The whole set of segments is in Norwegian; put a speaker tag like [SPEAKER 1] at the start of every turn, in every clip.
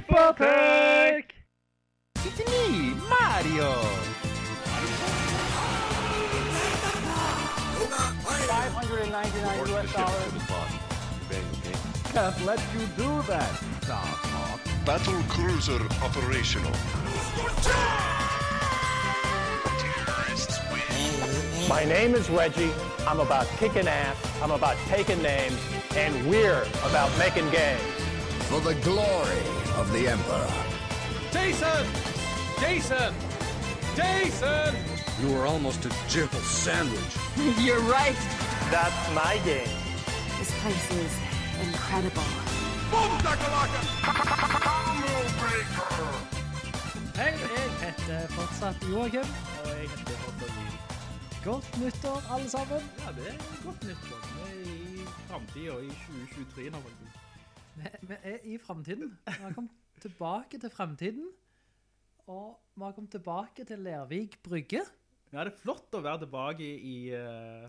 [SPEAKER 1] Supertech!
[SPEAKER 2] It's me, Mario! Can't let you do that, Star Fox.
[SPEAKER 3] Battle cruiser operational.
[SPEAKER 4] My name is Reggie. I'm about kicking ass. I'm about taking names. And we're about making games.
[SPEAKER 5] for the glory of the Emperor.
[SPEAKER 2] Jason! Jason! Jason!
[SPEAKER 6] You were almost a jibble sandwich.
[SPEAKER 7] You're right.
[SPEAKER 4] That's my game.
[SPEAKER 7] This place is incredible.
[SPEAKER 1] Hei, jeg heter fortsatt Joakim. Og jeg heter fortsatt Jim. Godt nyttår, alle sammen.
[SPEAKER 8] Ja, det er godt nyttår. Vi er i framtida, i 2023 nå, faktisk.
[SPEAKER 1] Vi vi er i framtiden. Vi har kommet tilbake til framtiden. Og vi har kommet tilbake til Lervik brygge.
[SPEAKER 8] Ja, det er flott å være tilbake i uh,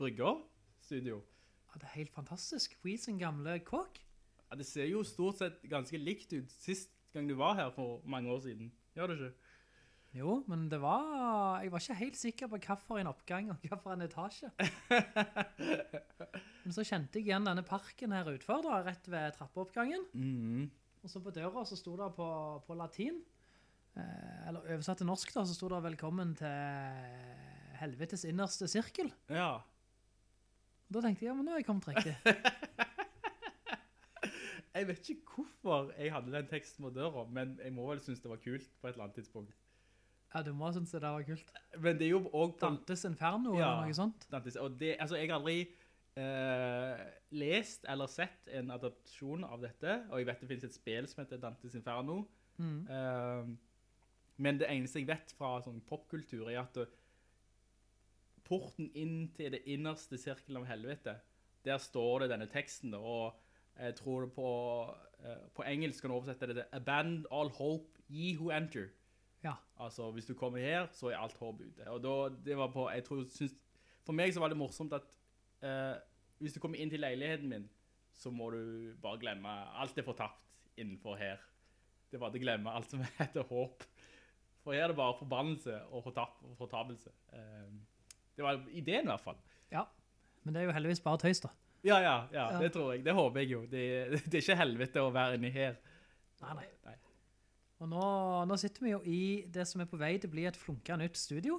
[SPEAKER 8] brygga studio.
[SPEAKER 1] Og det er helt fantastisk. Vi sin gamle kåk.
[SPEAKER 8] Ja, det ser jo stort sett ganske likt ut sist gang du var her for mange år siden. Gjør det ikke?
[SPEAKER 1] Jo, men det var Jeg var ikke helt sikker på hvilken oppgang og hvilken etasje. Men så kjente jeg igjen denne parken her utenfor, da, rett ved trappeoppgangen.
[SPEAKER 8] Mm-hmm.
[SPEAKER 1] Og så på døra så sto det på, på latin, eh, eller oversatt til norsk, da, så sto det 'Velkommen til helvetes innerste sirkel'.
[SPEAKER 8] Ja.
[SPEAKER 1] Og da tenkte jeg ja, men nå er jeg kommet riktig.
[SPEAKER 8] Jeg vet ikke hvorfor jeg hadde den teksten på døra, men jeg må vel synes det var kult på et eller annet tidspunkt.
[SPEAKER 1] Ja, du må synes det der var kult.
[SPEAKER 8] Men det er jo òg på
[SPEAKER 1] Dantes Inferno
[SPEAKER 8] Ja.
[SPEAKER 1] eller noe sånt.
[SPEAKER 8] Dantes. Og det, altså, jeg har aldri eh, lest eller sett en adaptasjon av dette, og jeg vet det finnes et spill som heter Dantes Inferno. Eh, men det eneste jeg vet fra sånn popkultur er at eh, porten inn til det innerste sirkelen av helvete, der står det denne teksten, da, og jeg tror det på, eh, på engelsk kan du oversette det til «Abandon all hope, ye who enter».
[SPEAKER 1] Ja.
[SPEAKER 8] Altså, hvis du kommer her, så er alt håp ute. Og da, det var på, jeg tror, syns, for meg så var det morsomt at eh, hvis du kommer inn til leiligheten min, så må du bare glemme alt er fortapt innenfor her. Det var det glemme alt som heter håp. For her er det bare forbannelse og fortap, fortapelse. Eh, det var ideen i hvert fall.
[SPEAKER 1] Ja. Men det er jo heldigvis bare tøys, da.
[SPEAKER 8] Ja, ja, ja,
[SPEAKER 1] Ja.
[SPEAKER 8] det tror jeg. Det håper jeg jo. Det, det er ikke helvete å være inni her.
[SPEAKER 1] Nei, nei.
[SPEAKER 8] Nei.
[SPEAKER 1] Og nå, nå sitter vi jo i det som er på vei til å bli et flunka nytt studio.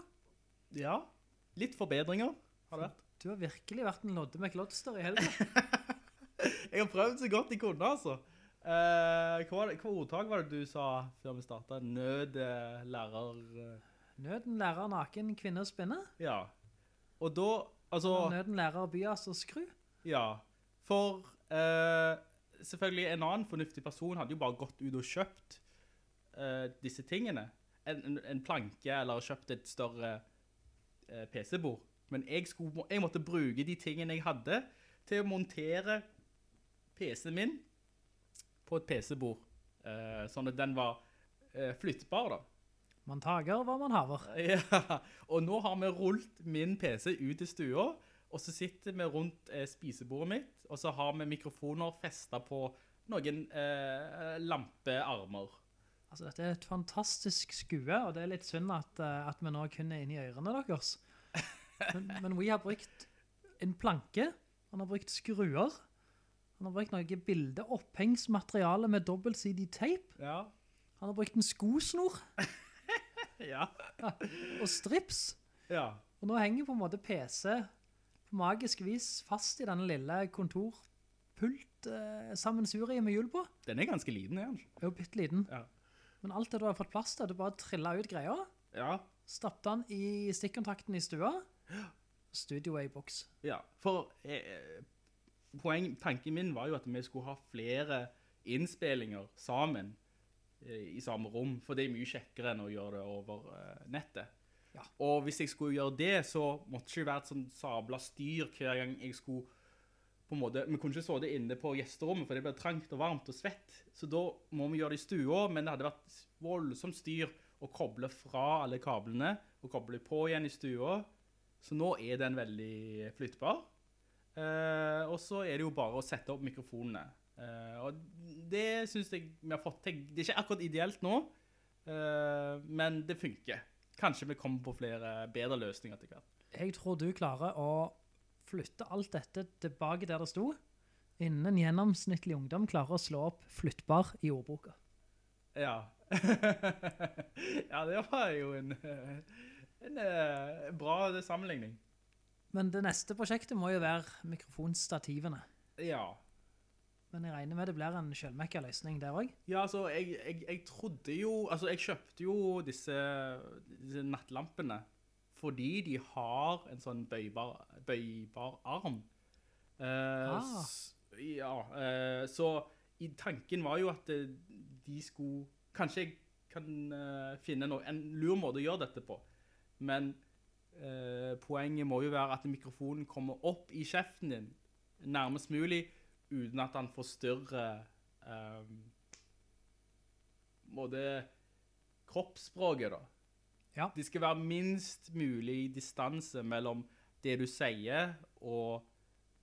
[SPEAKER 8] Ja, litt forbedringer har det vært.
[SPEAKER 1] Du har virkelig vært en lodde med klodster i helgen.
[SPEAKER 8] Jeg har prøvd så godt jeg kunne, altså. Eh, hva, var det- hva ordtak var det du sa før vi startet? Nød, eh, lærer... eh,
[SPEAKER 1] Nøden lærer naken kvinner spinne.
[SPEAKER 8] Ja. Og da, altså...
[SPEAKER 1] Nøden lærer byas og skru.
[SPEAKER 8] Ja. For eh, selvfølgelig en annen fornuftig person hadde jo bare gått ut og kjøpt eh, disse tingene. En, en, en planke eller kjøpt et større eh, PC-bord. Men jeg, skulle, jeg måtte bruke de tingene jeg hadde til å montere PC-en min på et PC-bord. Eh, sånn at den var eh, flyttbar da.
[SPEAKER 1] Man tager hva man haver.
[SPEAKER 8] Ja, og nå har vi rullet min PC ut i stua, og så sitter vi rundt eh, spisebordet mitt, og så har vi mikrofoner festet på noen eh, lampearmer.
[SPEAKER 1] Altså, dette er et fantastisk skue, og det er litt synd at, eh, at vi nå kun er inne i ørene deres. Men, men vi har brukt en planke, han har brukt skruer, han har brukt noe bildeopphengsmateriale med dobbeltsidig teip,
[SPEAKER 8] Ja.
[SPEAKER 1] han har brukt en skosnor
[SPEAKER 8] Ja.
[SPEAKER 1] og strips,
[SPEAKER 8] Ja.
[SPEAKER 1] Og nå henger på en måte PC på magisk vis fast i denne lille kontorpult-sammensuriet med hjul på.
[SPEAKER 8] Den er ganske liten, er den?
[SPEAKER 1] Det er jo bitteliten.
[SPEAKER 8] Ja.
[SPEAKER 1] Men alt det du har fått plass til, du bare trillet ut greia,
[SPEAKER 8] Ja.
[SPEAKER 1] stappet den i stikkontakten i stua, studioet i boks.
[SPEAKER 8] Ja, for eh, poeng, tanken min var jo at vi skulle ha flere innspillinger sammen eh, i samme rom, for det er mye kjekkere enn å gjøre det over eh, nettet.
[SPEAKER 1] Ja.
[SPEAKER 8] Og hvis jeg skulle gjøre det, så måtte det ikke være et sånn sabla styr hver gang jeg skulle på en måte, Vi kunne ikke så det inne på gjesterommet, for det ble trangt og varmt og svett. Så da må vi gjøre det i stua, men det hadde vært voldsomt styr å koble fra alle kablene og koble på igjen i stua. Så nå er den veldig flyttbar. Eh, og så er det jo bare å sette opp mikrofonene. Eh, og det syns jeg vi har fått til. Det er ikke akkurat ideelt nå, eh, men det funker. Kanskje vi kommer på flere bedre løsninger etter hvert.
[SPEAKER 1] Jeg tror du klarer å flytte alt dette tilbake der det sto, innen en gjennomsnittlig ungdom klarer å slå opp flyttbar i ordboka.
[SPEAKER 8] Ja. ja, det var jo en, eh, en eh, bra sammenligning.
[SPEAKER 1] Men det neste prosjektet må jo være mikrofonstativene.
[SPEAKER 8] Ja.
[SPEAKER 1] Men jeg regner med det blir en selvmekka løsning der òg.
[SPEAKER 8] Ja, altså, jeg, jeg, jeg trodde jo Altså, jeg kjøpte jo disse, disse nattlampene fordi de har en sånn bøybar, bøybar arm. Eh,
[SPEAKER 1] Ah.
[SPEAKER 8] s- Ja, eh, så i tanken var jo at eh, de skulle Kanskje jeg kan eh, finne noe, en lur måte å gjøre dette på. Men eh, poenget må jo være at mikrofonen kommer opp i kjeften din nærmest mulig, uten at han forstyrrer eh, både kroppsspråket da.
[SPEAKER 1] Ja.
[SPEAKER 8] Det skal være minst mulig distanse mellom det du sier og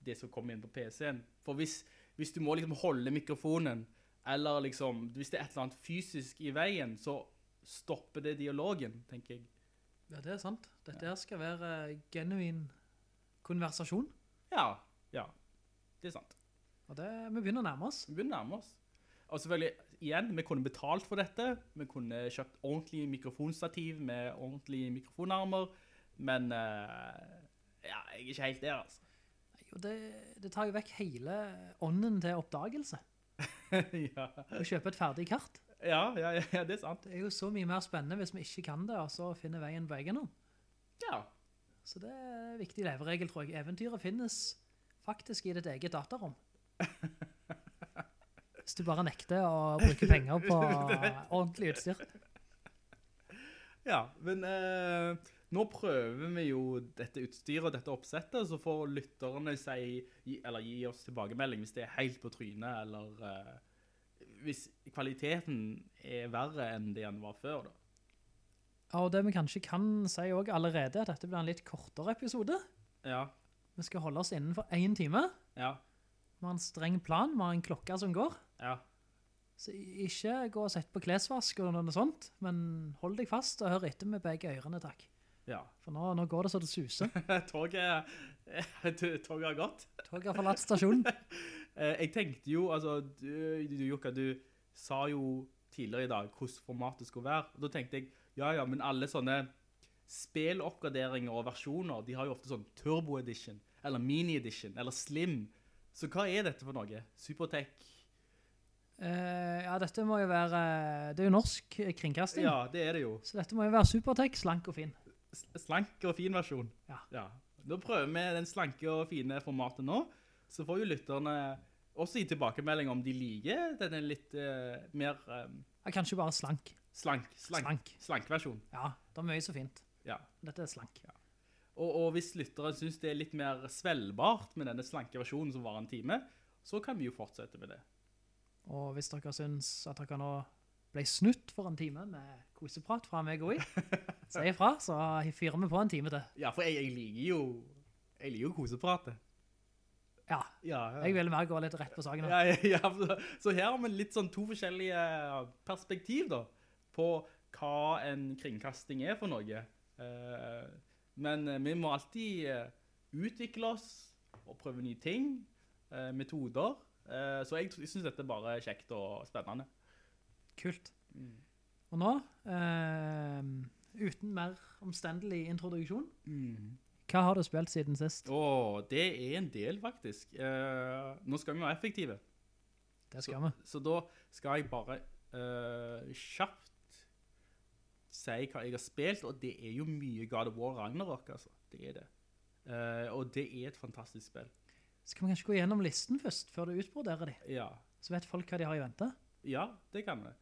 [SPEAKER 8] det som kommer inn på PC-en. For hvis, hvis du må liksom holde mikrofonen, eller liksom, hvis det er et eller annet fysisk i veien, så stopper det dialogen, tenker jeg.
[SPEAKER 1] Ja, det er sant. Dette her skal være eh, genuin konversasjon.
[SPEAKER 8] Ja, ja, det er sant.
[SPEAKER 1] Og det, vi begynner å nærme oss.
[SPEAKER 8] Vi begynner å nærme oss. Og selvfølgelig, igjen, vi kunne betalt for dette. Vi kunne kjøpt ordentlig mikrofonstativ med ordentlige mikrofonarmer. Men eh, ja, jeg er ikke helt der, altså.
[SPEAKER 1] Jo, det, det tar jo vekk hele ånden til oppdagelse.
[SPEAKER 8] ja.
[SPEAKER 1] Å kjøpe et ferdig kart.
[SPEAKER 8] Ja, ja, ja, det er sant.
[SPEAKER 1] Det er jo så mye mer spennende hvis vi ikke kan det, og så finner veien på egen hånd.
[SPEAKER 8] Ja,
[SPEAKER 1] Så det er en viktig leveregel, tror jeg. Eventyret finnes faktisk i ditt eget datarom. Hvis du bare nekter å bruke penger på ordentlig utstyr.
[SPEAKER 8] ja men eh, nå prøver vi jo dette utstyret og dette oppsettet, så får lytterne si, gi, eller gi oss tilbakemelding hvis det er helt på trynet, eller eh, hvis kvaliteten er verre enn det den var før, da.
[SPEAKER 1] Ja, Og det vi kanskje kan si også allerede, at dette blir en litt kortere episode.
[SPEAKER 8] Ja,
[SPEAKER 1] Vi skal holde oss innenfor én time.
[SPEAKER 8] ja,
[SPEAKER 1] Vi har en streng plan, vi har en klokke som går.
[SPEAKER 8] ja.
[SPEAKER 1] Så i- ikke gå og sett på klesvask og noe sånt, men hold deg fast og hør etter med begge ørene, takk.
[SPEAKER 8] Ja.
[SPEAKER 1] For nå, nå går det så det suser.
[SPEAKER 8] Toget, toget har gått.
[SPEAKER 1] Toget har forlatt stasjonen.
[SPEAKER 8] Eh, Jeg tenkte jo, altså, du, du, Jukka, du sa jo tidligere i dag hvordan formatet skulle være. Og da tenkte jeg, ja, ja, men alle sånne spilloppgraderinger og versjoner, de har jo ofte sånn Turbo Edition, eller Mini Edition, eller Slim. Så hva er dette for noe? Supertech?
[SPEAKER 1] Eh, ja, dette må jo være Det er jo norsk kringkasting.
[SPEAKER 8] Ja, det er det jo.
[SPEAKER 1] Så dette må jo være supertek, slank og fin.
[SPEAKER 8] S- Slank og fin versjon.
[SPEAKER 1] Ja.
[SPEAKER 8] Da prøver vi den slanke og fine formatet nå, så får jo lytterne også gi tilbakemelding om de liker denne litt eh, mer eh,
[SPEAKER 1] Ja, kanskje bare slank.
[SPEAKER 8] slank, slank,
[SPEAKER 1] Slank.
[SPEAKER 8] slank. versjon.
[SPEAKER 1] Ja, det er mye så fint.
[SPEAKER 8] Ja.
[SPEAKER 1] Dette er slank.
[SPEAKER 8] Og, og hvis lytteren synes det er litt mer svelgbart med denne slanke versjonen som var en time, så kan vi jo fortsette med det.
[SPEAKER 1] Og hvis dere syns at dere nå ble snutt for en time med koseprat fra meg og i, si ifra, så fyrer vi på en time til.
[SPEAKER 8] Ja, for jeg, jeg liker jo, jeg liker jo kosepratet.
[SPEAKER 1] Ja.
[SPEAKER 8] Ja,
[SPEAKER 1] Jeg vil mer gå litt rett på saken.
[SPEAKER 8] Ja, ja, ja, for- så her har vi litt sånn to forskjellige eh, perspektiv da, på hva en kringkasting er for noe. Eh, Men eh, vi må alltid eh, utvikle oss og prøve nye ting, eh, metoder. Eh, Så jeg, jeg synes dette bare er kjekt og spennende.
[SPEAKER 1] Kult.
[SPEAKER 8] Mm.
[SPEAKER 1] Og nå, eh, uten mer omstendelig introduksjon,
[SPEAKER 8] Mm.
[SPEAKER 1] hva har du spilt siden sist?
[SPEAKER 8] Åh, det er en del faktisk. Eh, Nå skal vi være effektive.
[SPEAKER 1] Det skal vi.
[SPEAKER 8] Så da skal jeg bare eh, kjapt si hva jeg har spilt, og det er jo mye God of War Ragnarok, altså. Det er det. Eh, og det er et fantastisk spill.
[SPEAKER 1] Skal vi kanskje gå gjennom listen først, før du utbroderer de?
[SPEAKER 8] Ja,
[SPEAKER 1] Så vet folk hva de har i vente.
[SPEAKER 8] ja det kan vi.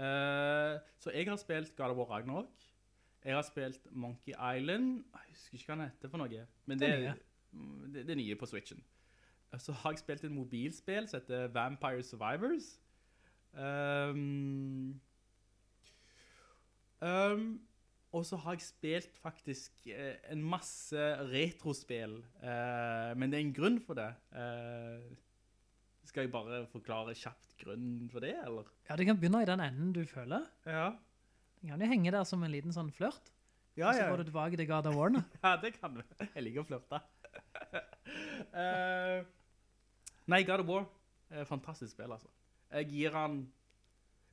[SPEAKER 8] Eh, så jeg har spilt God of War Ragnarok. Jeg har spilt Monkey Island. Jeg husker ikke hva den heter for noe. Men det,
[SPEAKER 1] Det er nye.
[SPEAKER 8] Mm, det, det er nye på Switchen. Så har jeg spilt et mobilspill som heter Vampire Survivors. Um, um, og så har jeg spilt faktisk eh, en masse retrospill, eh, men det er en grunn for det. Eh, Skal jeg bare forklare kjapt grunnen for det, eller?
[SPEAKER 1] Ja, det kan begynne i den enden du føler.
[SPEAKER 8] Ja.
[SPEAKER 1] Det kan jo henge der som en liten sånn flørt.
[SPEAKER 8] Ja,
[SPEAKER 1] Og så
[SPEAKER 8] ja.
[SPEAKER 1] går du tilbake til God of Warne.
[SPEAKER 8] Ja, det kan vi. Jeg liker å flørte. Eh, nei, God of War. Eh, fantastisk spill, altså. Jeg gir han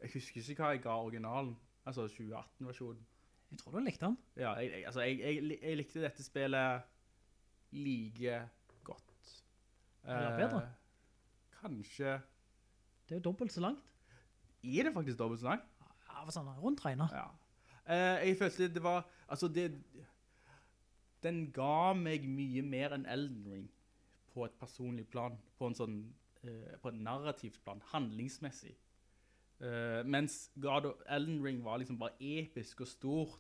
[SPEAKER 8] Jeg husker ikke hva jeg ga originalen. Altså 2018-versjonen.
[SPEAKER 1] Jeg tror du likte den.
[SPEAKER 8] Ja, jeg, jeg, altså, jeg, jeg, li- jeg likte dette spillet like godt.
[SPEAKER 1] Eller bedre?
[SPEAKER 8] Eh, Kanskje
[SPEAKER 1] Det er jo dobbelt så langt.
[SPEAKER 8] Er det faktisk dobbelt så langt?
[SPEAKER 1] Ja, for sånn rundt regnet.
[SPEAKER 8] Ja. Eh, jeg følte det var Altså, det Den ga meg mye mer enn Elden Ring på et personlig plan. På en sånn eh, På et narrativt plan. Handlingsmessig. Eh, mens God of Elden Ring var liksom bare episk og stort.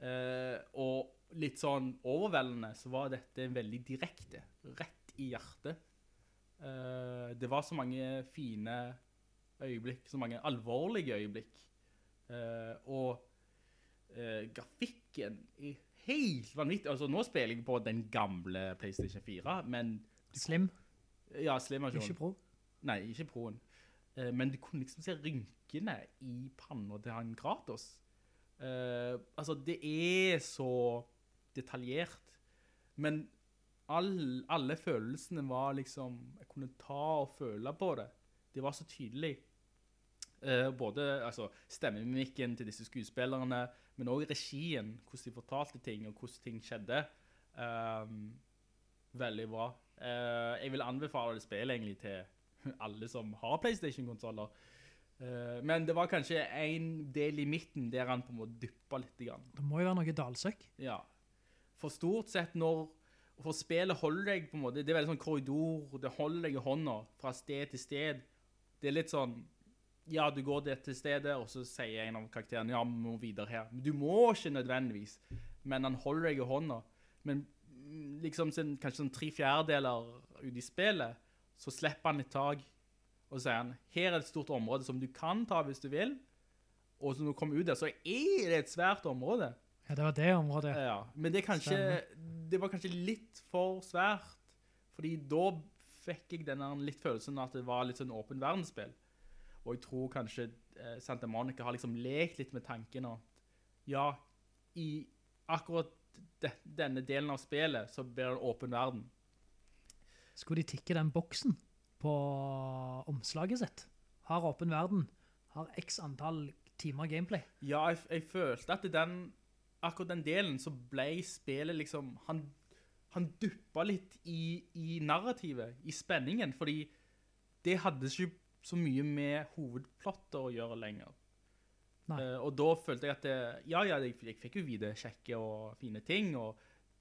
[SPEAKER 8] eh, og litt sånn overveldende, så var dette veldig direkte. Rett i hjertet. Eh, det var så mange fine øyeblikk, så mange alvorlige øyeblikk. Eh, og eh, grafikken er helt vanvittig. Altså, nå spiller jeg på den gamle PlayStation 4, men
[SPEAKER 1] Slim,
[SPEAKER 8] ja, slim
[SPEAKER 1] ikke pro.
[SPEAKER 8] Nei, ikke proen. Eh, men du kunne liksom se rynkene i panna til han Kratos. Eh, altså, det er så detaljert. Men all, alle følelsene var liksom Jeg kunne ta og føle på det. Det var så tydelig. Eh, både altså, stemmemimikken til disse skuespillerne, men òg regien. Hvordan de fortalte ting, og hvordan ting skjedde. Um, Veldig bra. Eh, jeg vil anbefale det spillet egentlig til alle som har PlayStation-konsoller. Eh, men det var kanskje en del i midten der han på en måte dyppa litt. Grann.
[SPEAKER 1] Det må jo være noe dalsøkk.
[SPEAKER 8] Ja. For stort sett når For spillet holder deg på en måte Det er veldig sånn korridor, det holder deg i hånda fra sted til sted. Det er litt sånn Ja, du går det til stedet, og så sier en av karakterene Ja, vi må videre her. Men du må ikke nødvendigvis. Men han holder deg i hånda. Men mm, liksom sin, kanskje sånn tre fjerdedeler ut i spillet, så slipper han litt tak. Og så sier han Her er et stort område som du kan ta hvis du vil. Og så når du kommer ut der, så er det et svært område.
[SPEAKER 1] Ja, det var det området.
[SPEAKER 8] Ja, men det, er kanskje, det var kanskje litt for svært, fordi da fikk jeg denne litt følelsen at det var litt sånn åpen verdensspill. Og jeg tror kanskje eh, Santa Monica har liksom lekt litt med tanken at ja, i akkurat de, denne delen av spillet så blir det åpen verden.
[SPEAKER 1] Skulle de tikke den boksen på omslaget sitt? Har åpen verden. Har x antall timer gameplay.
[SPEAKER 8] Ja, jeg, jeg følte at den, akkurat den delen så ble spillet liksom, han, han duppa litt i, i narrativet, i spenningen, fordi det hadde ikke så mye med hovedplotter å gjøre lenger.
[SPEAKER 1] Nei.
[SPEAKER 8] Eh, og da følte jeg at det, ja, ja, jeg, jeg fikk jo vite kjekke og fine ting, og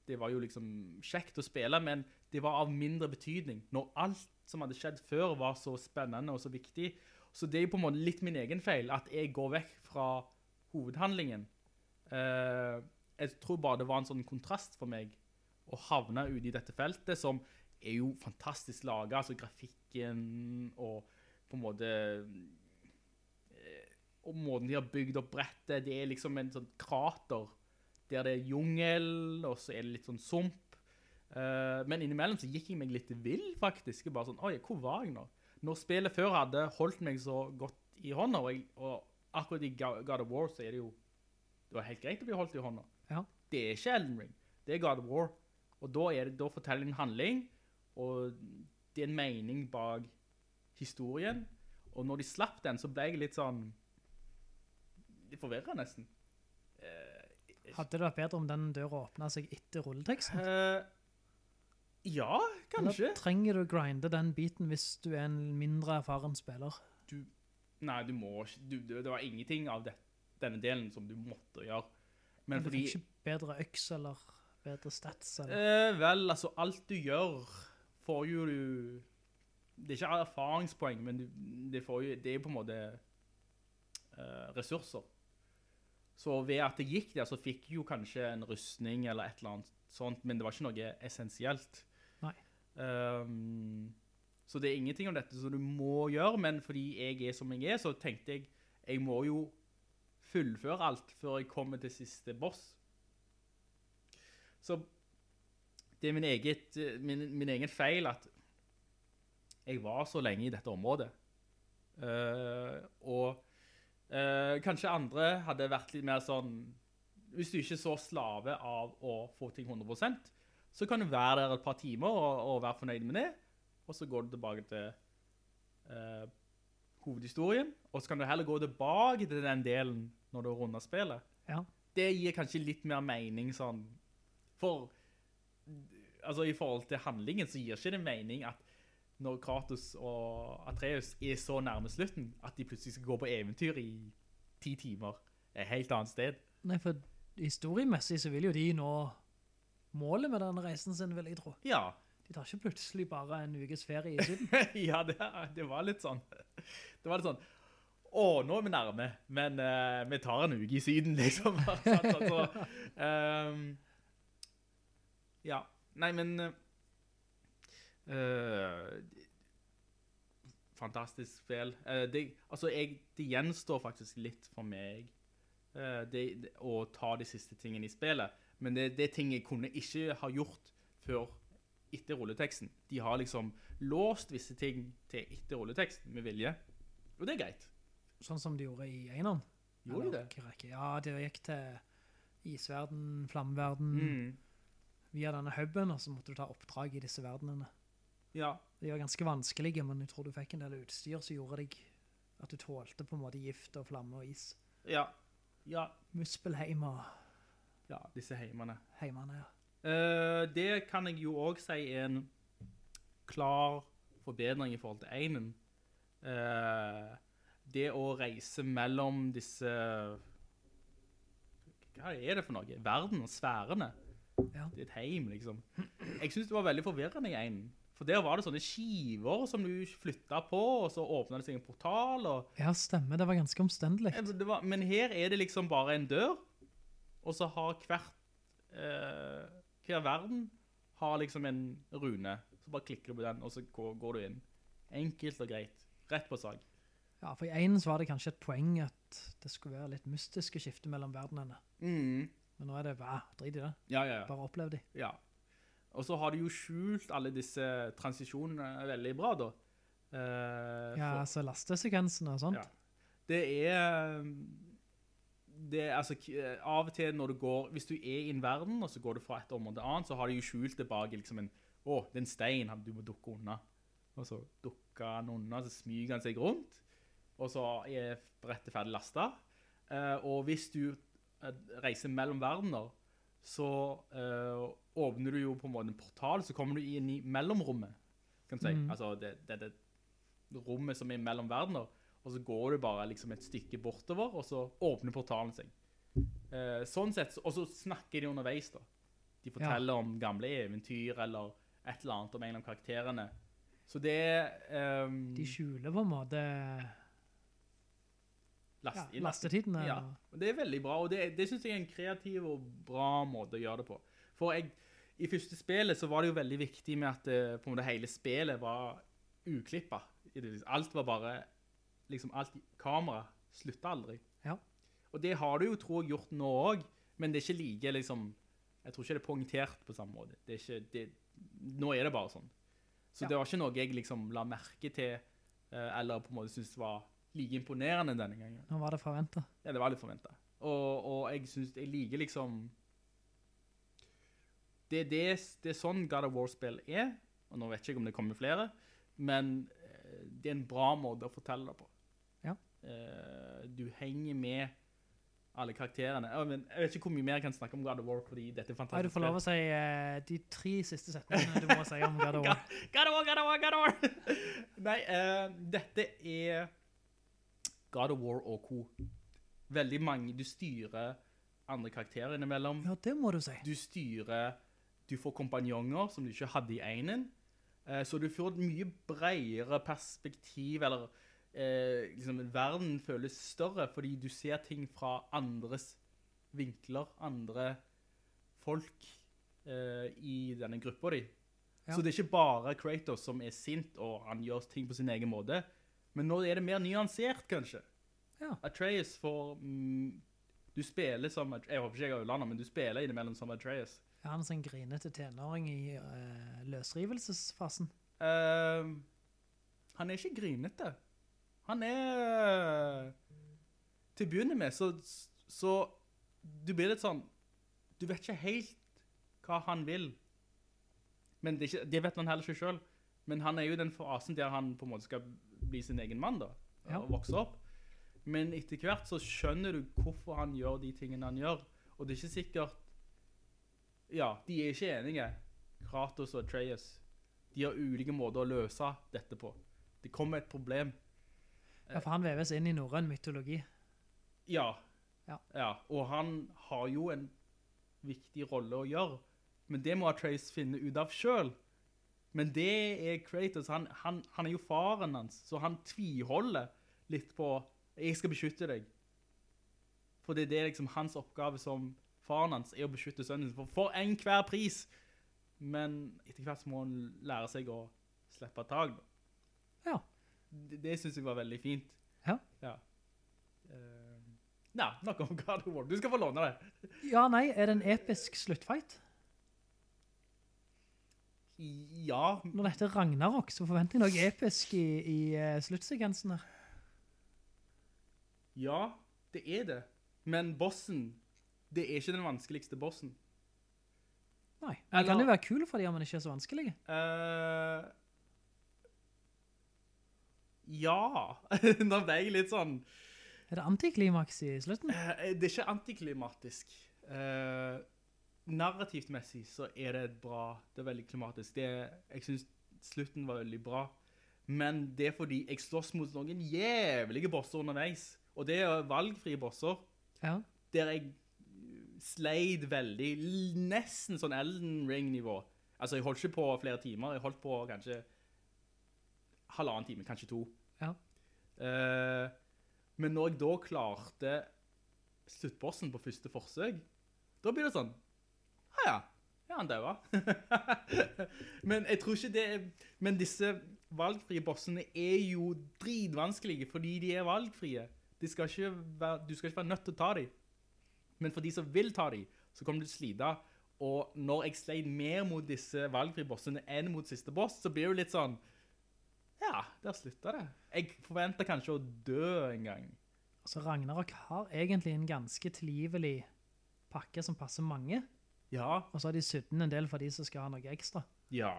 [SPEAKER 8] det var jo liksom kjekt å spille, men det var av mindre betydning, når alt som hadde skjedd før var så spennende og så viktig. Så det er jo på en måte litt min egen feil, at jeg går vekk fra hovedhandlingen. Eh, jeg tror bare det var en sånn kontrast for meg, å havne ute i dette feltet, som er jo fantastisk laget, altså grafikken og på en måte og måten de har bygd opp brettet, det er liksom en sånn krater, der det er jungel, og så er det litt sånn sump. Eh, men innimellom så gikk jeg meg litt vill, faktisk. Jeg Bare sånn, oi, hvor var jeg nå? Når spillet før hadde holdt meg så godt i hånda, og, jeg, og akkurat i Ga- God of War så er det jo, det var helt greit å bli holdt i hånda.
[SPEAKER 1] Ja.
[SPEAKER 8] Det er ikke Elden Ring, det er God of War. Og da, er det, da forteller en handling, og det er en mening bak historien. Og når de slapp den, så ble jeg litt sånn, litt forvirret nesten.
[SPEAKER 1] Hadde det vært bedre om den døra åpnet seg etter rulleteksten?
[SPEAKER 8] Eh, ja, kanskje.
[SPEAKER 1] Eller trenger du å grinde den biten hvis du er en mindre erfaren spiller?
[SPEAKER 8] Du, nei, du må ikke. Du, du, det var ingenting av det, denne delen som du måtte gjøre. Men
[SPEAKER 1] Men du
[SPEAKER 8] fordi
[SPEAKER 1] fikk ikke bedre øks eller bedre stats? Eller?
[SPEAKER 8] eh, Vel, altså, alt du gjør, får jo du Det er ikke erfaringspoeng, men du, det, får jo, det er på en måte eh, ressurser. Så ved at det gikk der, så fikk jeg jo kanskje en rustning eller et eller annet sånt, men det var ikke noe essensielt.
[SPEAKER 1] Nei.
[SPEAKER 8] Ehm, så det er ingenting om dette som du må gjøre, men fordi jeg er som jeg er, så tenkte jeg jeg må jo fullføre alt før jeg kommer til siste boss. eh, Så det er min, eget, min, min egen feil at jeg var så lenge i dette området. Eh, og eh, kanskje andre hadde vært litt mer sånn, hvis du ikke er så slave av å få ting 100%, så kan du være der et par timer og, og være fornøyd med det, og så går du tilbake til eh, hovedhistorien, og så kan du heller gå tilbake til den delen når du har rundet spillet.
[SPEAKER 1] Ja.
[SPEAKER 8] Det gir kanskje litt mer mening sånn, for altså, i forhold til handlingen så gir ikke det mening at når Kratos og Atreus er så nærme slutten, at de plutselig skal gå på eventyr i ti timer et helt annet sted.
[SPEAKER 1] Nei, for historiemessig så vil jo de nå målet med denne reisen sin, vil jeg tro.
[SPEAKER 8] Ja,
[SPEAKER 1] De tar ikke plutselig bare en ukes ferie i Syden.
[SPEAKER 8] ja det, det var litt sånn. Det var litt sånn, å, nå er vi nærme, men eh, vi tar en uke i syden, liksom. Sant? altså, ehm, ja, nei, men... eh, fantastisk spill. Eh, det, altså, jeg, det gjenstår faktisk litt for meg eh, det, det, å ta de siste tingene i spillet, men det, det er ting jeg kunne ikke ha gjort før etter rulleteksten. De har liksom låst visse ting til etter rulleteksten med vilje, og det er greit.
[SPEAKER 1] Sånn som de gjorde i Einan.
[SPEAKER 8] Gjorde de det?
[SPEAKER 1] Ja, de gikk til isverden, flammeverden,
[SPEAKER 8] Mm.
[SPEAKER 1] via denne hubben, og så måtte du ta oppdrag i disse verdenene.
[SPEAKER 8] Ja,
[SPEAKER 1] De var ganske vanskelige, men jeg tror du fikk en del utstyr som gjorde deg at du tålte på en måte gift og flamme og is.
[SPEAKER 8] ja, ja,
[SPEAKER 1] Muspelheim og
[SPEAKER 8] ja, disse heimene.
[SPEAKER 1] heimene, ja.
[SPEAKER 8] Eh, det kan jeg jo òg si er en klar forbedring i forhold til einen. Eh, det å reise mellom disse Hva er det for noe? Verden og sfærene.
[SPEAKER 1] Ja.
[SPEAKER 8] Det er et heim, liksom. Jeg syns det var veldig forvirrende i einen. For der var det sånne skiver som du flytta på, og så åpna det seg en portal. og
[SPEAKER 1] Ja, stemmer. Det var ganske omstendelig.
[SPEAKER 8] Altså, det var, men her er det liksom bare en dør, og så har hvert, eh, hver verden har liksom en rune. Så bare klikker du på den, og så går, går du inn. Enkelt og greit. Rett på sag.
[SPEAKER 1] Ja, for i Einen så var det kanskje et poeng at det skulle være litt mystiske skifte mellom verdenene. Men nå er det, hva, drit i det.
[SPEAKER 8] Ja, ja, ja.
[SPEAKER 1] Bare opplev de.
[SPEAKER 8] ja. Og så har du jo skjult alle disse transisjonene veldig bra, da. Eh,
[SPEAKER 1] Ja,
[SPEAKER 8] for-
[SPEAKER 1] altså lastesekvensene og sånt.
[SPEAKER 8] Ja. Det er eh, det er, altså, k- av og til når du går, hvis du er i en verden, og så går du fra et område til annet, så har de jo skjult det bak liksom en, å, det er en stein, han- du må dukke unna. Og så dukker han unna, så smyger han seg rundt, og så er brettet ferdig lastet. Eh, og hvis du eh, reiser mellom verdener, så eh, åpner du jo på en måte en portal, så kommer du inn i mellomrommet, kan du si. Altså, det, det, det, rommet som er mellom verdener, og så går du bare liksom et stykke bortover, og så åpner portalen seg. Eh, sånn sett, og så snakker de underveis da. De forteller om gamle eventyr, eller et eller annet om en av karakterene. Så det er... ehm,
[SPEAKER 1] De skjuler på en måte ja,
[SPEAKER 8] last,
[SPEAKER 1] lastetidene.
[SPEAKER 8] Ja,
[SPEAKER 1] og-
[SPEAKER 8] og det er veldig bra, og det, det synes jeg er en kreativ og bra måte å gjøre det på. For jeg, i første spillet så var det jo veldig viktig med at eh, på en måte hele spillet var uklippet. I det- Alt var bare, liksom alt, kamera sluttet aldri.
[SPEAKER 1] Ja.
[SPEAKER 8] Og det har du jo, tror jeg, gjort nå også, men det er ikke like, liksom, jeg tror ikke det er poengtert på samme måte. Det er ikke, det, nå er det bare sånn. Så
[SPEAKER 1] Ja.
[SPEAKER 8] det var ikke noe jeg liksom la merke til, eh, eller på en måte synes var like imponerende denne gangen.
[SPEAKER 1] Nå var det forventet.
[SPEAKER 8] Ja, det var litt forventa. Og, og jeg syns Jeg liker liksom det, er det, det er sånn God of War-spill er. Og nå vet jeg ikke om det kommer flere, men eh, det er en bra måte å fortelle det på.
[SPEAKER 1] Ja.
[SPEAKER 8] Eh, Du henger med alle karakterene. Ja, men Jeg vet ikke hvor mye mer jeg kan snakke om God of War, fordi dette er
[SPEAKER 1] Nei, du
[SPEAKER 8] fantastisk.
[SPEAKER 1] får lov å si eh, de tre siste setningene du må si om God of War.
[SPEAKER 8] God of War, God of War, God of War! Nei, eh, dette er God of War og co. Veldig mange, du styrer andre karakterer innimellom.
[SPEAKER 1] Ja, det må du si.
[SPEAKER 8] Du styrer, du får kompanjonger som du ikke hadde i enen. Eh, så du får et mye bredere perspektiv, eller eh, liksom, verden føles større, fordi du ser ting fra andres vinkler, andre folk eh, i denne gruppa di.
[SPEAKER 1] Ja.
[SPEAKER 8] Så det er ikke bare Kratos som er sint, og han gjør ting på sin egen måte. Men nå er det mer nyansert, kanskje.
[SPEAKER 1] Ja.
[SPEAKER 8] Atreus får... Mm, du spiller som... At- Jeg håper ikke jeg har ulandet, men du spiller innimellom som Atreus.
[SPEAKER 1] Ja, han som grinete tenåring i eh, løsrivelsesfasen.
[SPEAKER 8] Ehm, Han er ikke grinete. Han er Til å begynne med så, så Du blir litt sånn Du vet ikke helt hva han vil. Men det, er ikke, det vet man heller ikke sjøl. Men han er jo i den fasen der han på en måte skal bli sin egen mann, da.
[SPEAKER 1] Ja.
[SPEAKER 8] Og vokse opp. Men etter hvert så skjønner du hvorfor han gjør de tingene han gjør. Og det er ikke sikkert Ja, de er ikke enige, Kratos og Atreas. De har ulike måter å løse dette på. Det kommer et problem.
[SPEAKER 1] Ja, for han veves inn i norrøn mytologi.
[SPEAKER 8] Ja.
[SPEAKER 1] Ja.
[SPEAKER 8] Og han har jo en viktig rolle å gjøre. Men det må Atreas finne ut av sjøl. Men det er Kratos. Han, han, han er jo faren hans, så han tviholder litt på 'Jeg skal beskytte deg'. For det, det er liksom hans oppgave som faren hans, er å beskytte sønnen sin for, for enhver pris. Men etter hvert så må han lære seg å slippe tak. da.
[SPEAKER 1] Ja.
[SPEAKER 8] Det, det syns jeg var veldig fint.
[SPEAKER 1] Ja.
[SPEAKER 8] Ja. Eh, Nei, nok om God of War. Du skal få låne det.
[SPEAKER 1] ja, nei, er det en episk sluttfight?
[SPEAKER 8] Ja,
[SPEAKER 1] Når dette er Ragnarok, så forventer jeg noe episk i, i eh, sluttsekvensen her.
[SPEAKER 8] ja, det er det. Men bossen, det er ikke den vanskeligste bossen.
[SPEAKER 1] Nei, men den kan
[SPEAKER 8] Eller-
[SPEAKER 1] jo være kul for de, om den ikke er så vanskelig.
[SPEAKER 8] Eh, ja. Nå ble jeg litt sånn...
[SPEAKER 1] Er det antiklimaks i slutten?
[SPEAKER 8] Eh, Det er ikke antiklimatisk. Eh, narrativt messig så er det et bra, det er veldig klimatisk. Det, jeg synes slutten var veldig bra. Men det er fordi jeg slåss mot noen jævlige bosser underveis. Og det er valgfrie bosser,
[SPEAKER 1] Ja.
[SPEAKER 8] der jeg sleid veldig, l- nesten sånn Elden Ring-nivå. Altså, jeg holdt ikke på flere timer, jeg holdt på kanskje halvannen time, kanskje to.
[SPEAKER 1] Ja.
[SPEAKER 8] Eh, men når jeg da klarte sluttbossen på første forsøk, da blir det sånn, ja, ja, ja, han døde. men jeg tror ikke det er, men disse valgfrie bossene er jo dritvanskelige, fordi de er valgfrie. De skal ikke være, du skal ikke være nødt til å ta dem. Men for de som vil ta dem, så kommer du til å slite. Og når jeg sleit mer mot disse valgfrie bossene enn mot siste boss, så blir det jo litt sånn, ja, der slutta det. Jeg forventer kanskje å dø en gang.
[SPEAKER 1] Altså, Ragnarok har egentlig en ganske tilgivelig pakke som passer mange,
[SPEAKER 8] Ja,
[SPEAKER 1] og så har de sydd den en del for de som skal ha noe ekstra.
[SPEAKER 8] ja,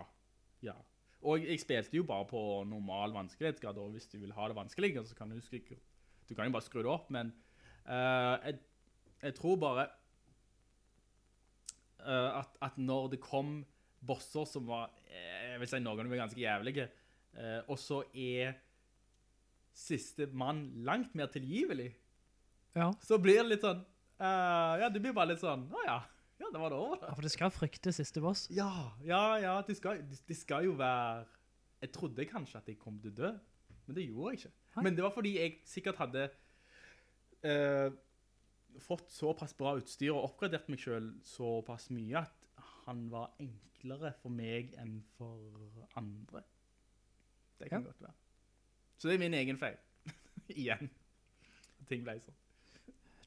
[SPEAKER 8] ja. Og jeg spilte jo bare på normal vanskelighetsgrad, og hvis du vil ha det vanskeligere, så kan du, skru, du kan jo bare skru det opp, men eh, jeg, jeg tror bare eh, at, at når det kom bosser som var, eh, jeg vil si noen av dem var ganske jævlige, eh, og så er siste mann langt mer tilgivelig,
[SPEAKER 1] Ja.
[SPEAKER 8] så blir det litt sånn, eh, ja, det blir bare litt sånn, å ja, ja, det var det over da.
[SPEAKER 1] for det skal frykte siste boss.
[SPEAKER 8] Ja, ja, ja, det skal, det- det skal jo være... Jeg trodde kanskje at jeg kom til å dø, men det gjorde jeg ikke. Men det var fordi jeg sikkert hadde eh, fått såpass bra utstyr og oppgradert meg selv såpass mye at han var enklere for meg enn for andre. Det kan
[SPEAKER 1] Ja.
[SPEAKER 8] godt være. Så det er min egen feil. Igjen. Ting ble sånn.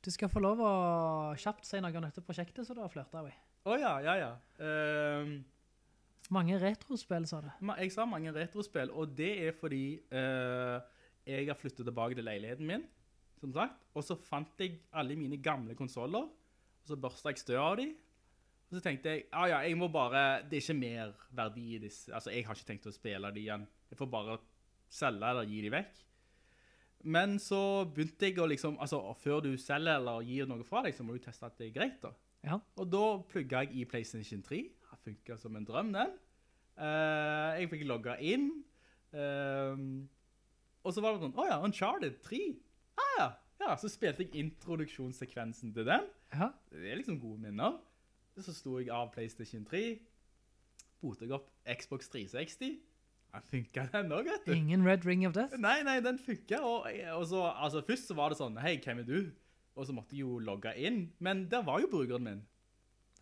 [SPEAKER 1] Du skal få lov å kjapt si noe om dette prosjektet som du har flørta av i.
[SPEAKER 8] Åja, ja, ja. Ehm,
[SPEAKER 1] Mange retrospill, sa du.
[SPEAKER 8] Ma- Jeg sa mange retrospill, og det er fordi eh, jeg har flyttet tilbake til leiligheten min, som sagt, og så fant jeg alle mine gamle konsoler, og så børsta jeg støv av dem, og så tenkte jeg, ah, ja, jeg må bare, det er ikke mer verdi i disse, altså jeg har ikke tenkt å spille dem igjen, jeg får bare selge eller gi dem vekk. Men så begynte jeg å liksom, altså før du selger eller gir noe fra deg, så må du teste at det er greit da.
[SPEAKER 1] Ja.
[SPEAKER 8] Og da plugga jeg i PlayStation 3. Det funka som en drøm, den. Eh, jeg fikk logga inn. Ehm, og så var det sånn Å ja, Uncharted 3. Ah, ja. ja. Så spilte jeg introduksjonssekvensen til den.
[SPEAKER 1] Ja.
[SPEAKER 8] Det er liksom gode minner. Så sto jeg av PlayStation 3. Botet jeg opp Xbox 360. Den funka, den òg, vet du.
[SPEAKER 1] Ingen Red Ring of Death.
[SPEAKER 8] Nei, nei, den funka. Og, og så, altså, først så var det sånn Hei, hvem er du? Og så måtte jeg jo logge inn. Men der var jo brukeren min.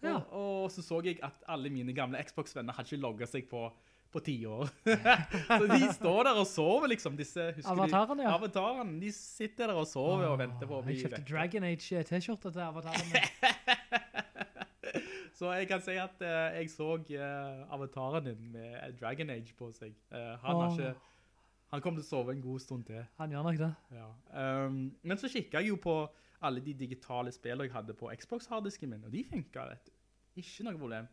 [SPEAKER 1] Ja.
[SPEAKER 8] Og, og så så jeg at alle mine gamle Xbox-venner hadde ikke logga seg på på ti år. så de står der og sover, liksom. disse, husker du-
[SPEAKER 1] Avatarene, ja.
[SPEAKER 8] Avatarene, De sitter der og sover og venter på å bli
[SPEAKER 1] Jeg kjøpte
[SPEAKER 8] vekket.
[SPEAKER 1] Dragon Age eh, T-skjorte til avataren. min.
[SPEAKER 8] Så jeg kan si at eh, jeg så eh, avataren din med Dragon Age på seg. Eh, han, har
[SPEAKER 1] Åh.
[SPEAKER 8] ikke, Han kommer til å sove en god stund til.
[SPEAKER 1] Han gjør nok det.
[SPEAKER 8] Ja. Ehm, men så kikket jeg jo på alle de digitale spillene jeg hadde på Xbox-harddisken min, og de funket, vet du. Ikke noe problem.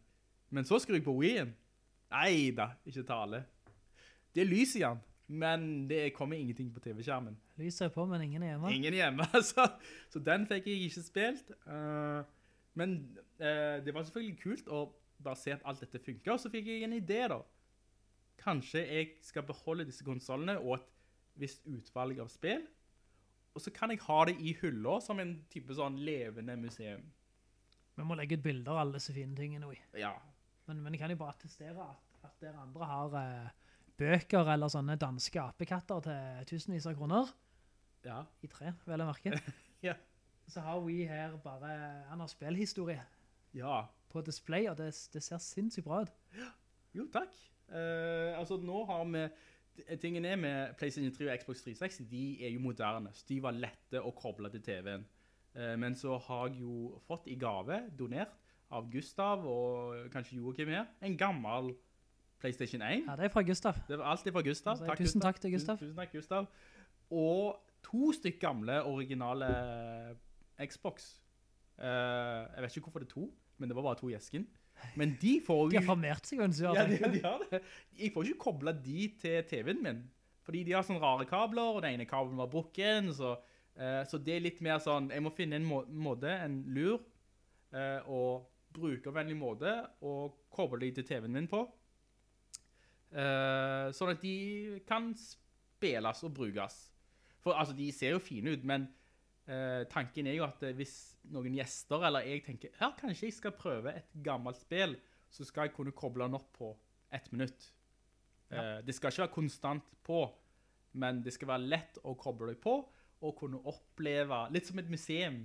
[SPEAKER 8] Men så skrur jeg på Wii-en. Neida, ikke tale. Det er lys i den, men det kommer ingenting på TV-skjermen.
[SPEAKER 1] Lyset er på, men ingen er hjemme.
[SPEAKER 8] Ingen hjemme, altså. Så den fikk jeg ikke spilt. Eh, men eh, det var selvfølgelig kult å bare se at alt dette funket, og så fikk jeg en idé da. Kanskje jeg skal beholde disse konsolene og et visst utvalg av spill, og så kan jeg ha det i hylla som en type sånn levende museum.
[SPEAKER 1] Vi må legge ut bilder av alle disse fine tingene. Oi.
[SPEAKER 8] Ja,
[SPEAKER 1] Men, men jeg kan jo bare attestere at, at dere andre har eh, bøker eller sånne danske apekatter til tusenvis av kroner.
[SPEAKER 8] ja,
[SPEAKER 1] I tre, vel å merke.
[SPEAKER 8] Ja.
[SPEAKER 1] Så har vi her bare, han har spillhistorie
[SPEAKER 8] ja.
[SPEAKER 1] på display, og det, det ser sinnssykt bra ut.
[SPEAKER 8] Jo, takk. Eh, altså, nå har vi... Tingen er med PlayStation 3 og Xbox 360, de er jo moderne, så de var lette å koble til TV-en. Eh, men så har jeg jo fått i gave, donert, av Gustav og kanskje Joakim her, en gammel PlayStation 1.
[SPEAKER 1] Ja, det er fra Gustav.
[SPEAKER 8] Det var alltid fra Gustav.
[SPEAKER 1] Altså, tusen takk til Gustav.
[SPEAKER 8] Tusen, tusen takk, Gustav. Og to stykk gamle, originale Xbox. Eh, jeg vet ikke hvorfor det er to, men det var bare to i esken. Men de får jo...
[SPEAKER 1] De har formert seg, mens du har
[SPEAKER 8] Ja, de,
[SPEAKER 1] tenkt.
[SPEAKER 8] de har det. Jeg får ikke kobla de til TV-en min. Fordi de har sånne rare kabler, og den ene kabelen var brukken, så, eh, så det er litt mer sånn, jeg må finne en må måte, en lur, eh, og brukervennlig måte, og koble de til TV-en min på. Eh, sånn at de kan spilles og brukes. For altså, de ser jo fine ut, men eh, tanken er jo at eh, hvis noen gjester eller jeg tenker, ja, kanskje jeg skal prøve et gammelt spill, så skal jeg kunne koble den opp på ett minutt. Eh, det skal ikke være konstant på, men det skal være lett å koble deg på, og kunne oppleve, litt som et museum,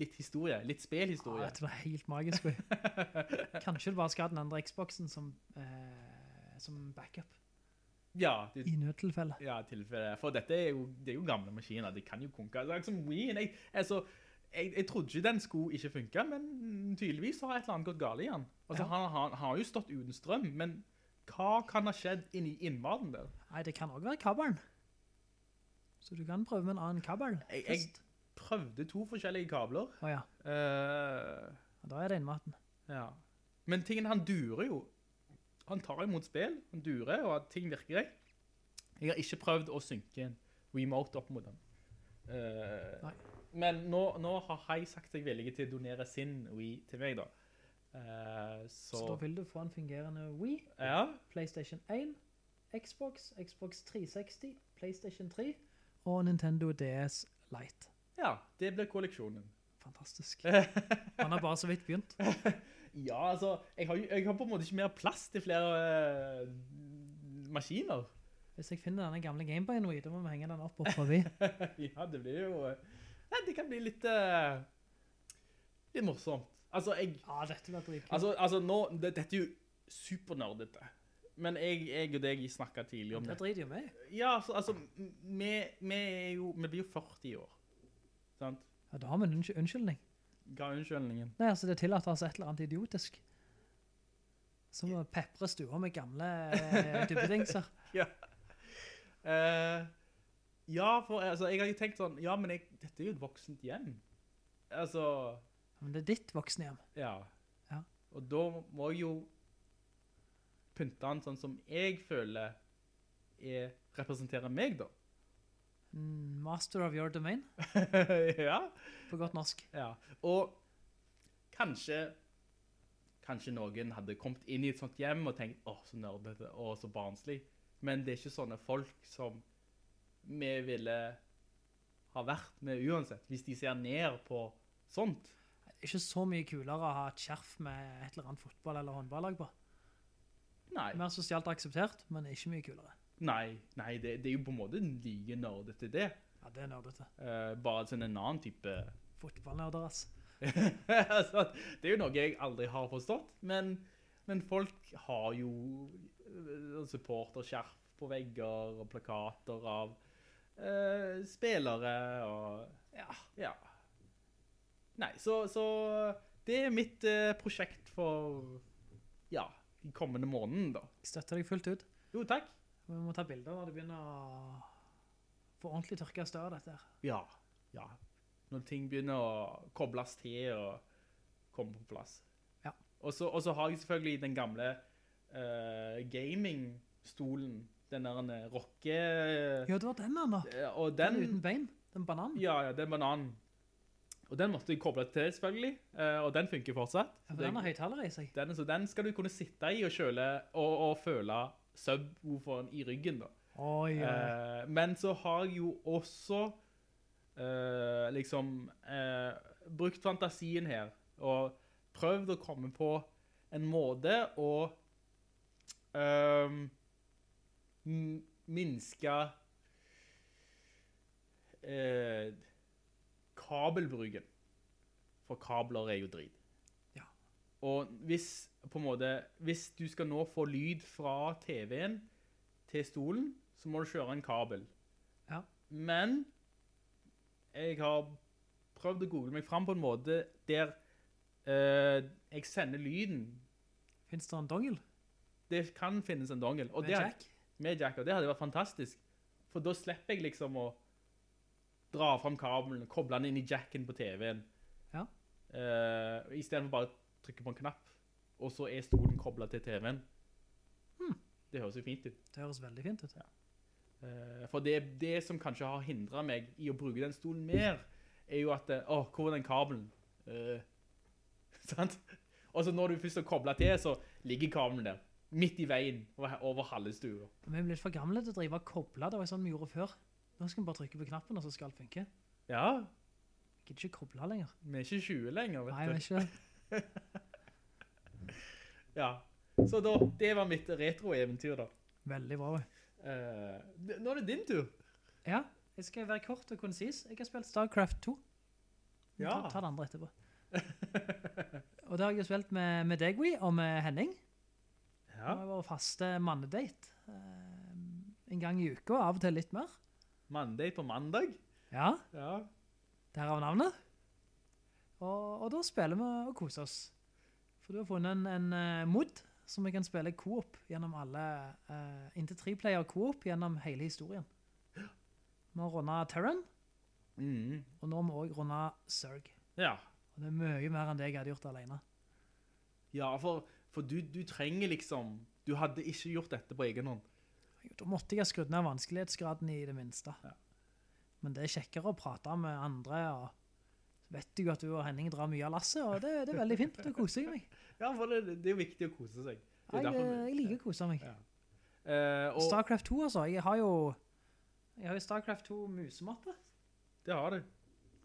[SPEAKER 8] litt historie, litt
[SPEAKER 1] Ja,
[SPEAKER 8] spelhistorie.
[SPEAKER 1] dette var helt magisk. oi. Kanskje du bare skal ha den andre Xboxen som, eh, som backup
[SPEAKER 8] Ja, det,
[SPEAKER 1] i nødtilfelle.
[SPEAKER 8] Ja, tilfelle. For dette er jo, det er jo gamle maskiner, de kan jo konke. Det er ikke som Wien. Jeg, altså, jeg, jeg trodde ikke den skulle ikke funke, men tydeligvis har et eller annet gått galt i den. Altså, han, han, han har jo stått uten strøm, men hva kan ha skjedd inni innmaten der?
[SPEAKER 1] Nei, det kan også være kabelen. Så du kan prøve med en annen kabel
[SPEAKER 8] Jeg, jeg
[SPEAKER 1] først.
[SPEAKER 8] prøvde to forskjellige kabler.
[SPEAKER 1] Å ja,
[SPEAKER 8] Eh,
[SPEAKER 1] da er det innmaten.
[SPEAKER 8] ja. Men tingen, han durer jo. Han tar imot spill, han durer, og at ting virker greit. Jeg har ikke prøvd å synke en remote opp mot den. Eh,
[SPEAKER 1] Nei.
[SPEAKER 8] men nå, nå har Hai sagt seg villig til å donere sin Wii til meg, da. Eh, så,
[SPEAKER 1] Så da vil du få en fungerende Wii,
[SPEAKER 8] ja,
[SPEAKER 1] PlayStation 1, Xbox, Xbox 360, PlayStation 3 og Nintendo DS Lite.
[SPEAKER 8] ja, det blir kolleksjonen.
[SPEAKER 1] Fantastisk. Han har bare så vidt begynt.
[SPEAKER 8] Ja, altså, jeg har, jo- jeg har på en måte ikke mer plass til flere eh, maskiner.
[SPEAKER 1] Hvis jeg finner denne gamle Gameboyen Wii, da må vi henge den opp og forbi.
[SPEAKER 8] ja, det blir jo... eh, Nei, det kan bli litt... eh, litt morsomt. Altså, jeg...
[SPEAKER 1] Ja, dette blir dritkult.
[SPEAKER 8] Altså, altså nå, det, dette er jo supernerdete. Men jeg, jeg og deg snakket tidlig om
[SPEAKER 1] det
[SPEAKER 8] det.
[SPEAKER 1] driter jo meg.
[SPEAKER 8] Ja, altså, altså m- vi, vi, er jo, vi blir jo 40 i år. Sant?
[SPEAKER 1] Ja, da har vi en unnsky- unnskyldning.
[SPEAKER 8] Hva er unnskyldningen?
[SPEAKER 1] Nei, altså det tillater altså et eller annet idiotisk. Som å pepre stua med gamle eh, dubbedingser.
[SPEAKER 8] Eh, ja, for altså, jeg har jo tenkt sånn, ja, men jeg, dette er jo et voksent hjem. Altså,
[SPEAKER 1] Men det er ditt voksne hjem.
[SPEAKER 8] ja.
[SPEAKER 1] Ja.
[SPEAKER 8] Og da må jeg jo pynte den sånn som jeg føler er, representerer meg da.
[SPEAKER 1] Mm, Master of your domain,
[SPEAKER 8] ja.
[SPEAKER 1] på godt norsk.
[SPEAKER 8] Ja, og kanskje Kanskje noen hadde kommet inn i et sånt hjem og tenkt Åh, så nerdete, åh, så barnslig. Men det er ikke sånne folk som vi ville ha vært med uansett, hvis de ser ned på sånt.
[SPEAKER 1] Ikke så mye kulere å ha et skjerf med et eller annet fotball- eller håndballag på.
[SPEAKER 8] Nei,
[SPEAKER 1] Mer sosialt akseptert, men ikke mye kulere.
[SPEAKER 8] nei, nei det, det er jo på en måte like nerdete det.
[SPEAKER 1] Ja, det er nørdete.
[SPEAKER 8] Eh, bare sånn en annen type
[SPEAKER 1] Fotballnørder, ass.
[SPEAKER 8] altså, det er jo noe jeg aldri har forstått, men, men folk har jo eh, supporterskjerf på vegger og plakater av eh, spillere og ja, ja. Nei, så, så det er mitt eh, prosjekt for ja, den kommende måneden da.
[SPEAKER 1] Jeg støtter deg fullt ut.
[SPEAKER 8] Jo, takk.
[SPEAKER 1] Vi må ta bilder når det begynner å få ordentlig tørka støv, dette her.
[SPEAKER 8] Ja, ja. Når ting begynner å kobles til og komme på plass.
[SPEAKER 1] Ja.
[SPEAKER 8] Og så og så har jeg selvfølgelig den gamle eh, gaming-stolen. Den der eh, rocke...
[SPEAKER 1] Ja, det var den her da.
[SPEAKER 8] eh, Og
[SPEAKER 1] Den
[SPEAKER 8] den...
[SPEAKER 1] uten bein. Den bananen.
[SPEAKER 8] Ja, ja, den bananen. Og den måtte jeg koble til, selvfølgelig. eh, og den funker fortsatt.
[SPEAKER 1] Ja, for den har høyttalere i seg.
[SPEAKER 8] Den, så den skal du kunne sitte i og, kjøle, og, og føle subwooferen i ryggen, da.
[SPEAKER 1] Oi, oi.
[SPEAKER 8] Eh, men så har jeg jo også eh, liksom eh, brukt fantasien her, og prøvd å komme på en måte å eh, m- minske eh, kabelbruken. For kabler er jo drit.
[SPEAKER 1] Ja.
[SPEAKER 8] Og hvis, på en måte, hvis du skal nå få lyd fra TV-en, til stolen, så må du kjøre en kabel.
[SPEAKER 1] Ja.
[SPEAKER 8] Men jeg har prøvd å google meg fram på en måte der eh, jeg sender lyden.
[SPEAKER 1] Finnes det en dongel?
[SPEAKER 8] Det kan finnes en dongel. og
[SPEAKER 1] Med
[SPEAKER 8] det-
[SPEAKER 1] jack?
[SPEAKER 8] Med jack, og det hadde vært fantastisk. For da slipper jeg liksom å dra fram kabelen, koble den inn i jacken på TV-en.
[SPEAKER 1] Ja.
[SPEAKER 8] Eh, I stedet for bare å trykke på en knapp, og så er stolen koblet til TV-en.
[SPEAKER 1] Hm.
[SPEAKER 8] Det høres jo fint ut.
[SPEAKER 1] Det høres veldig fint ut.
[SPEAKER 8] Eh, For det, det som kanskje har hindret meg i å bruke den stolen mer, er jo at, eh, åh, hvor er den kabelen? Eh, sant? Og så når du først har koblet til, så ligger kabelen der, midt i veien, over- over halve stua.
[SPEAKER 1] Vi er blitt for gamle til å drive og koble. Det var jo sånn vi gjorde før. Nå skal vi bare trykke på knappen, og så skal alt funke.
[SPEAKER 8] Ja,
[SPEAKER 1] Vi gidder ikke koble lenger.
[SPEAKER 8] vi er ikke 20 lenger, vet
[SPEAKER 1] Nei,
[SPEAKER 8] du.
[SPEAKER 1] det er ikke det.
[SPEAKER 8] Ja. Så da, det var mitt retro-eventyr da.
[SPEAKER 1] Veldig bra. oi.
[SPEAKER 8] Eh, d- nå er det din tur.
[SPEAKER 1] Ja, jeg skal være kort og konsis. Jeg har spilt StarCraft 2.
[SPEAKER 8] Ja.
[SPEAKER 1] Ta, ta det andre etterpå. og det har jeg jo spilt med, med deg, Wee, og med Henning. Det
[SPEAKER 8] Ja,
[SPEAKER 1] var vår faste mannedate. eh, en gang i uka, og av og til litt mer.
[SPEAKER 8] mandag på mandag.
[SPEAKER 1] Ja,
[SPEAKER 8] Ja.
[SPEAKER 1] derav navnet. Og, og da spiller vi og koser oss. For du har funnet en, en eh, mod som vi kan spille co-op gjennom alle, eh, inntil tre player co-op gjennom hele historien. Vi har rundet Terran,
[SPEAKER 8] Mhm.
[SPEAKER 1] og nå har vi også rundet Zerg.
[SPEAKER 8] Ja.
[SPEAKER 1] Og det er mye mer enn det jeg hadde gjort alene.
[SPEAKER 8] Ja, for, for du, du trenger liksom Du hadde ikke gjort dette på egen hånd.
[SPEAKER 1] Da måtte jeg ha skrudd ned vanskelighetsgraden i det minste. Men det er kjekkere å prate med andre, og så vet du jo at du og Henning drar mye av lasset, og det, det er veldig fint, da koser jeg meg.
[SPEAKER 8] Ja, for det, det er jo viktig å kose seg. Det er
[SPEAKER 1] Jeg,
[SPEAKER 8] derfor
[SPEAKER 1] eh, jeg liker å kose meg.
[SPEAKER 8] Ja. Eh, og
[SPEAKER 1] Starcraft 2, altså. Jeg har jo, jeg har jo Starcraft 2 musematte,
[SPEAKER 8] det har du.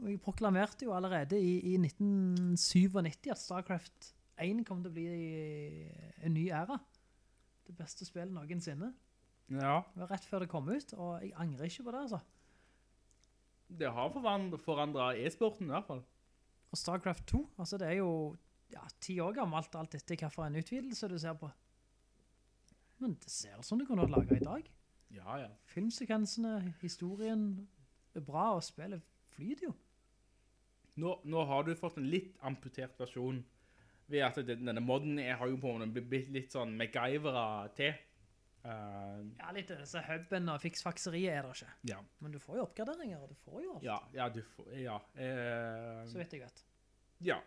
[SPEAKER 1] og jeg proklamerte jo allerede i, i 1997 at Starcraft 1 kom til å bli eh, en ny æra. Det beste spillet noensinne.
[SPEAKER 8] Ja.
[SPEAKER 1] Det var rett før det kom ut, og jeg angrer ikke på det, altså.
[SPEAKER 8] Det har forandra e-sporten, i hvert fall.
[SPEAKER 1] Og StarCraft 2, altså det er jo ja, ti år gammelt, alt etter hva for en utvidelse du ser på. Men det ser ut som det kunne vært laget i dag.
[SPEAKER 8] Ja, ja.
[SPEAKER 1] Filmsekvensene, historien er bra, og spillet flyter jo.
[SPEAKER 8] Nå, nå har du fått en litt amputert versjon. Ved at det, denne modden er, har jo på en måte blitt litt sånn MacGyvera til. Eh,
[SPEAKER 1] Ja, litt av disse hubben og fiksfakseriet er det ikke.
[SPEAKER 8] ja.
[SPEAKER 1] Men du får jo oppgraderinger, og du får jo alt,
[SPEAKER 8] Ja, ja, du får Ja. eh,
[SPEAKER 1] så vidt jeg vet.
[SPEAKER 8] Ja.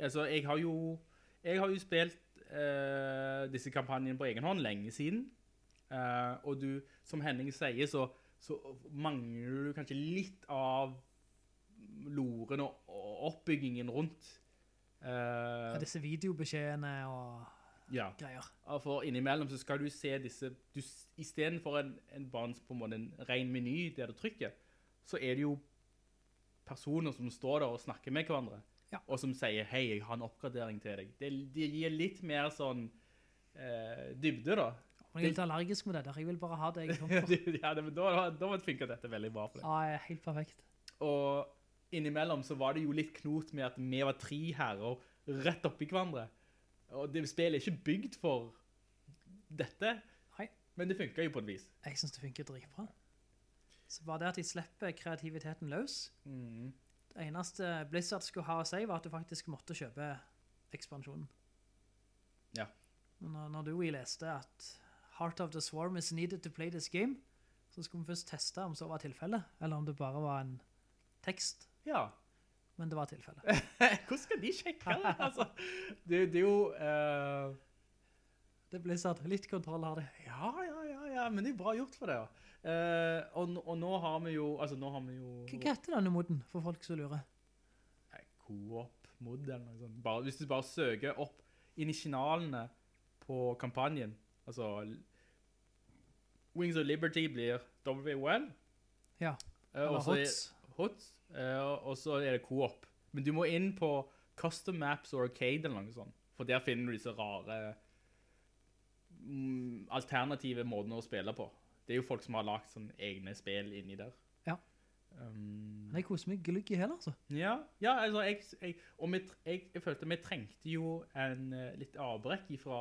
[SPEAKER 8] Altså, jeg har jo, jeg har jo spilt eh, disse kampanjene på egen hånd lenge siden. Eh, og du, som Henning sier, så, så mangler du kanskje litt av loren og, og oppbyggingen rundt.
[SPEAKER 1] Og
[SPEAKER 8] Eh,
[SPEAKER 1] disse videobeskjedene og
[SPEAKER 8] ja.
[SPEAKER 1] greier.
[SPEAKER 8] Ja, For innimellom så skal du se disse du, s- I stedet for en, en, bare en, på en, måte en ren meny der du trykker, så er det jo personer som står der og snakker med hverandre,
[SPEAKER 1] Ja.
[SPEAKER 8] og som sier 'hei, jeg har en oppgradering til deg'. Det, det gir litt mer sånn eh, dybde, da.
[SPEAKER 1] Og jeg er litt allergisk med det der, jeg vil bare ha det jeg kom
[SPEAKER 8] ja,
[SPEAKER 1] for.
[SPEAKER 8] det, men da, da, da funker dette veldig bra for deg.
[SPEAKER 1] Ja, jeg er helt perfekt.
[SPEAKER 8] Og innimellom så var det jo litt knot med at vi var tre herrer rett oppi hverandre. Og det spillet er ikke bygd for dette,
[SPEAKER 1] Nei.
[SPEAKER 8] men det funka jo på et vis.
[SPEAKER 1] Jeg synes det funker dritbra. Så bare det at de slipper kreativiteten løs.
[SPEAKER 8] Mm.
[SPEAKER 1] Det eneste Blizzard skulle ha å si var at du faktisk måtte kjøpe ekspansjonen.
[SPEAKER 8] Ja.
[SPEAKER 1] Men Når, når du og jeg leste at Heart of the Swarm is needed to play this game, så skulle vi først teste om så var tilfelle, eller om det bare var en tekst,
[SPEAKER 8] Ja.
[SPEAKER 1] men det var tilfelle.
[SPEAKER 8] Hvordan skal de sjekke det? Altså, det, det er jo eh,
[SPEAKER 1] Det ble sagt, litt kontroll har det.
[SPEAKER 8] Ja, ja, ja, ja, men det er bra gjort for det. Ja. Eh, og, n- og nå har vi jo Altså, nå har vi jo
[SPEAKER 1] Hva hva heter denne moden, for folk som lurer?
[SPEAKER 8] Nei, Coop Mod eller noe sånt. Bare, hvis du bare søker opp initialene på kampanjen, altså L- Wings of Liberty blir WOL,
[SPEAKER 1] Ja,
[SPEAKER 8] eh, og
[SPEAKER 1] eller
[SPEAKER 8] så er-
[SPEAKER 1] HOTS.
[SPEAKER 8] HOTS, eh, og- og så er det Coop. Men du må inn på Custom Maps og Arcade eller noe sånt, for der finner du disse rare mm, alternative måtene å spille på. Det er jo folk som har lagt sånne egne spill inni der.
[SPEAKER 1] Ja.
[SPEAKER 8] Um,
[SPEAKER 1] Men jeg koser meg glugg i hele, altså.
[SPEAKER 8] ja, ja altså, jeg, jeg, og vi, tr- jeg, jeg følte vi trengte jo en eh, litt avbrekk fra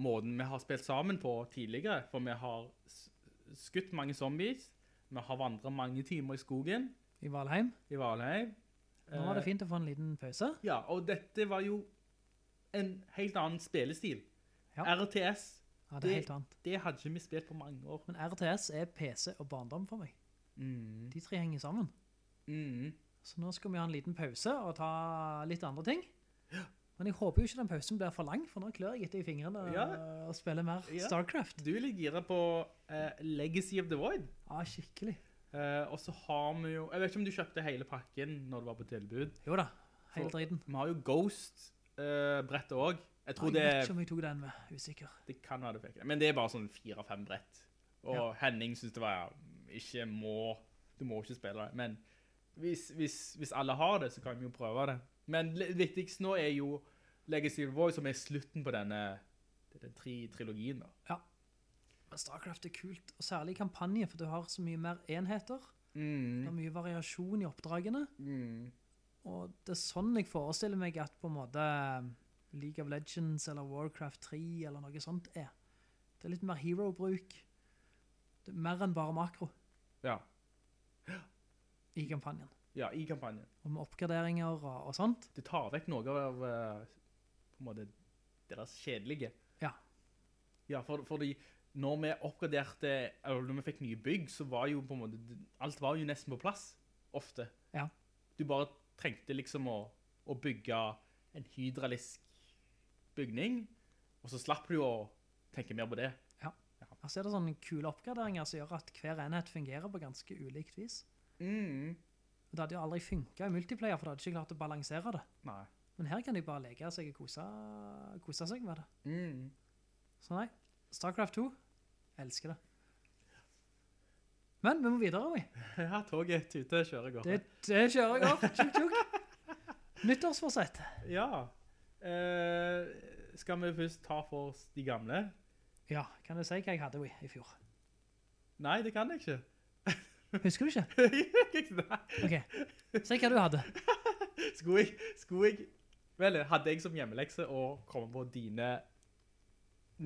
[SPEAKER 8] måten vi har spilt sammen på tidligere, for vi har s- skutt mange zombies, vi har vandret mange timer i skogen
[SPEAKER 1] I Valheim.
[SPEAKER 8] i Valheim.
[SPEAKER 1] Nå var
[SPEAKER 8] Eh,
[SPEAKER 1] det fint å få en liten pause.
[SPEAKER 8] Ja, og dette var jo en helt annen spillestil.
[SPEAKER 1] Ja.
[SPEAKER 8] RTS,
[SPEAKER 1] Ja, det
[SPEAKER 8] det-
[SPEAKER 1] er helt annet.
[SPEAKER 8] det hadde ikke vi spilt på mange år.
[SPEAKER 1] Men RTS er PC og barndom for meg.
[SPEAKER 8] Mm.
[SPEAKER 1] De tre henger sammen.
[SPEAKER 8] Mm.
[SPEAKER 1] Så nå skal vi ha en liten pause og ta litt andre ting. Men jeg håper jo ikke den pausen blir for lang, for nå klør jeg etter i fingrene
[SPEAKER 8] Ja.
[SPEAKER 1] øh, og spiller mer
[SPEAKER 8] Ja.
[SPEAKER 1] StarCraft.
[SPEAKER 8] Du er litt gira på eh, Legacy of the Void.
[SPEAKER 1] Ja, skikkelig.
[SPEAKER 8] Eh, og så har vi jo Jeg vet ikke om du kjøpte hele pakken når det var på tilbud.
[SPEAKER 1] Jo da,
[SPEAKER 8] For-
[SPEAKER 1] helt driten.
[SPEAKER 8] Vi har jo Ghost-brettet òg. Jeg tror
[SPEAKER 1] Jeg
[SPEAKER 8] det,
[SPEAKER 1] vet ikke om jeg tok den med, usikker.
[SPEAKER 8] det kan være det fikk. Men det er bare sånn fire-fem brett. Og
[SPEAKER 1] Ja.
[SPEAKER 8] Henning syns det var ja, Ikke må Du må ikke spille det. Men hvis, hvis, hvis alle har det, så kan vi jo prøve det. Men le- viktigst nå er jo Legacy of Voice, som er slutten på denne, denne tri trilogien. da.
[SPEAKER 1] Men StarCraft er kult, og særlig kampanje, for du har så mye mer enheter. Det
[SPEAKER 8] Mm.
[SPEAKER 1] er mye variasjon i oppdragene. Og det er sånn jeg forestiller meg at på en måte eh, League of Legends eller Warcraft 3 eller noe sånt er. Det er litt mer hero-bruk. Det er mer enn bare makro
[SPEAKER 8] Ja.
[SPEAKER 1] i kampanjen.
[SPEAKER 8] ja. I kampanjen.
[SPEAKER 1] Og med oppgraderinger og, og sånt.
[SPEAKER 8] det tar vekk noe av eh, på en måte deres kjedelige.
[SPEAKER 1] Ja.
[SPEAKER 8] Ja, for, fordi når vi oppgraderte, eller når vi fikk nye bygg, så var jo på en måte, alt var jo nesten på plass, ofte.
[SPEAKER 1] Ja.
[SPEAKER 8] Du bare trengte liksom å, å bygge en hydralisk bygning, og så slapp du å tenke mer på det.
[SPEAKER 1] Her ser det sånne kule oppgraderinger som gjør at hver enhet fungerer på ganske ulikt vis. Og Det hadde jo aldri funket i multiplayer, for det hadde ikke klart å balansere det.
[SPEAKER 8] Nei.
[SPEAKER 1] Men her kan de bare leke seg og kose, kose seg med det. Så nei, StarCraft 2, elsker det. Men vi må videre, vi.
[SPEAKER 8] Ja, toget tute, kjører godt.
[SPEAKER 1] Det, det kjører jeg opp. Tjuk, tjuk. Nyttårsforsett.
[SPEAKER 8] Ja. Eh, skal vi først ta for oss de gamle?
[SPEAKER 1] Ja, kan du si hva jeg hadde vi i fjor?
[SPEAKER 8] Nei, det kan jeg ikke.
[SPEAKER 1] Husker du ikke?
[SPEAKER 8] Nei.
[SPEAKER 1] Ok, si hva du hadde.
[SPEAKER 8] skulle jeg, skulle jeg Vel, hadde jeg som hjemmelekse å komme på dine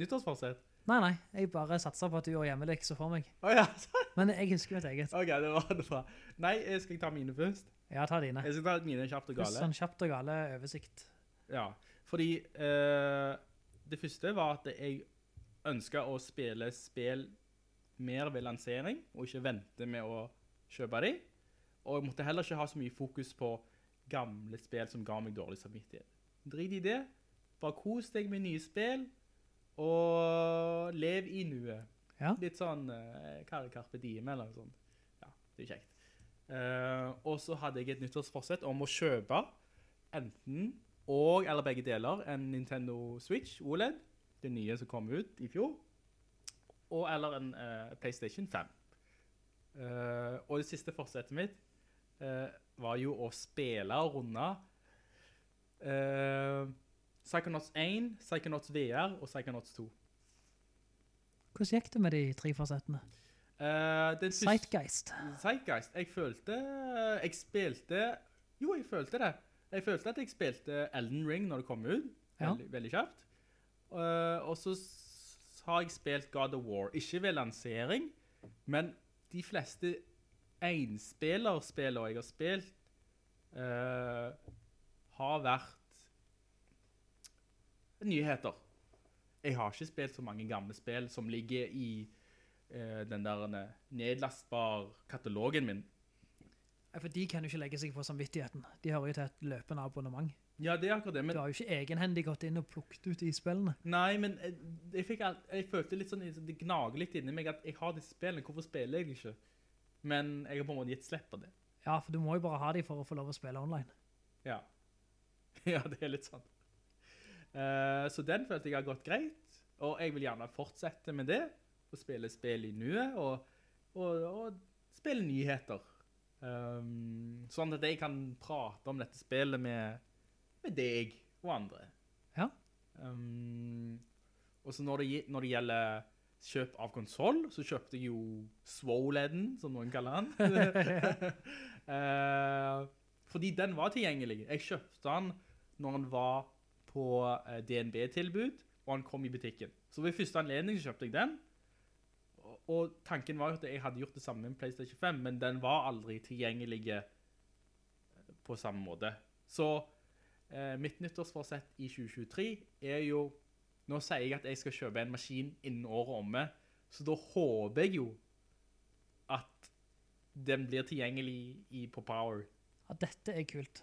[SPEAKER 8] nyttårsforsett?
[SPEAKER 1] Nei, nei, jeg bare satser på at du gjør hjemmelekser for meg.
[SPEAKER 8] Å ja, så-
[SPEAKER 1] Men jeg husker mitt eget.
[SPEAKER 8] OK, det var det bra. Nei, eh, skal jeg ta mine først?
[SPEAKER 1] Ja, ta dine.
[SPEAKER 8] Jeg skal ta mine kjapt og gale.
[SPEAKER 1] Sånn kjapt og gale oversikt.
[SPEAKER 8] Ja, fordi eh, det første var at jeg ønsket å spille spill mer ved lansering, og ikke vente med å kjøpe dem. Og jeg måtte heller ikke ha så mye fokus på gamle spill som ga meg dårlig samvittighet. Drit i det. Bare kos deg med nye spill, og lev i nuet.
[SPEAKER 1] Ja.
[SPEAKER 8] Litt sånn uh, Carpe Diem eller noe sånt. Ja, det er kjekt. Eh, og så hadde jeg et nyttårsforsett om å kjøpe enten og eller begge deler en Nintendo Switch OLED, det nye som kom ut i fjor, og eller en eh, PlayStation 5. Eh, og det siste forsettet mitt eh, var jo å spille og runde eh, Psychonauts 1, Psychonauts VR og Psychonauts 2.
[SPEAKER 1] Hvordan gikk det med de tre forsettene?
[SPEAKER 8] Eh, den første-
[SPEAKER 1] Sightgeist.
[SPEAKER 8] Zeitgeist. Jeg følte eh, Jeg spilte Jo, jeg følte det. Jeg følte at jeg spilte Elden Ring når det kom ut.
[SPEAKER 1] Ja.
[SPEAKER 8] Veldig, veldig kjapt. Eh, og så s- har jeg spilt God of War. Ikke ved lansering, men de fleste enspillerspillene jeg har spilt, eh, har vært nyheter. Jeg har ikke spilt så mange gamle spill som ligger i eh, den der eh, nedlastbar katalogen min.
[SPEAKER 1] Nei, For de kan jo ikke legge seg på samvittigheten. De hører jo til et løpende abonnement.
[SPEAKER 8] Ja, det er akkurat det,
[SPEAKER 1] Du
[SPEAKER 8] men
[SPEAKER 1] har jo ikke egenhendig gått inn og plukket ut de spillene.
[SPEAKER 8] Nei, men eh, jeg, fikk alt, jeg følte litt sånn, det gnager litt inni meg at jeg har disse spillene, hvorfor spiller jeg de ikke? Men jeg har på en måte gitt slipp på det.
[SPEAKER 1] Ja, for du må jo bare ha de for å få lov å spille online.
[SPEAKER 8] Ja. ja, det er litt sånn. Eh, så den følte jeg har gått greit, og jeg vil gjerne fortsette med det, og spille spill i nuet, og, og, og spille nyheter. Um, sånn at jeg kan prate om dette spillet med, med deg og andre.
[SPEAKER 1] Ja.
[SPEAKER 8] Um, og så når det, gi- når det gjelder kjøp av konsoll, så kjøpte jeg jo Swoleden, som noen kaller den. Eh, fordi den var tilgjengelig. Jeg kjøpte den når den var på eh, DNB-tilbud, og han kom i butikken. Så ved første anledning så kjøpte jeg den. Og- Og tanken var jo at jeg hadde gjort det samme med PlayStation 5, men den var aldri tilgjengelig eh, på samme måte. Så eh, mitt nyttårsforsett i 2023 er jo Nå sier jeg at jeg skal kjøpe en maskin innen året omme, så da håper jeg jo at den blir tilgjengelig i, på Power.
[SPEAKER 1] Ja, dette er kult.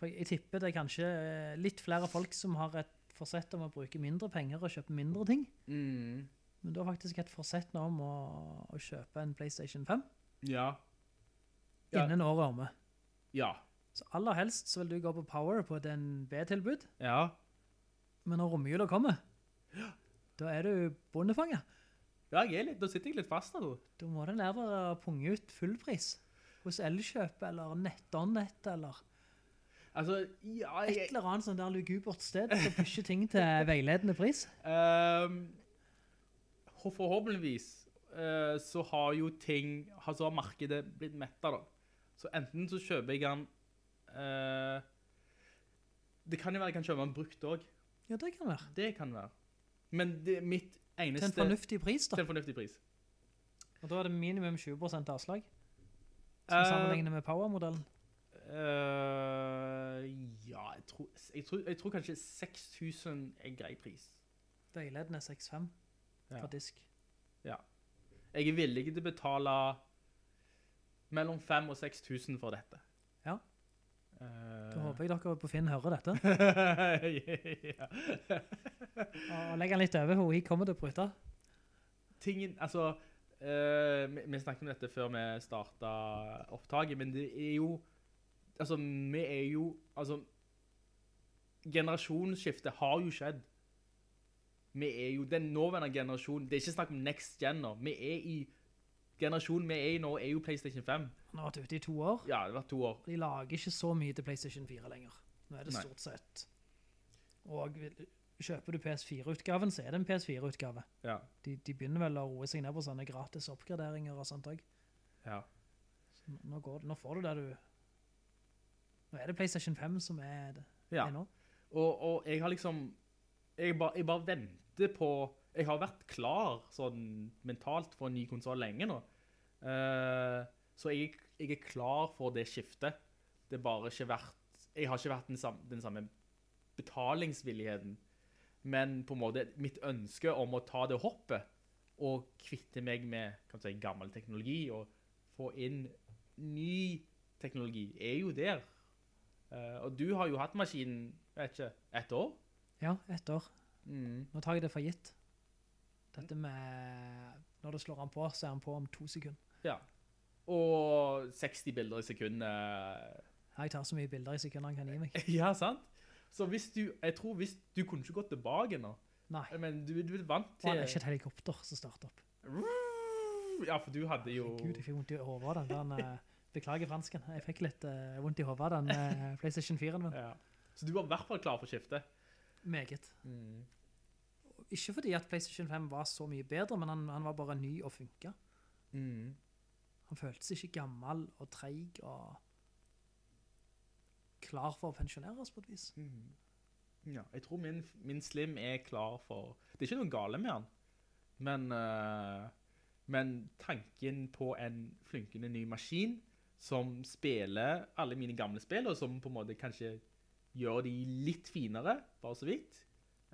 [SPEAKER 1] For jeg tipper det er kanskje eh, litt flere folk som har et forsett om å bruke mindre penger og kjøpe mindre ting. Men du har faktisk et forsett nå om å, å kjøpe en PlayStation 5
[SPEAKER 8] Ja. Ja.
[SPEAKER 1] innen året omme.
[SPEAKER 8] Ja.
[SPEAKER 1] Så aller helst så vil du gå på Power på DNB-tilbud,
[SPEAKER 8] Ja.
[SPEAKER 1] men når romjula kommer, da er du bondefanget.
[SPEAKER 8] Ja, jeg er litt, da sitter jeg litt fast da.
[SPEAKER 1] Da må den der være punge ut fullpris hos Elkjøp eller Nettonnet eller
[SPEAKER 8] Altså, ja,
[SPEAKER 1] et
[SPEAKER 8] jeg,
[SPEAKER 1] eller annet sånn der lugubert sted som pusher ting til veiledende pris.
[SPEAKER 8] ehm, ho- forhåpentligvis eh, så har jo ting, har- så har markedet blitt mettet da. Så enten så kjøper jeg den, eh, det kan jo være jeg kan kjøpe den brukt også.
[SPEAKER 1] Ja, det kan være.
[SPEAKER 8] Det kan være. Men det, mitt
[SPEAKER 1] Til
[SPEAKER 8] eneste...
[SPEAKER 1] en fornuftig pris da.
[SPEAKER 8] til en fornuftig pris.
[SPEAKER 1] Og da er det minimum 20 avslag, som
[SPEAKER 8] Eh,
[SPEAKER 1] sammenlignet med Power-modellen.
[SPEAKER 8] eh, ja, jeg tror, jeg, tror, jeg tror kanskje 6000 er en grei pris.
[SPEAKER 1] Veiledende 6.5
[SPEAKER 8] Ja.
[SPEAKER 1] fra disk.
[SPEAKER 8] Jeg er villig til å betale mellom 5 og 6 tusen for dette.
[SPEAKER 1] Ja. Da
[SPEAKER 8] Eh,
[SPEAKER 1] håper jeg dere på Finn hører dette.
[SPEAKER 8] ja.
[SPEAKER 1] Og legger den litt over, hun kommer til å bryte.
[SPEAKER 8] Tingen, altså, eh, vi, vi snakket om dette før vi startet opptaket, men det er jo, altså, vi er jo, altså, generasjonsskiftet har jo skjedd. Vi er jo den nåværende generasjonen, det er ikke snakk om next gen nå, vi er i, generasjonen vi er i nå er jo Playstation 5.
[SPEAKER 1] Han har vært ute i to år,
[SPEAKER 8] Ja, det har vært to år.
[SPEAKER 1] og de lager ikke så mye til PlayStation 4 lenger. Nå er det
[SPEAKER 8] Nei.
[SPEAKER 1] stort sett. Og vil- kjøper du PS4-utgaven, så er det en PS4-utgave.
[SPEAKER 8] Ja.
[SPEAKER 1] De, de begynner vel å roe seg ned på sånne gratis oppgraderinger og sånt også.
[SPEAKER 8] Ja.
[SPEAKER 1] Nå, nå går, det- nå får du det du... Nå er det PlayStation 5 som er det
[SPEAKER 8] Ja.
[SPEAKER 1] er nå.
[SPEAKER 8] Og, og jeg har liksom jeg bare, jeg bare venter på Jeg har vært klar sånn mentalt for en ny konsoll lenge nå. Eh, så jeg, jeg er klar for det skiftet. Det er bare ikke vært Jeg har ikke vært den samme, den samme betalingsvilligheten. Men på en måte mitt ønske om å ta det hoppet og kvitte meg med kan du si, gammel teknologi og få inn ny teknologi, er jo der. Eh, og du har jo hatt maskinen, vet ikke, ett år?
[SPEAKER 1] Ja, ett år.
[SPEAKER 8] Mm.
[SPEAKER 1] Nå tar jeg det for gitt. Dette med Når du slår han på, så er han på om to sekunder.
[SPEAKER 8] Ja. Og 60 bilder i sekundet.
[SPEAKER 1] Jeg tar så mye bilder i sekundet han kan gi meg.
[SPEAKER 8] Ja, sant? Så hvis du, jeg tror hvis, du kunne ikke gått tilbake nå,
[SPEAKER 1] Nei.
[SPEAKER 8] men du, du er vant
[SPEAKER 1] Og
[SPEAKER 8] til...
[SPEAKER 1] han er ikke et helikopter som starter opp.
[SPEAKER 8] Ja, for du hadde jo...
[SPEAKER 1] Gud, jeg fikk vondt i hodet av den. den eh, beklager fransken. Jeg fikk litt eh, vondt i hodet av den eh, PlayStation 4-en min.
[SPEAKER 8] Ja. Så du var i hvert fall klar for skiftet.
[SPEAKER 1] Meget.
[SPEAKER 8] Mm.
[SPEAKER 1] Ikke fordi at PlayStation 5 var så mye bedre, men han, han var bare ny og funka.
[SPEAKER 8] Mm.
[SPEAKER 1] Han føltes ikke gammel og treig og klar for å pensjonere oss på et vis.
[SPEAKER 8] Ja, jeg tror min, min slim er klar for... Det er ikke noe gale med han, men, eh, men tanken på en flunkende ny maskin som spiller alle mine gamle spill, og som på en måte kanskje gjør de litt finere, bare så vidt,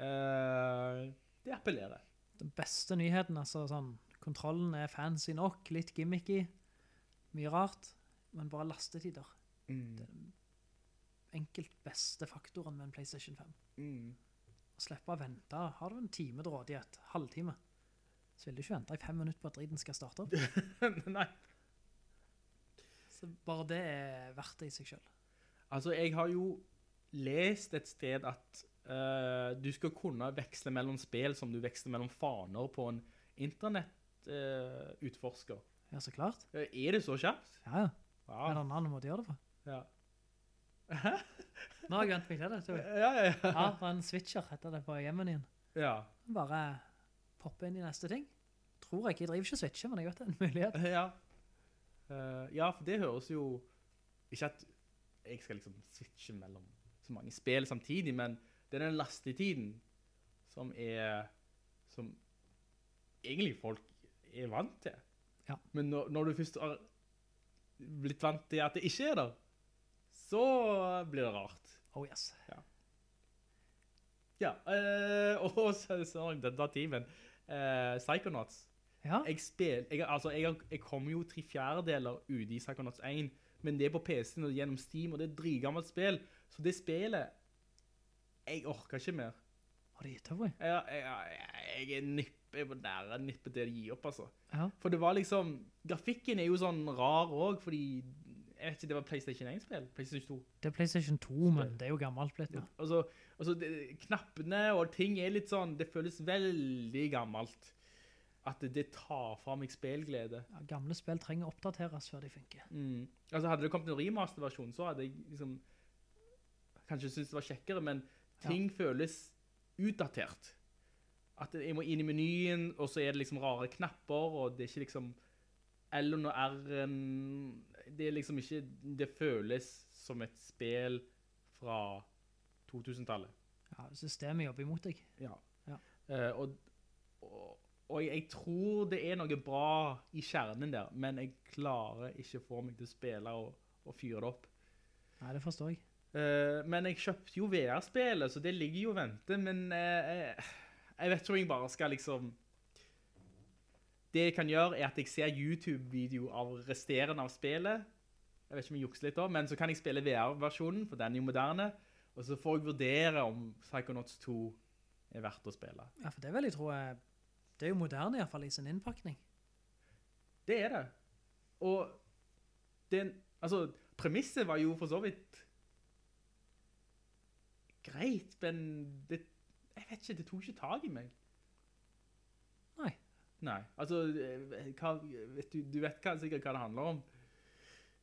[SPEAKER 8] eh, Det appellerer.
[SPEAKER 1] Den beste nyheten, altså sånn, kontrollen er fancy nok, litt gimmicky, mye rart, men bare lastetider. Det er den enkelt beste faktoren med en PlayStation 5. Å slippe å vente, har du en time til rådighet, halvtime, så vil du ikke vente i fem minutter på at driten skal starte opp.
[SPEAKER 8] Nei.
[SPEAKER 1] Så bare det er verdt det i seg selv.
[SPEAKER 8] Altså, jeg har jo lest et sted at eh, du skal kunne veksle mellom spill som du veksler mellom faner på en eh, internettutforsker.
[SPEAKER 1] Ja, så klart.
[SPEAKER 8] Eh, er det så kjapt?
[SPEAKER 1] Ja, ja. Er
[SPEAKER 8] Ja.
[SPEAKER 1] det en annen måte å gjøre det på?
[SPEAKER 8] Ja,
[SPEAKER 1] Nå har jeg vent meg til det, tror jeg.
[SPEAKER 8] ja, ja.
[SPEAKER 1] Ja, det er en switcher, heter det på hjemmenyen.
[SPEAKER 8] Ja,
[SPEAKER 1] Bare poppe inn i neste ting. Tror jeg ikke, jeg driver ikke switcher, men jeg vet det er en mulighet.
[SPEAKER 8] ja. Eh, ja, for det høres jo Ikke at jeg skal liksom switche mellom så mange spill samtidig, men det er den lastetiden som er Som egentlig folk er vant til.
[SPEAKER 1] Ja.
[SPEAKER 8] Men når, når du først har blitt vant til at det ikke er der, så blir det rart.
[SPEAKER 1] Oh yes.
[SPEAKER 8] Ja, eh, og så så den da timen. eh, Psychonauts.
[SPEAKER 1] Ja,
[SPEAKER 8] Jeg spiller, jeg, altså, jeg, jeg kommer jo tre fjerdedeler ute i Psychonauts 1, men det er på PC-en og gjennom Steam, og det er et dritgammelt spill. Så det spillet, jeg orker ikke mer.
[SPEAKER 1] har de gitt over? i?
[SPEAKER 8] Jeg, jeg, jeg, jeg er nippe på nære nippet til å gi opp, altså.
[SPEAKER 1] Ja.
[SPEAKER 8] For det var liksom, grafikken er jo sånn rar også, fordi, jeg vet ikke, det var Playstation 1-spill, Playstation 2.
[SPEAKER 1] Det er PlayStation 2, men det er jo gammelt blitt nå.
[SPEAKER 8] Altså, altså det, knappene og ting er litt sånn, det føles veldig gammelt. At det, det tar fra meg spillglede.
[SPEAKER 1] Ja, gamle spill trenger å oppdateres før de funker.
[SPEAKER 8] Mm. Altså, hadde det kommet en remasterversjon, så hadde jeg liksom kanskje syntes det var kjekkere, men ting føles utdatert. At jeg må inn i menyen, og så er det liksom rare knapper, og det er ikke liksom L-en og R-en Det er liksom ikke Det føles som et spill fra 2000-tallet.
[SPEAKER 1] Ja, systemet jobber imot deg.
[SPEAKER 8] Ja.
[SPEAKER 1] Ja.
[SPEAKER 8] Eh, og, og, og jeg tror det er noe bra i kjernen der, men jeg klarer ikke å få meg til å spille og, og fyre det opp.
[SPEAKER 1] Nei, det forstår jeg.
[SPEAKER 8] Eh, men jeg kjøpte jo VR-spillet, så det ligger jo og venter, men eh, eh, jeg vet ikke om jeg bare skal liksom Det jeg kan gjøre, er at jeg ser YouTube-video av resterende av spillet. Jeg vet ikke om jeg jukser litt da, men så kan jeg spille VR-versjonen, for den er jo moderne. Og så får jeg vurdere om Psychonauts 2 er verdt å spille.
[SPEAKER 1] Ja, for det vil jeg tro er... Det er jo moderne i hvert fall i sin innpakning.
[SPEAKER 8] Det er det. Og den, altså, premisset var jo for så vidt greit, men det, jeg vet ikke, det tok ikke tag i meg.
[SPEAKER 1] Nei.
[SPEAKER 8] Nei, altså, eh, hva, vet du, du vet hva, sikkert hva det handler om.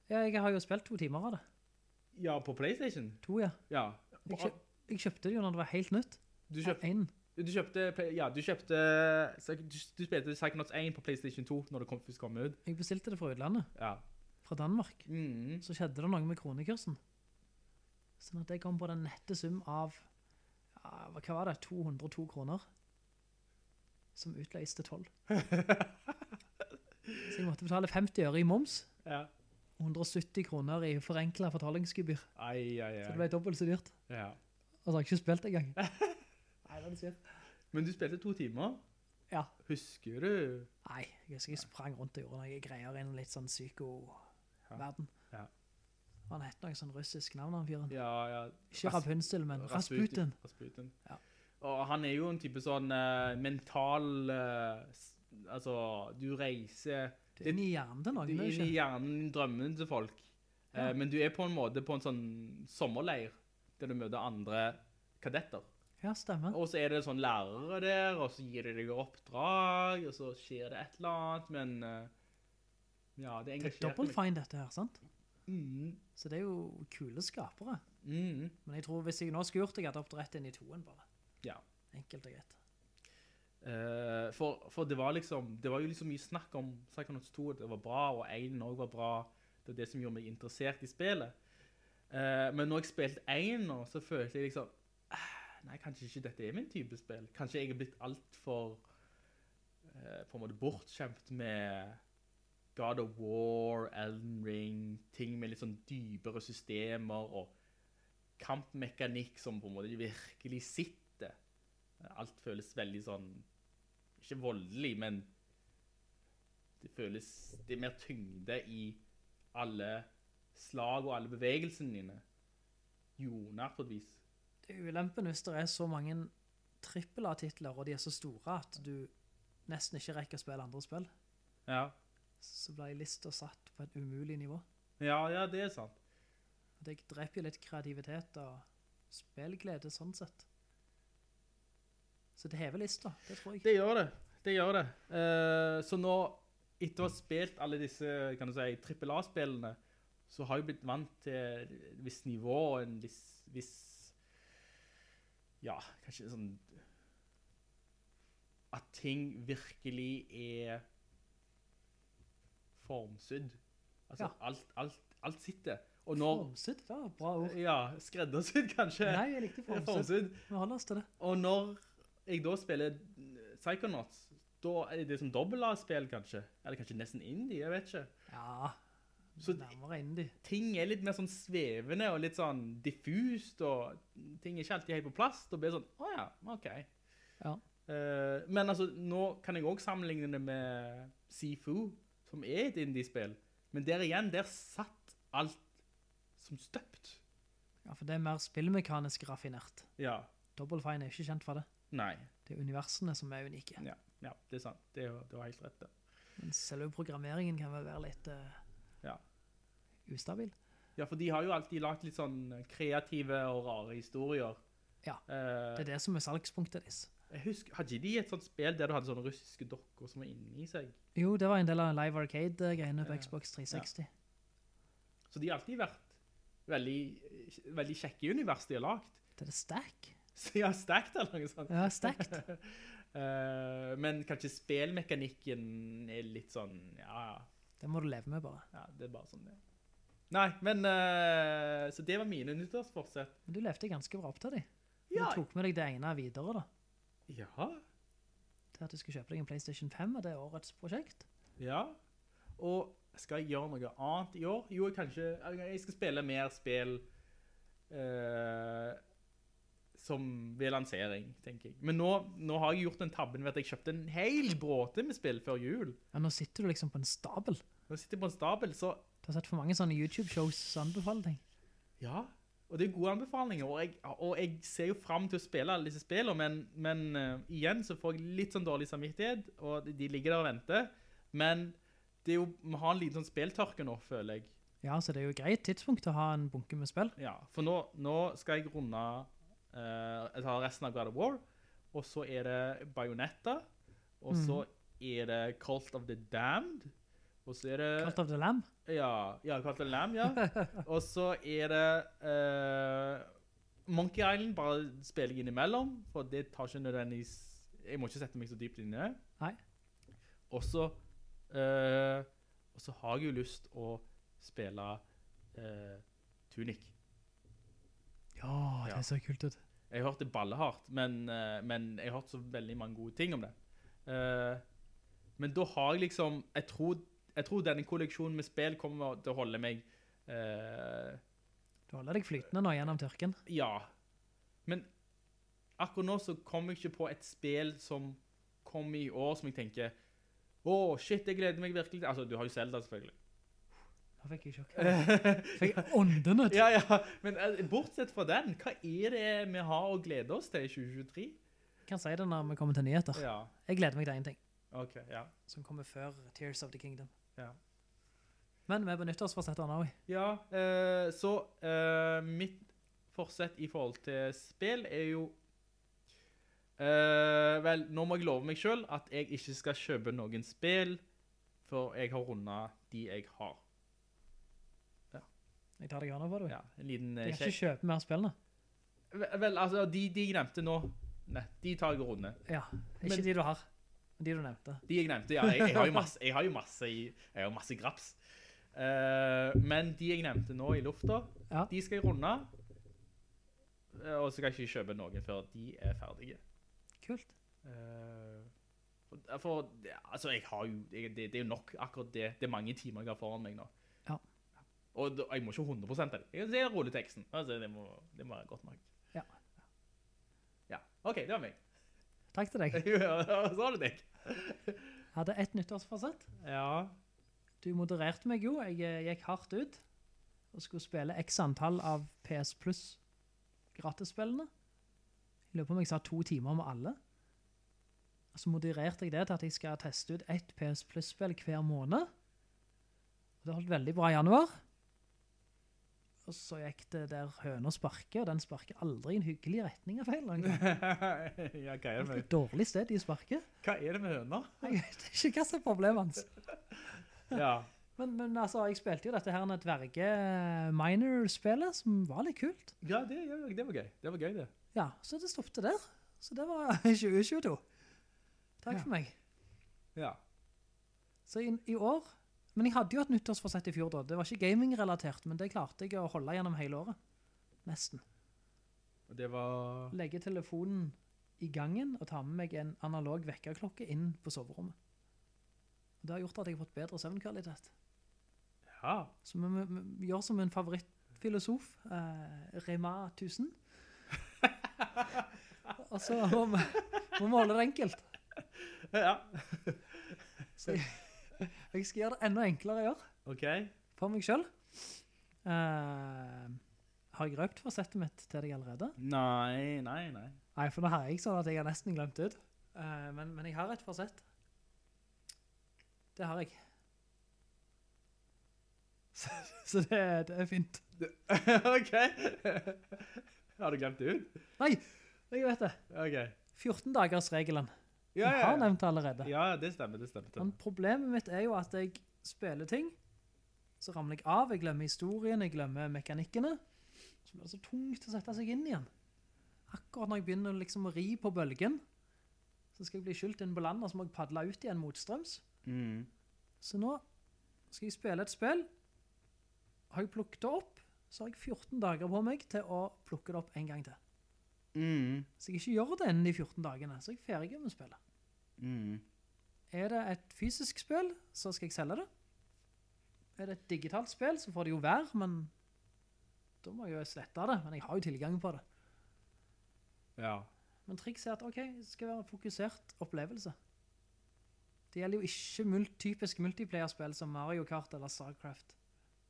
[SPEAKER 1] Ja, jeg har jo spilt to timer av det.
[SPEAKER 8] Ja, på Playstation?
[SPEAKER 1] To, ja.
[SPEAKER 8] Ja.
[SPEAKER 1] Jeg, kjøp, jeg kjøpte det jo når det var helt nytt.
[SPEAKER 8] Du kjøpte,
[SPEAKER 1] En.
[SPEAKER 8] du kjøpte, Play- ja, du kjøpte, du, du spilte Psychonauts 1 på Playstation 2 når det kom, først kom ut.
[SPEAKER 1] Jeg bestilte det fra utlandet,
[SPEAKER 8] Ja.
[SPEAKER 1] fra Danmark.
[SPEAKER 8] Mhm.
[SPEAKER 1] Så skjedde det noe med kronekursen. Sånn at jeg kom på den nette sum av, ja, hva hva var det, 202 kroner? Som utleies til 12. Så jeg måtte betale 50 øre i moms,
[SPEAKER 8] Ja.
[SPEAKER 1] 170 kroner i forenklet fortalingsgebyr.
[SPEAKER 8] Ai, ai,
[SPEAKER 1] Så det
[SPEAKER 8] ai.
[SPEAKER 1] ble dobbelt så dyrt.
[SPEAKER 8] Ja.
[SPEAKER 1] Og så har jeg ikke spilt engang.
[SPEAKER 8] Men du spilte to timer.
[SPEAKER 1] Ja.
[SPEAKER 8] Husker du?
[SPEAKER 1] Nei, jeg husker jeg sprang rundt og gjorde noen greier i en litt sånn psyko-verden.
[SPEAKER 8] Ja.
[SPEAKER 1] Han het noe sånn russisk navn, han fyren.
[SPEAKER 8] Ja, ja.
[SPEAKER 1] Ikke
[SPEAKER 8] Ras-
[SPEAKER 1] Rapunzel, men Rasputin.
[SPEAKER 8] Rasputin.
[SPEAKER 1] Ja.
[SPEAKER 8] Og han er jo en type sånn eh, mental eh, s- Altså, du reiser
[SPEAKER 1] Det er inn i hjernen til
[SPEAKER 8] du er
[SPEAKER 1] noen, det er
[SPEAKER 8] inn i
[SPEAKER 1] ikke?
[SPEAKER 8] hjernen, drømmen til folk. Eh, men du er på en måte på en sånn sommerleir der du møter andre kadetter.
[SPEAKER 1] Ja, stemmer.
[SPEAKER 8] Og så er det sånn lærere der, og så gir de deg oppdrag, og så skjer det et eller annet, men eh, Ja, det
[SPEAKER 1] Det er
[SPEAKER 8] engasjerte
[SPEAKER 1] Double
[SPEAKER 8] meg.
[SPEAKER 1] Fine dette her, sant?
[SPEAKER 8] Mm,
[SPEAKER 1] Så det er jo kule skapere.
[SPEAKER 8] mm,
[SPEAKER 1] Men jeg tror hvis jeg nå skulle gjort det, jeg hadde hoppet rett inn i toen bare.
[SPEAKER 8] ja.
[SPEAKER 1] Enkelt og greit.
[SPEAKER 8] Eh, for, for det var liksom Det var jo liksom mye snakk om Psychonauts 2, at det var bra, og 1 også var bra. Det var det som gjorde meg interessert i spillet. Eh, men når jeg spilte 1 nå, så følte jeg liksom «Ah, Nei, kanskje ikke dette er min type spill. Kanskje jeg er blitt altfor uh, På en måte bortskjemt med God of War, Elden Ring, ting med litt sånn dypere systemer og kampmekanikk som på en måte virkelig sitter. Alt føles veldig sånn Ikke voldelig, men det føles Det er mer tyngde i alle slag og alle bevegelsene dine. Joner, på et vis.
[SPEAKER 1] Det er ulempen hvis det er så mange AAA-titler, og de er så store at du nesten ikke rekker å spille andre spill.
[SPEAKER 8] Ja.
[SPEAKER 1] Så ble lista satt på et umulig nivå.
[SPEAKER 8] ja, ja, det er sant.
[SPEAKER 1] Det dreper jo litt kreativitet og spillglede sånn sett. Så det hever lista, det tror jeg.
[SPEAKER 8] Det gjør det. Det gjør det. Eh, så nå, etter å ha spilt alle disse kan du si, AAA-spillene, så har jeg blitt vant til et visst nivå og en viss, viss Ja, kanskje sånn At ting virkelig er formsydd. Altså,
[SPEAKER 1] Ja.
[SPEAKER 8] alt, alt, alt sitter. Og når
[SPEAKER 1] Formsydd, det var et bra ord.
[SPEAKER 8] Ja, skreddersydd, kanskje.
[SPEAKER 1] Nei, jeg likte formsydd.
[SPEAKER 8] formsydd.
[SPEAKER 1] Vi holder oss til det.
[SPEAKER 8] Og når jeg da spiller Psychonauts, da er det som dobbelt-A-spill, kanskje. Eller kanskje nesten indie, jeg vet ikke.
[SPEAKER 1] Ja,
[SPEAKER 8] Så
[SPEAKER 1] nærmere indie.
[SPEAKER 8] ting er litt mer sånn svevende og litt sånn diffust, og ting er ikke alltid helt på plass. Da blir det sånn, å ja, ok.
[SPEAKER 1] Ja.
[SPEAKER 8] Eh, men altså, nå kan jeg også sammenligne det med Sifu, som er et indie-spill. Men der igjen, der satt alt som støpt.
[SPEAKER 1] ja, for det er mer spillmekanisk raffinert.
[SPEAKER 8] Ja,
[SPEAKER 1] Double Fine er ikke kjent for det.
[SPEAKER 8] nei.
[SPEAKER 1] Det er universene som er unike.
[SPEAKER 8] Ja, ja det er sant. Det, er jo- det var helt rett det.
[SPEAKER 1] Men selve programmeringen kan vel være litt eh,
[SPEAKER 8] Ja.
[SPEAKER 1] ustabil.
[SPEAKER 8] Ja, for de har jo alltid lagt litt sånn kreative og rare historier.
[SPEAKER 1] Ja,
[SPEAKER 8] Eh,
[SPEAKER 1] det er det som er salgspunktet deres.
[SPEAKER 8] jeg husker, hadde ikke de et sånt spill der du hadde sånne russiske dokker som var inni seg?
[SPEAKER 1] Jo, det var en del av Live Arcade-greiene på Xbox 360.
[SPEAKER 8] Så de har alltid vært veldig, veldig kjekke univers de har lagt.
[SPEAKER 1] Det er det Stack.
[SPEAKER 8] Så de har stekt eller noe sånt.
[SPEAKER 1] Ja, Stacked.
[SPEAKER 8] Eh, men kanskje spillmekanikken er litt sånn, ja, ja,
[SPEAKER 1] Det må du leve med bare.
[SPEAKER 8] ja, det er bare sånn det. er. Nei, men, eh, så det var mine nyttårsforsett.
[SPEAKER 1] Men du levde ganske bra opp til de.
[SPEAKER 8] Ja.
[SPEAKER 1] Du tok med deg det ene videre da,
[SPEAKER 8] Ja,
[SPEAKER 1] til at du skulle kjøpe deg en Playstation 5, og det er årets prosjekt.
[SPEAKER 8] Ja. Og skal jeg gjøre noe annet i år? Jo, jeg kanskje Jeg skal spille mer spill eh, som ved lansering, tenker jeg. Men nå, nå har jeg gjort den tabben ved at jeg kjøpte en hel bråte med spill før jul.
[SPEAKER 1] Ja, nå sitter du liksom på en stabel.
[SPEAKER 8] Nå sitter jeg på en stabel, så
[SPEAKER 1] Du har sett for mange sånne YouTube-shows som anbefaler ting.
[SPEAKER 8] Ja. Og det er gode anbefalinger, og jeg, og jeg ser jo fram til å spille alle disse spillene, men, men eh, igjen så får jeg litt sånn dårlig samvittighet, og de- de ligger der og venter. Men det er jo, vi har en liten sånn spilltørke nå, føler jeg.
[SPEAKER 1] Ja, så det er jo et greit tidspunkt å ha en bunke med spill.
[SPEAKER 8] Ja, for nå, nå skal jeg runde eh, Jeg tar resten av God of War, og så er det Bayonetta, og så er det Cult of the Damned, og så er det
[SPEAKER 1] Kalt av The Lamb.
[SPEAKER 8] Ja, ja Cult of the Lamb, ja. og så er det eh, Monkey Island, bare spiller jeg innimellom, for det tar ikke nødvendigvis Jeg må ikke sette meg så dypt inn i det.
[SPEAKER 1] Nei.
[SPEAKER 8] Og så eh, Og så har jeg jo lyst å spille eh, Tunic.
[SPEAKER 1] Ja, det
[SPEAKER 8] Ja.
[SPEAKER 1] ser kult ut.
[SPEAKER 8] Jeg har hørt det ballehardt, men, eh, men jeg har hørt så veldig mange gode ting om det. Eh, men da har jeg liksom Jeg tror, jeg tror denne kolleksjonen med spill kommer til å holde meg eh,
[SPEAKER 1] Du holder deg flytende nå gjennom tørken.
[SPEAKER 8] Ja. Men akkurat nå så kommer jeg ikke på et spill som kom i år, som jeg tenker Å, shit, jeg gleder meg virkelig til Altså, du har jo Zelda, selvfølgelig.
[SPEAKER 1] Nå fikk jeg sjokk. Fikk jeg åndene til.
[SPEAKER 8] Eh. Ja, ja, men eh, bortsett fra den, hva er det vi har å glede oss til i 2023?
[SPEAKER 1] Kan si det når vi kommer til nyheter.
[SPEAKER 8] Ja.
[SPEAKER 1] Jeg gleder meg til en ting
[SPEAKER 8] OK. Ja.
[SPEAKER 1] som kommer før Tears of the Kingdom.
[SPEAKER 8] Ja.
[SPEAKER 1] Men vi benytter oss for å sette den også.
[SPEAKER 8] Ja, eh, så eh, mitt forsett i forhold til spill er jo eh, Vel, nå må jeg love meg sjøl at jeg ikke skal kjøpe noen spill før jeg har runda de jeg har.
[SPEAKER 1] Jeg tar deg grann over, du.
[SPEAKER 8] Ja, en liten eh,
[SPEAKER 1] Jeg kan
[SPEAKER 8] sjekk.
[SPEAKER 1] ikke kjøpe mer spill nå.
[SPEAKER 8] Vel, vel, altså, de, de jeg nevnte nå Nei, de tar jeg og runder.
[SPEAKER 1] Ja, ikke
[SPEAKER 8] Men-
[SPEAKER 1] de du har, men de du nevnte.
[SPEAKER 8] De jeg nevnte, ja. Jeg, jeg har jo masse, jeg har jo masse, i- jeg har jo masse graps. Eh, men de jeg nevnte nå i lufta,
[SPEAKER 1] Ja.
[SPEAKER 8] de skal jeg runde. Eh, Og så kan jeg ikke kjøpe noen før de er ferdige.
[SPEAKER 1] Kult.
[SPEAKER 8] Eh, for- for det- altså, jeg har jo jeg, det, det er jo nok akkurat det. Det er mange timer jeg har foran meg nå.
[SPEAKER 1] Ja.
[SPEAKER 8] Og da, jeg må ikke 100 av det. Jeg ser rulleteksten. Altså, det, må, det må være godt nok.
[SPEAKER 1] Ja.
[SPEAKER 8] Ja. OK, det var meg.
[SPEAKER 1] Takk til
[SPEAKER 8] Eh.
[SPEAKER 1] deg.
[SPEAKER 8] Så har du deg.
[SPEAKER 1] Hadde ett nyttårsforsett.
[SPEAKER 8] Ja.
[SPEAKER 1] Du modererte meg jo. Jeg eh, gikk hardt ut og skulle spille x antall av PS Plus gratisspillene. Jeg lurer på om jeg sa to timer med alle. Og Så modererte jeg det til at jeg skal teste ut ett PS Plus-spill hver måned. Og det holdt veldig bra i januar. Og så gikk det der høna sparker, og den sparker aldri i en hyggelig retning av feil. Det
[SPEAKER 8] ja hva, er det
[SPEAKER 1] er
[SPEAKER 8] med,
[SPEAKER 1] et dårlig sted de sparker.
[SPEAKER 8] hva er det med høner?
[SPEAKER 1] Jeg vet ikke hva som er problemet hans.
[SPEAKER 8] Ja.
[SPEAKER 1] Men, men altså, jeg spilte jo dette her en dverge minor-spillet, som var litt kult.
[SPEAKER 8] ja, det, ja, det var gøy. Det var gøy, det.
[SPEAKER 1] Ja, så det stoppte der. Så det var 2022. Takk for meg.
[SPEAKER 8] Ja.
[SPEAKER 1] Så i, i år, men jeg hadde jo et nyttårsforsett i fjor da. Det var ikke gaming-relatert, men det klarte jeg å holde gjennom hele året. Nesten.
[SPEAKER 8] Og det var
[SPEAKER 1] Legge telefonen i gangen og ta med meg en analog vekkerklokke inn på soverommet. Og det har gjort at jeg har fått bedre søvnkvalitet.
[SPEAKER 8] Ja.
[SPEAKER 1] Så vi, vi, vi gjør som en favorittfilosof, eh, Rema 1000. Og så må vi, må vi holde det enkelt.
[SPEAKER 8] ja.
[SPEAKER 1] Så jeg, jeg skal gjøre det enda enklere i år,
[SPEAKER 8] OK.
[SPEAKER 1] for meg selv. Eh, har jeg røpt forsettet mitt til deg allerede?
[SPEAKER 8] Nei, nei, nei.
[SPEAKER 1] Nei, for nå har jeg sånn at jeg har nesten glemt ut. Eh, men, men jeg har et forsett. Det har jeg. Så, så det, det er fint.
[SPEAKER 8] OK. Har du glemt det ut?
[SPEAKER 1] Nei, jeg vet det.
[SPEAKER 8] OK.
[SPEAKER 1] 14-dagers-regelen.
[SPEAKER 8] Ja,
[SPEAKER 1] Jeg
[SPEAKER 8] ja,
[SPEAKER 1] har nevnt det allerede.
[SPEAKER 8] ja, det stemmer. Det stemmer. det
[SPEAKER 1] Men
[SPEAKER 8] stemmer.
[SPEAKER 1] problemet mitt er jo at jeg spiller ting, så ramler jeg av, jeg glemmer historien, jeg glemmer mekanikkene, så blir det så tungt å sette seg inn igjen. Akkurat når jeg begynner liksom å ri på bølgen, så skal jeg bli skylt inn på land, og så må jeg padle ut igjen motstrøms. Så nå skal jeg spille et spill, har jeg plukket det opp, så har jeg 14 dager på meg til å plukke det opp en gang til. Så jeg ikke gjør det innen de 14 dagene, så er jeg ferdig med spillet. Er det et fysisk spill, så skal jeg selge det. Er det et digitalt spill, så får det jo være, men da må jeg jo slette det, men jeg har jo tilgang på det.
[SPEAKER 8] Ja.
[SPEAKER 1] Men triks er at, ok, det skal være en fokusert opplevelse. Det gjelder jo ikke mul typisk multiplayer-spill som Mario Kart eller Starcraft.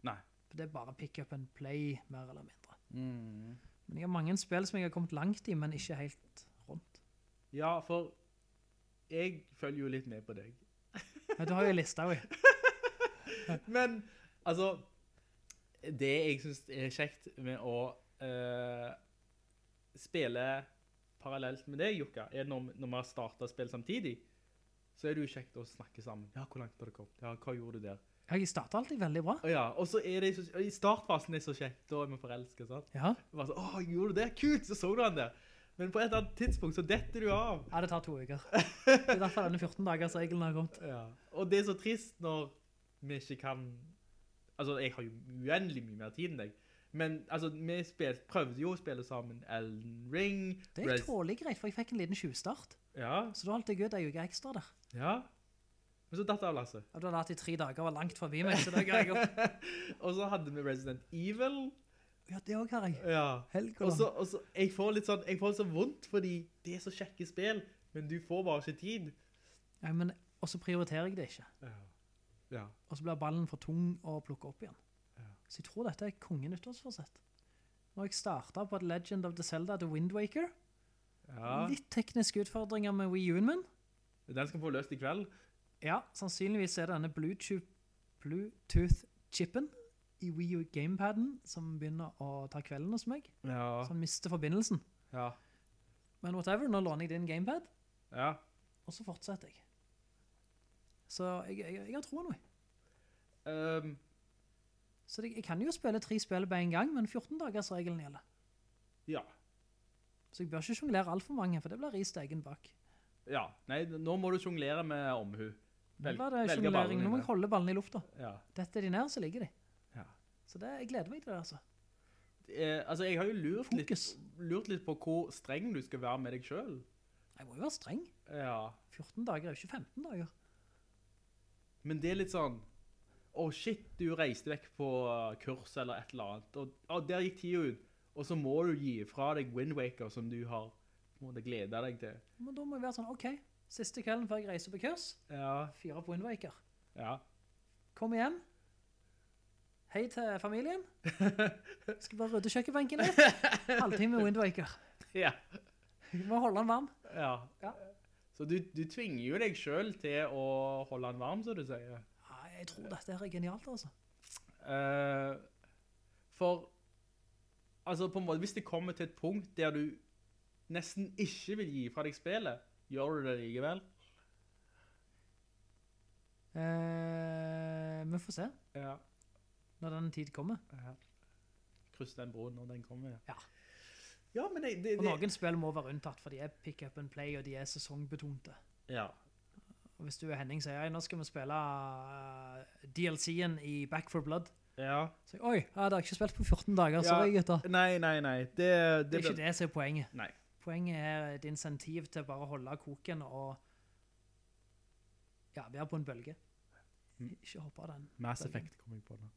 [SPEAKER 8] Nei.
[SPEAKER 1] For det er bare pick up and play, mer eller mindre. Men jeg har mange spill som jeg har kommet langt i, men ikke helt rundt.
[SPEAKER 8] Ja, for jeg følger jo litt med på deg.
[SPEAKER 1] Men du har jo en lista, jo.
[SPEAKER 8] Men altså Det jeg syns er kjekt med å eh, spille parallelt med deg, Jukka, er når, når vi har starta spill samtidig, så er det jo kjekt å snakke sammen. Ja, hvor langt har det kommet? Ja, hva gjorde du der?
[SPEAKER 1] Jeg starter alltid veldig bra.
[SPEAKER 8] Å ja, og så er det så, og I startfasen er det så kjekt. Da er vi forelska, sant?
[SPEAKER 1] Ja,
[SPEAKER 8] Vi Bare så, Å, gjorde du det? Kult! Så så du han der. Men på et eller annet tidspunkt så detter du av.
[SPEAKER 1] ja det tar to uker. Det er derfor denne 14-dagers-regelen har kommet.
[SPEAKER 8] Ja. Og det er så trist når vi ikke kan... Altså, jeg har jo uendelig mye mer tid enn deg. Men altså, vi spil, prøvde jo å spille sammen Elden Ring.
[SPEAKER 1] Det er
[SPEAKER 8] Res-
[SPEAKER 1] tålig greit, for jeg fikk en liten tjuvstart.
[SPEAKER 8] Ja,
[SPEAKER 1] Så da holdt jeg ut ei uke ekstra der.
[SPEAKER 8] ja. Men så datt det av, Lasse.
[SPEAKER 1] Og da lærte jeg tre dager var langt forbi meg, så det ga jeg opp.
[SPEAKER 8] Og så hadde vi Resident Evil.
[SPEAKER 1] Ja, det òg har jeg.
[SPEAKER 8] Ja. Og
[SPEAKER 1] Helgoland.
[SPEAKER 8] så, og så, jeg får litt sånn, jeg får litt sånn vondt, fordi det er så kjekke spill, men du får bare ikke tid.
[SPEAKER 1] Nei, men, og så prioriterer jeg det ikke.
[SPEAKER 8] Ja.
[SPEAKER 1] Og så blir ballen for tung å plukke opp igjen. Så jeg tror dette er konge nyttårsforsett. Når jeg starta på et Legend of the Zelda The Wind Waker
[SPEAKER 8] ja.
[SPEAKER 1] Litt tekniske utfordringer med Wii U-en min.
[SPEAKER 8] Den skal vi få løst i kveld.
[SPEAKER 1] Ja, sannsynligvis er det denne Bluetooth- Bluetooth-chipen i Wii U-gamepaden som begynner å ta kvelden hos meg.
[SPEAKER 8] Ja.
[SPEAKER 1] Så han mister forbindelsen.
[SPEAKER 8] Ja.
[SPEAKER 1] Men whatever, nå låner jeg din gamepad.
[SPEAKER 8] Ja.
[SPEAKER 1] Og så fortsetter jeg. Så jeg, jeg, jeg har troen nå.
[SPEAKER 8] Um,
[SPEAKER 1] Så det, jeg kan jo spille tre spill på en gang, men 14-dagers-regelen gjelder.
[SPEAKER 8] ja.
[SPEAKER 1] Så jeg bør ikke jonglere alt for mange, for det blir ris til egen bak.
[SPEAKER 8] Ja, nei, nå må du jonglere med omhu.
[SPEAKER 1] Nå
[SPEAKER 8] Velg-
[SPEAKER 1] blir det
[SPEAKER 8] velge
[SPEAKER 1] jonglering.
[SPEAKER 8] ballen
[SPEAKER 1] Nå må
[SPEAKER 8] dine.
[SPEAKER 1] jeg holde ballen i lufta.
[SPEAKER 8] Ja.
[SPEAKER 1] Dette er de nær, så ligger de.
[SPEAKER 8] Ja.
[SPEAKER 1] Så det, jeg gleder meg til det, altså.
[SPEAKER 8] Eh, altså, jeg har jo lurt litt,
[SPEAKER 1] Fokus.
[SPEAKER 8] lurt litt på hvor streng du skal være med deg selv.
[SPEAKER 1] Jeg må jo være streng.
[SPEAKER 8] Ja.
[SPEAKER 1] 14 dager er jo ikke 15 dager.
[SPEAKER 8] Men det er litt sånn, å shit, du reiste vekk på eh, kurs eller et eller annet, og å, der gikk tida ut, og så må du gi fra deg Wind Waker som du har på en måte glede deg til.
[SPEAKER 1] Men da må jeg være sånn, ok, siste kvelden før jeg reiser på kurs,
[SPEAKER 8] Ja,
[SPEAKER 1] fire på Wind Waker.
[SPEAKER 8] ja.
[SPEAKER 1] Kom igjen. Hei til familien. Skal bare rydde kjøkkenbenken litt. Halvtime Wind Waker.
[SPEAKER 8] Ja.
[SPEAKER 1] Vi må holde den varm.
[SPEAKER 8] ja.
[SPEAKER 1] Ja.
[SPEAKER 8] Så du, du tvinger jo deg selv til å holde den varm, som du sier.
[SPEAKER 1] Ja, jeg tror dette her er genialt, altså.
[SPEAKER 8] Eh, for altså på en måte, hvis det kommer til et punkt der du nesten ikke vil gi fra deg spillet, gjør du det likevel?
[SPEAKER 1] Eh, vi får se
[SPEAKER 8] Ja.
[SPEAKER 1] når den tid kommer.
[SPEAKER 8] Kryss den broen når den kommer.
[SPEAKER 1] Ja.
[SPEAKER 8] Ja, men det, det,
[SPEAKER 1] Og
[SPEAKER 8] det
[SPEAKER 1] noen spill må være unntatt, for de er pick up and play, og de er sesongbetonte.
[SPEAKER 8] Ja.
[SPEAKER 1] Og hvis du er Henning, sier jeg, nå skal vi spille eh, DLC-en i Back 4 Blood.
[SPEAKER 8] ja.
[SPEAKER 1] Så jeg, oi, ja, det har jeg ikke spilt på 14 dager, sorry gutter.
[SPEAKER 8] Nei, nei, nei. Det, det,
[SPEAKER 1] Det er ikke
[SPEAKER 8] blir-
[SPEAKER 1] det som er poenget.
[SPEAKER 8] Nei.
[SPEAKER 1] Poenget er et insentiv til bare å holde koken og ja, være på en bølge.
[SPEAKER 8] Mm.
[SPEAKER 1] Ikke hoppe av den.
[SPEAKER 8] Mass Effect kom jeg på nå.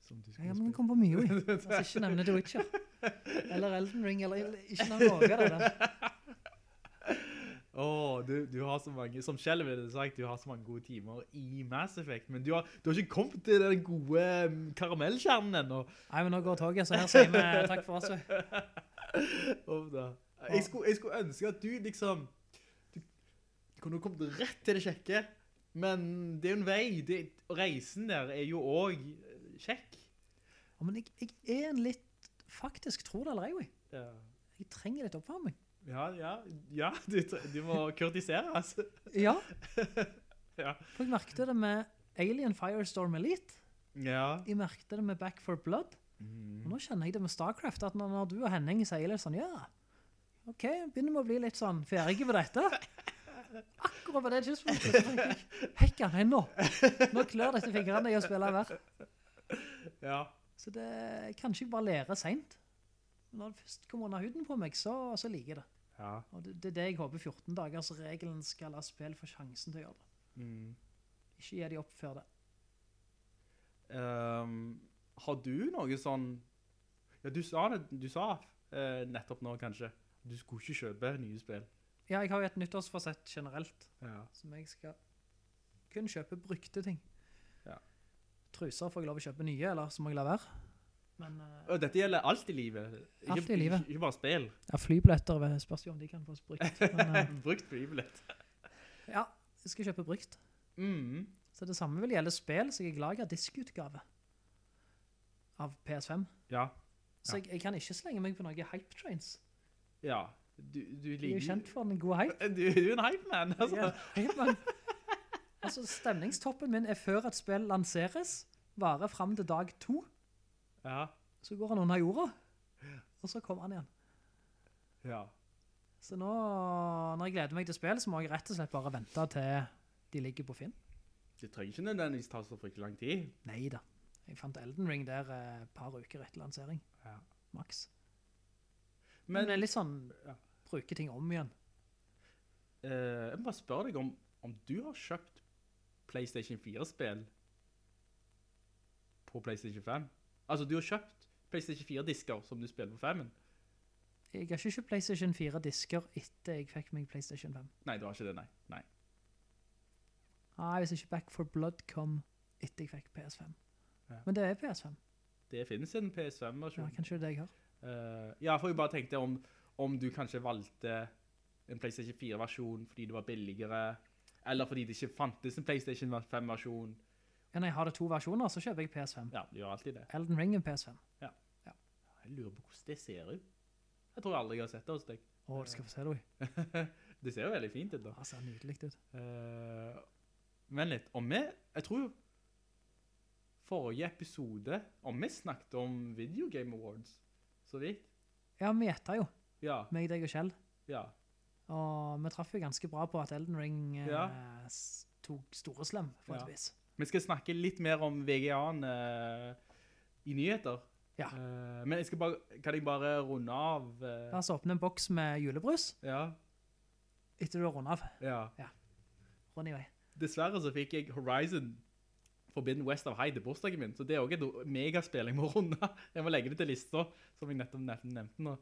[SPEAKER 8] Som du
[SPEAKER 1] Ja,
[SPEAKER 8] skulle
[SPEAKER 1] men vi
[SPEAKER 8] spille.
[SPEAKER 1] kom på mye, vi. Altså, ikke nevne The Witcher. Eller Elden Ring, eller ikke nevne noe av det der.
[SPEAKER 8] Å, du, du har så mange Som Kjell ville sagt, du har så mange gode timer i Mass Effect, men du har, du har ikke kommet til den gode mm, karamellkjernen ennå.
[SPEAKER 1] Nei, men nå går toget, så her sier vi eh, takk for oss. vi.
[SPEAKER 8] Uff da. Jeg skulle, jeg skulle ønske at du liksom Du kunne kommet rett til det kjekke, men det er jo en vei. Det, og reisen der er jo òg kjekk.
[SPEAKER 1] Ja, men jeg, jeg er en litt, faktisk, tror det eller ei, vi.
[SPEAKER 8] Ja,
[SPEAKER 1] Jeg trenger litt oppvarming.
[SPEAKER 8] ja. ja du, tre- du må kurtisere, altså.
[SPEAKER 1] Ja.
[SPEAKER 8] Ja.
[SPEAKER 1] For jeg merkte det med Alien Firestorm Elite.
[SPEAKER 8] Ja.
[SPEAKER 1] Jeg merkte det med Back 4 Blood. Og nå kjenner jeg det med Starcraft, at når, når du og Henning sier litt sånn, ja, ok, begynner vi å bli litt sånn ferdige på dette. Akkurat på det tidspunktet, så tenker jeg, hekka, nei nå. Nå klør dette fingrene i å spille hver.
[SPEAKER 8] ja.
[SPEAKER 1] Så det kanskje jeg bare lærer sent. Men når det først kommer under huden på meg, så, så liker jeg det.
[SPEAKER 8] ja.
[SPEAKER 1] Og det, det er det jeg håper 14 dagers regelen skal la spill få sjansen til å gjøre det.
[SPEAKER 8] Mm.
[SPEAKER 1] Ikke gi de opp før det.
[SPEAKER 8] Ehm, har du noe sånn Ja, du sa det du sa eh, nettopp nå, kanskje. Du skulle ikke kjøpe nye spill.
[SPEAKER 1] Ja, jeg har jo et nyttårsforsett generelt.
[SPEAKER 8] Ja.
[SPEAKER 1] som jeg skal kun kjøpe brukte ting.
[SPEAKER 8] Ja.
[SPEAKER 1] Truser får jeg lov å kjøpe nye, eller så må jeg la være. Men eh,
[SPEAKER 8] Og dette gjelder alt i livet. Ikke,
[SPEAKER 1] Alt i livet.
[SPEAKER 8] Ikke, ikke bare spill.
[SPEAKER 1] ja, flybilletter vel, spørs jo om de kan fås brukt. Men eh,
[SPEAKER 8] Brukt flybillett.
[SPEAKER 1] ja, jeg skal kjøpe brukt.
[SPEAKER 8] Mm.
[SPEAKER 1] Så det samme vil gjelde spill, så jeg er glad jeg har diskutgave av PS5.
[SPEAKER 8] Ja.
[SPEAKER 1] Så jeg, jeg kan ikke slenge meg på noen hype trains.
[SPEAKER 8] Ja. Du, du
[SPEAKER 1] Jeg er
[SPEAKER 8] liker
[SPEAKER 1] jo kjent for den gode hype.
[SPEAKER 8] Du, du er en hype man,
[SPEAKER 1] Jeg
[SPEAKER 8] altså.
[SPEAKER 1] er hype man. Altså, stemningstoppen min er før et spill lanseres, varer frem til dag to,
[SPEAKER 8] Ja.
[SPEAKER 1] så går han under jorda, og så kommer han igjen.
[SPEAKER 8] Ja.
[SPEAKER 1] Så nå, når jeg gleder meg til spill, så må jeg rett og slett bare vente til de ligger på Finn.
[SPEAKER 8] Det trenger ikke nødvendigvis ta så fryktelig lang tid.
[SPEAKER 1] Neida. Jeg fant Elden Ring der eh, et par uker etter lansering.
[SPEAKER 8] Ja.
[SPEAKER 1] Max. Men,
[SPEAKER 8] Men
[SPEAKER 1] det
[SPEAKER 8] eh,
[SPEAKER 1] er litt sånn,
[SPEAKER 8] Ja.
[SPEAKER 1] bruke ting om igjen.
[SPEAKER 8] Eh, jeg må bare spørre deg om, om du har kjøpt PlayStation 4-spill på PlayStation 5. Altså, du har kjøpt PlayStation 4-disker som du spiller på 5-en.
[SPEAKER 1] Jeg har ikke kjøpt PlayStation 4 disker etter jeg fikk meg PlayStation 5.
[SPEAKER 8] Nei, du har ikke det, nei. Nei.
[SPEAKER 1] Nei, hvis ikke Back 4 Blood kom etter jeg fikk PS5.
[SPEAKER 8] Ja.
[SPEAKER 1] Men det er PS5.
[SPEAKER 8] Det finnes en
[SPEAKER 1] Ja,
[SPEAKER 8] PS5-versjon.
[SPEAKER 1] kanskje det er det jeg har.
[SPEAKER 8] Eh, ja, for jeg bare tenkte om, om du kanskje valgte en PlayStation 4-versjon fordi det var billigere, eller fordi det ikke fantes en PlayStation 5-versjon.
[SPEAKER 1] Ja, når jeg har det to versjoner, så kjøper jeg PS5.
[SPEAKER 8] Ja, du gjør alltid det.
[SPEAKER 1] Elden Ring er PS5.
[SPEAKER 8] Jeg lurer på hvordan det ser ut. Jeg tror aldri jeg har sett det hos deg.
[SPEAKER 1] Åh, du skal få se det, oi.
[SPEAKER 8] det ser jo veldig fint ut da.
[SPEAKER 1] Det ser nydelig ut.
[SPEAKER 8] Eh, men litt, om vi, jeg tror forrige episode, om vi snakket om Video Game Awards, så vidt.
[SPEAKER 1] Ja, vi gjetter jo.
[SPEAKER 8] Ja,
[SPEAKER 1] Meg, deg og Kjell.
[SPEAKER 8] ja,
[SPEAKER 1] Og vi traff jo ganske bra på at Elden Ring eh,
[SPEAKER 8] Ja.
[SPEAKER 1] s- tok store slem, på et
[SPEAKER 8] Ja.
[SPEAKER 1] vis.
[SPEAKER 8] Vi skal snakke litt mer om VGA-en eh, i nyheter.
[SPEAKER 1] Ja.
[SPEAKER 8] Eh, men jeg skal bare, kan jeg bare runde av? eh,
[SPEAKER 1] La oss åpne en boks med julebrus,
[SPEAKER 8] ja,
[SPEAKER 1] etter du har rundet av.
[SPEAKER 8] ja.
[SPEAKER 1] Rund i vei.
[SPEAKER 8] Dessverre så fikk jeg Horizon Forbidden West of High til bursdagen min, så det er også et megaspill jeg må runde. Jeg må legge det til lista, som jeg nettopp nettopp nevnte nå.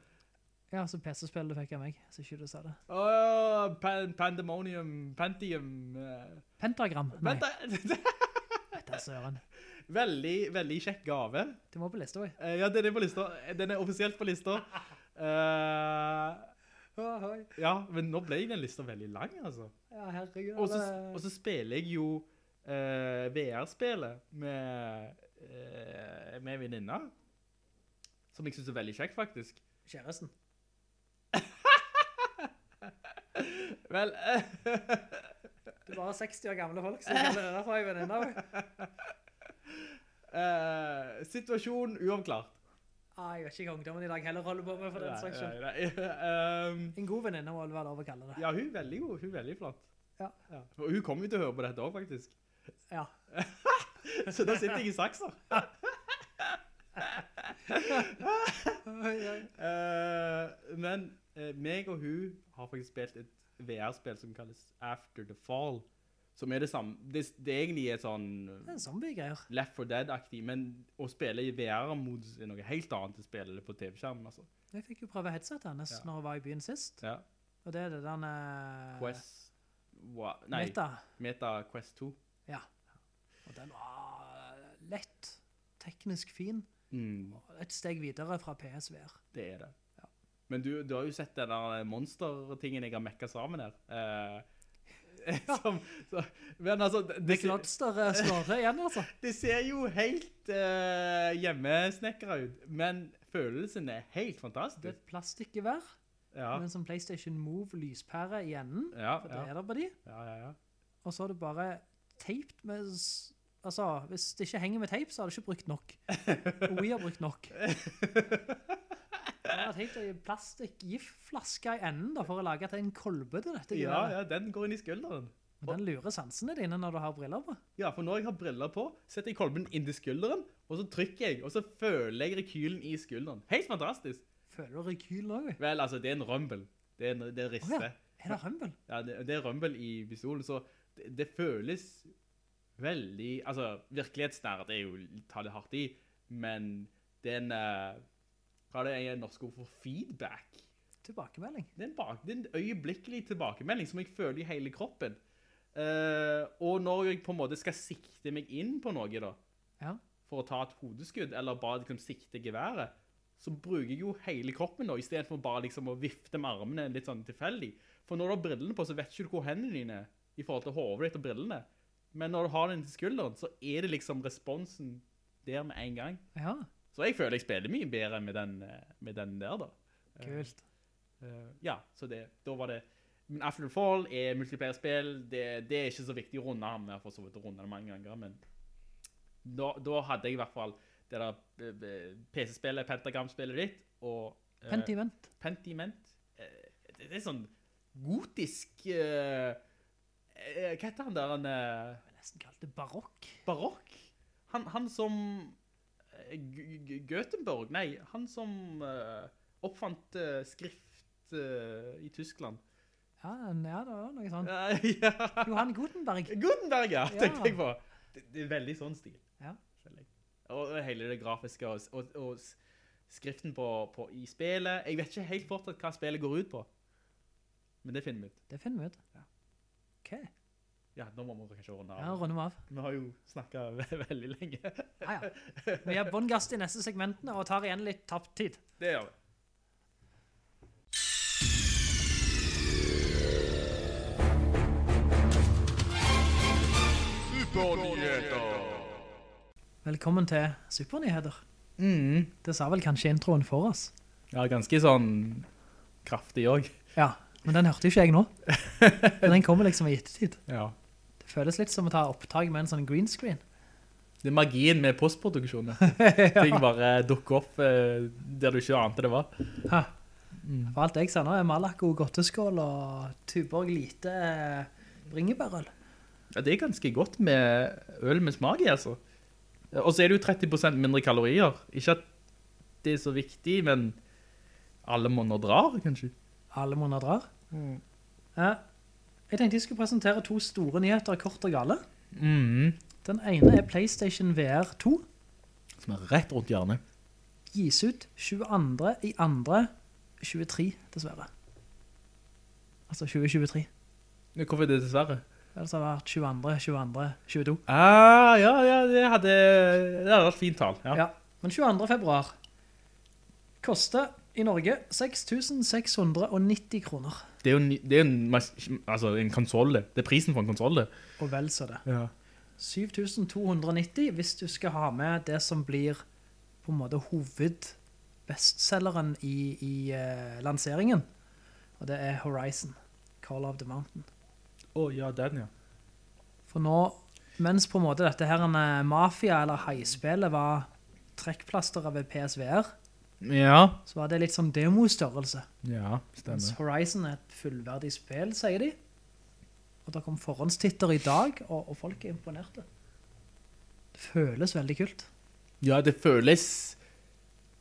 [SPEAKER 1] Ja, så PC-spill du fikk av meg, så ikke du sa det.
[SPEAKER 8] Åh, pan pandemonium, pantium eh,
[SPEAKER 1] Pentagram. Nei,
[SPEAKER 8] Vent da!
[SPEAKER 1] da søren.
[SPEAKER 8] veldig, veldig kjekk gave.
[SPEAKER 1] Du må på lista, oi.
[SPEAKER 8] Eh, ja, den er på lista. Den er offisielt på lista. Eh, ja, men nå ble den lista veldig lang, altså.
[SPEAKER 1] Ja, herregud.
[SPEAKER 8] Og så,
[SPEAKER 1] det-
[SPEAKER 8] og så spiller jeg jo eh, VR-spillet med, eh, med venninna. Som jeg synes er veldig kjekt, faktisk.
[SPEAKER 1] Kjæresten.
[SPEAKER 8] Vel,
[SPEAKER 1] Du er bare 60 år gamle folk, så jeg kaller det derfor jeg er venninne, oi.
[SPEAKER 8] eh, situasjon uavklart.
[SPEAKER 1] Ah, jeg vet ikke hva ungdommen i dag heller holder på med for den
[SPEAKER 8] Nei,
[SPEAKER 1] saks skyld.
[SPEAKER 8] nei, nei. Um,
[SPEAKER 1] En god venninne må vel være lov å kalle det.
[SPEAKER 8] Ja, hun er veldig god. Hun er veldig flott.
[SPEAKER 1] Ja.
[SPEAKER 8] Og hun kommer jo til å høre på dette òg, faktisk.
[SPEAKER 1] Ja.
[SPEAKER 8] Så da sitter jeg i saksa. Eh, men eh, meg og hun har faktisk spilt et VR-spill som kalles After the Fall. Som er det samme Det, det er egentlig er sånn
[SPEAKER 1] Det er zombie-greier.
[SPEAKER 8] Left 4 Dead-aktig, men å spille i VR-modus er noe helt annet enn å spille det på TV-skjermen. altså.
[SPEAKER 1] Jeg fikk jo prøve headsetet hennes
[SPEAKER 8] Ja.
[SPEAKER 1] når hun var i byen sist.
[SPEAKER 8] Ja.
[SPEAKER 1] Og det er det den... eh,
[SPEAKER 8] Quest Wa- Nei, Meta.
[SPEAKER 1] Meta.
[SPEAKER 8] Quest 2.
[SPEAKER 1] Ja. Og den var lett, teknisk fin.
[SPEAKER 8] Mm.
[SPEAKER 1] Et steg videre fra PSVR.
[SPEAKER 8] Det er det. Men du, du har jo sett den der monster-tingen jeg har mekka sammen her. Eh, som, så, men altså, det, det, ser,
[SPEAKER 1] Klodster eh, slår det igjen, altså.
[SPEAKER 8] det ser jo helt uh, hjemmesnekra ut, men følelsen er helt
[SPEAKER 1] Det er
[SPEAKER 8] fantastisk.
[SPEAKER 1] et plastikkevær,
[SPEAKER 8] Ja,
[SPEAKER 1] med en sånn PlayStation Move lyspære i enden.
[SPEAKER 8] Ja,
[SPEAKER 1] For det
[SPEAKER 8] ja,
[SPEAKER 1] er det på de.
[SPEAKER 8] ja, ja, ja.
[SPEAKER 1] Og så er det bare teipt med s- Altså, hvis det ikke henger med teip, så har det ikke brukt nok. Og vi har brukt nok. Jeg har tenkt ei plastikk-giftflaske i enden da, for å lage til en kolbe til dette.
[SPEAKER 8] ja,
[SPEAKER 1] greiet.
[SPEAKER 8] ja den går inn i skulderen.
[SPEAKER 1] Men den lurer sansene dine når du har briller på.
[SPEAKER 8] Ja, for når jeg har briller på, setter jeg kolben inn til skulderen, og så trykker jeg, og så føler jeg rekylen i skulderen. Helt fantastisk.
[SPEAKER 1] Føler du rekyl nå? Er
[SPEAKER 8] Vel, altså, det er en rømbel. Det er, en- det er riste.
[SPEAKER 1] Å ja. det rømmel?
[SPEAKER 8] Ja, det, det er rømmel i pistolen, så det, det føles veldig Altså, virkelighetsnært er jo å ta det hardt i, men det er en eh, Hva er det er norsk ord for feedback?
[SPEAKER 1] Tilbakemelding.
[SPEAKER 8] Det er en, bak, det er en øyeblikkelig tilbakemelding som jeg føler i hele kroppen. Eh, og når jeg på en måte skal sikte meg inn på noe, da,
[SPEAKER 1] Ja.
[SPEAKER 8] for å ta et hodeskudd, eller bare liksom sikte geværet, så bruker jeg jo hele kroppen da, i stedet for bare liksom å vifte med armene litt sånn tilfeldig. For når du har brillene på, så vet ikke du hvor hendene dine er i forhold til hovedet ditt og brillene. Men når du har den til skulderen, så er det liksom responsen der med en gang.
[SPEAKER 1] Ja,
[SPEAKER 8] Så jeg føler jeg spiller mye bedre med den, eh, med den der da.
[SPEAKER 1] kult.
[SPEAKER 8] Eh, Ja, så det, da var det... Men After the Fall er multiplayer-spill, det, det er ikke så viktig å runde ham, jeg har for så vidt rundet det mange ganger, men da, da hadde jeg i hvert fall det der eh, eh, PC-spillet, Pentagram-spillet ditt, og eh,
[SPEAKER 1] Pentiment.
[SPEAKER 8] Pentiment. Eh, det det er sånn gotisk... eh, eh, hva heter han der, han eh,
[SPEAKER 1] Jeg nesten kalt det barokk.
[SPEAKER 8] barokk? Han, han som... eh, G G Göteborg, nei, han som eh, oppfant eh, skrift eh, i Tyskland.
[SPEAKER 1] Ja, ja, det var noe sånt.
[SPEAKER 8] Ja, ja.
[SPEAKER 1] Johan Gutenberg.
[SPEAKER 8] Gutenberg, ja, tenkte
[SPEAKER 1] Ja.
[SPEAKER 8] jeg på. Det, det er veldig sånn stil.
[SPEAKER 1] Ja.
[SPEAKER 8] føler jeg. Og og hele det grafiske og, og, og s- skriften på, på i spillet. Jeg vet ikke helt fortsatt hva spillet går ut på. Men det finner vi ut.
[SPEAKER 1] Det finner vi ut. OK.
[SPEAKER 8] Ja, nå må vi kanskje runde
[SPEAKER 1] Ja,
[SPEAKER 8] av.
[SPEAKER 1] runder vi av.
[SPEAKER 8] Vi har jo snakket ve veldig lenge.
[SPEAKER 1] Ja, ja. Vi har bånn gass i neste segmentene og tar igjen litt tapt tid.
[SPEAKER 8] Det gjør vi.
[SPEAKER 1] Velkommen til Supernyheter.
[SPEAKER 8] Mm.
[SPEAKER 1] Det sa vel kanskje introen for oss.
[SPEAKER 8] Ja, ganske sånn kraftig òg.
[SPEAKER 1] Ja, men den hørte ikke jeg nå. Men den kommer liksom i ettertid.
[SPEAKER 8] Ja.
[SPEAKER 1] Det føles litt som å ta opptak med en sånn green screen.
[SPEAKER 8] Det er magien med postproduksjonen. Ting bare dukker opp eh, der du ikke ante det var.
[SPEAKER 1] Hæ? For alt jeg ser nå er Malaco, Gotteskål og Tuborg Lite eh, bringebærøl.
[SPEAKER 8] Ja, det er ganske godt med øl med smak i, altså. Og så er det jo 30 mindre kalorier. Ikke at det er så viktig, men alle måneder drar, kanskje.
[SPEAKER 1] Alle måneder drar. Ja. Jeg tenkte jeg skulle presentere to store nyheter, kort og gale.
[SPEAKER 8] Mm-hmm.
[SPEAKER 1] Den ene er PlayStation VR 2.
[SPEAKER 8] Som er rett rundt hjørnet.
[SPEAKER 1] Gis ut 22. i 2. 23, dessverre. Altså 2023.
[SPEAKER 8] Men Hvorfor er det dessverre?
[SPEAKER 1] Ellers har det vært 22, 22, 22.
[SPEAKER 8] Ah, ja, ja, det hadde, det hadde vært fint tall. Ja.
[SPEAKER 1] Ja, men 22. februar koster i Norge 6690 kroner.
[SPEAKER 8] Det er jo en, ny- det er en, mas- altså, en konsoll, det. Det er prisen for en konsoll, det.
[SPEAKER 1] Og vel så det.
[SPEAKER 8] Ja.
[SPEAKER 1] 7290 hvis du skal ha med det som blir på en måte hovedbestselgeren i, i eh, lanseringen. Og det er Horizon, Call of the Mountain.
[SPEAKER 8] Å, ja, den, ja.
[SPEAKER 1] For nå, mens på en måte dette her en eh, mafia- eller haispillet var trekkplasteret ved PSVR,
[SPEAKER 8] Ja.
[SPEAKER 1] så var det litt sånn demostørrelse.
[SPEAKER 8] Ja,
[SPEAKER 1] Mens
[SPEAKER 8] stemmer.
[SPEAKER 1] Horizon er et fullverdig spill, sier de. Og det kom forhåndstitter i dag, og, og folk er imponerte. Det føles veldig kult.
[SPEAKER 8] Ja, det føles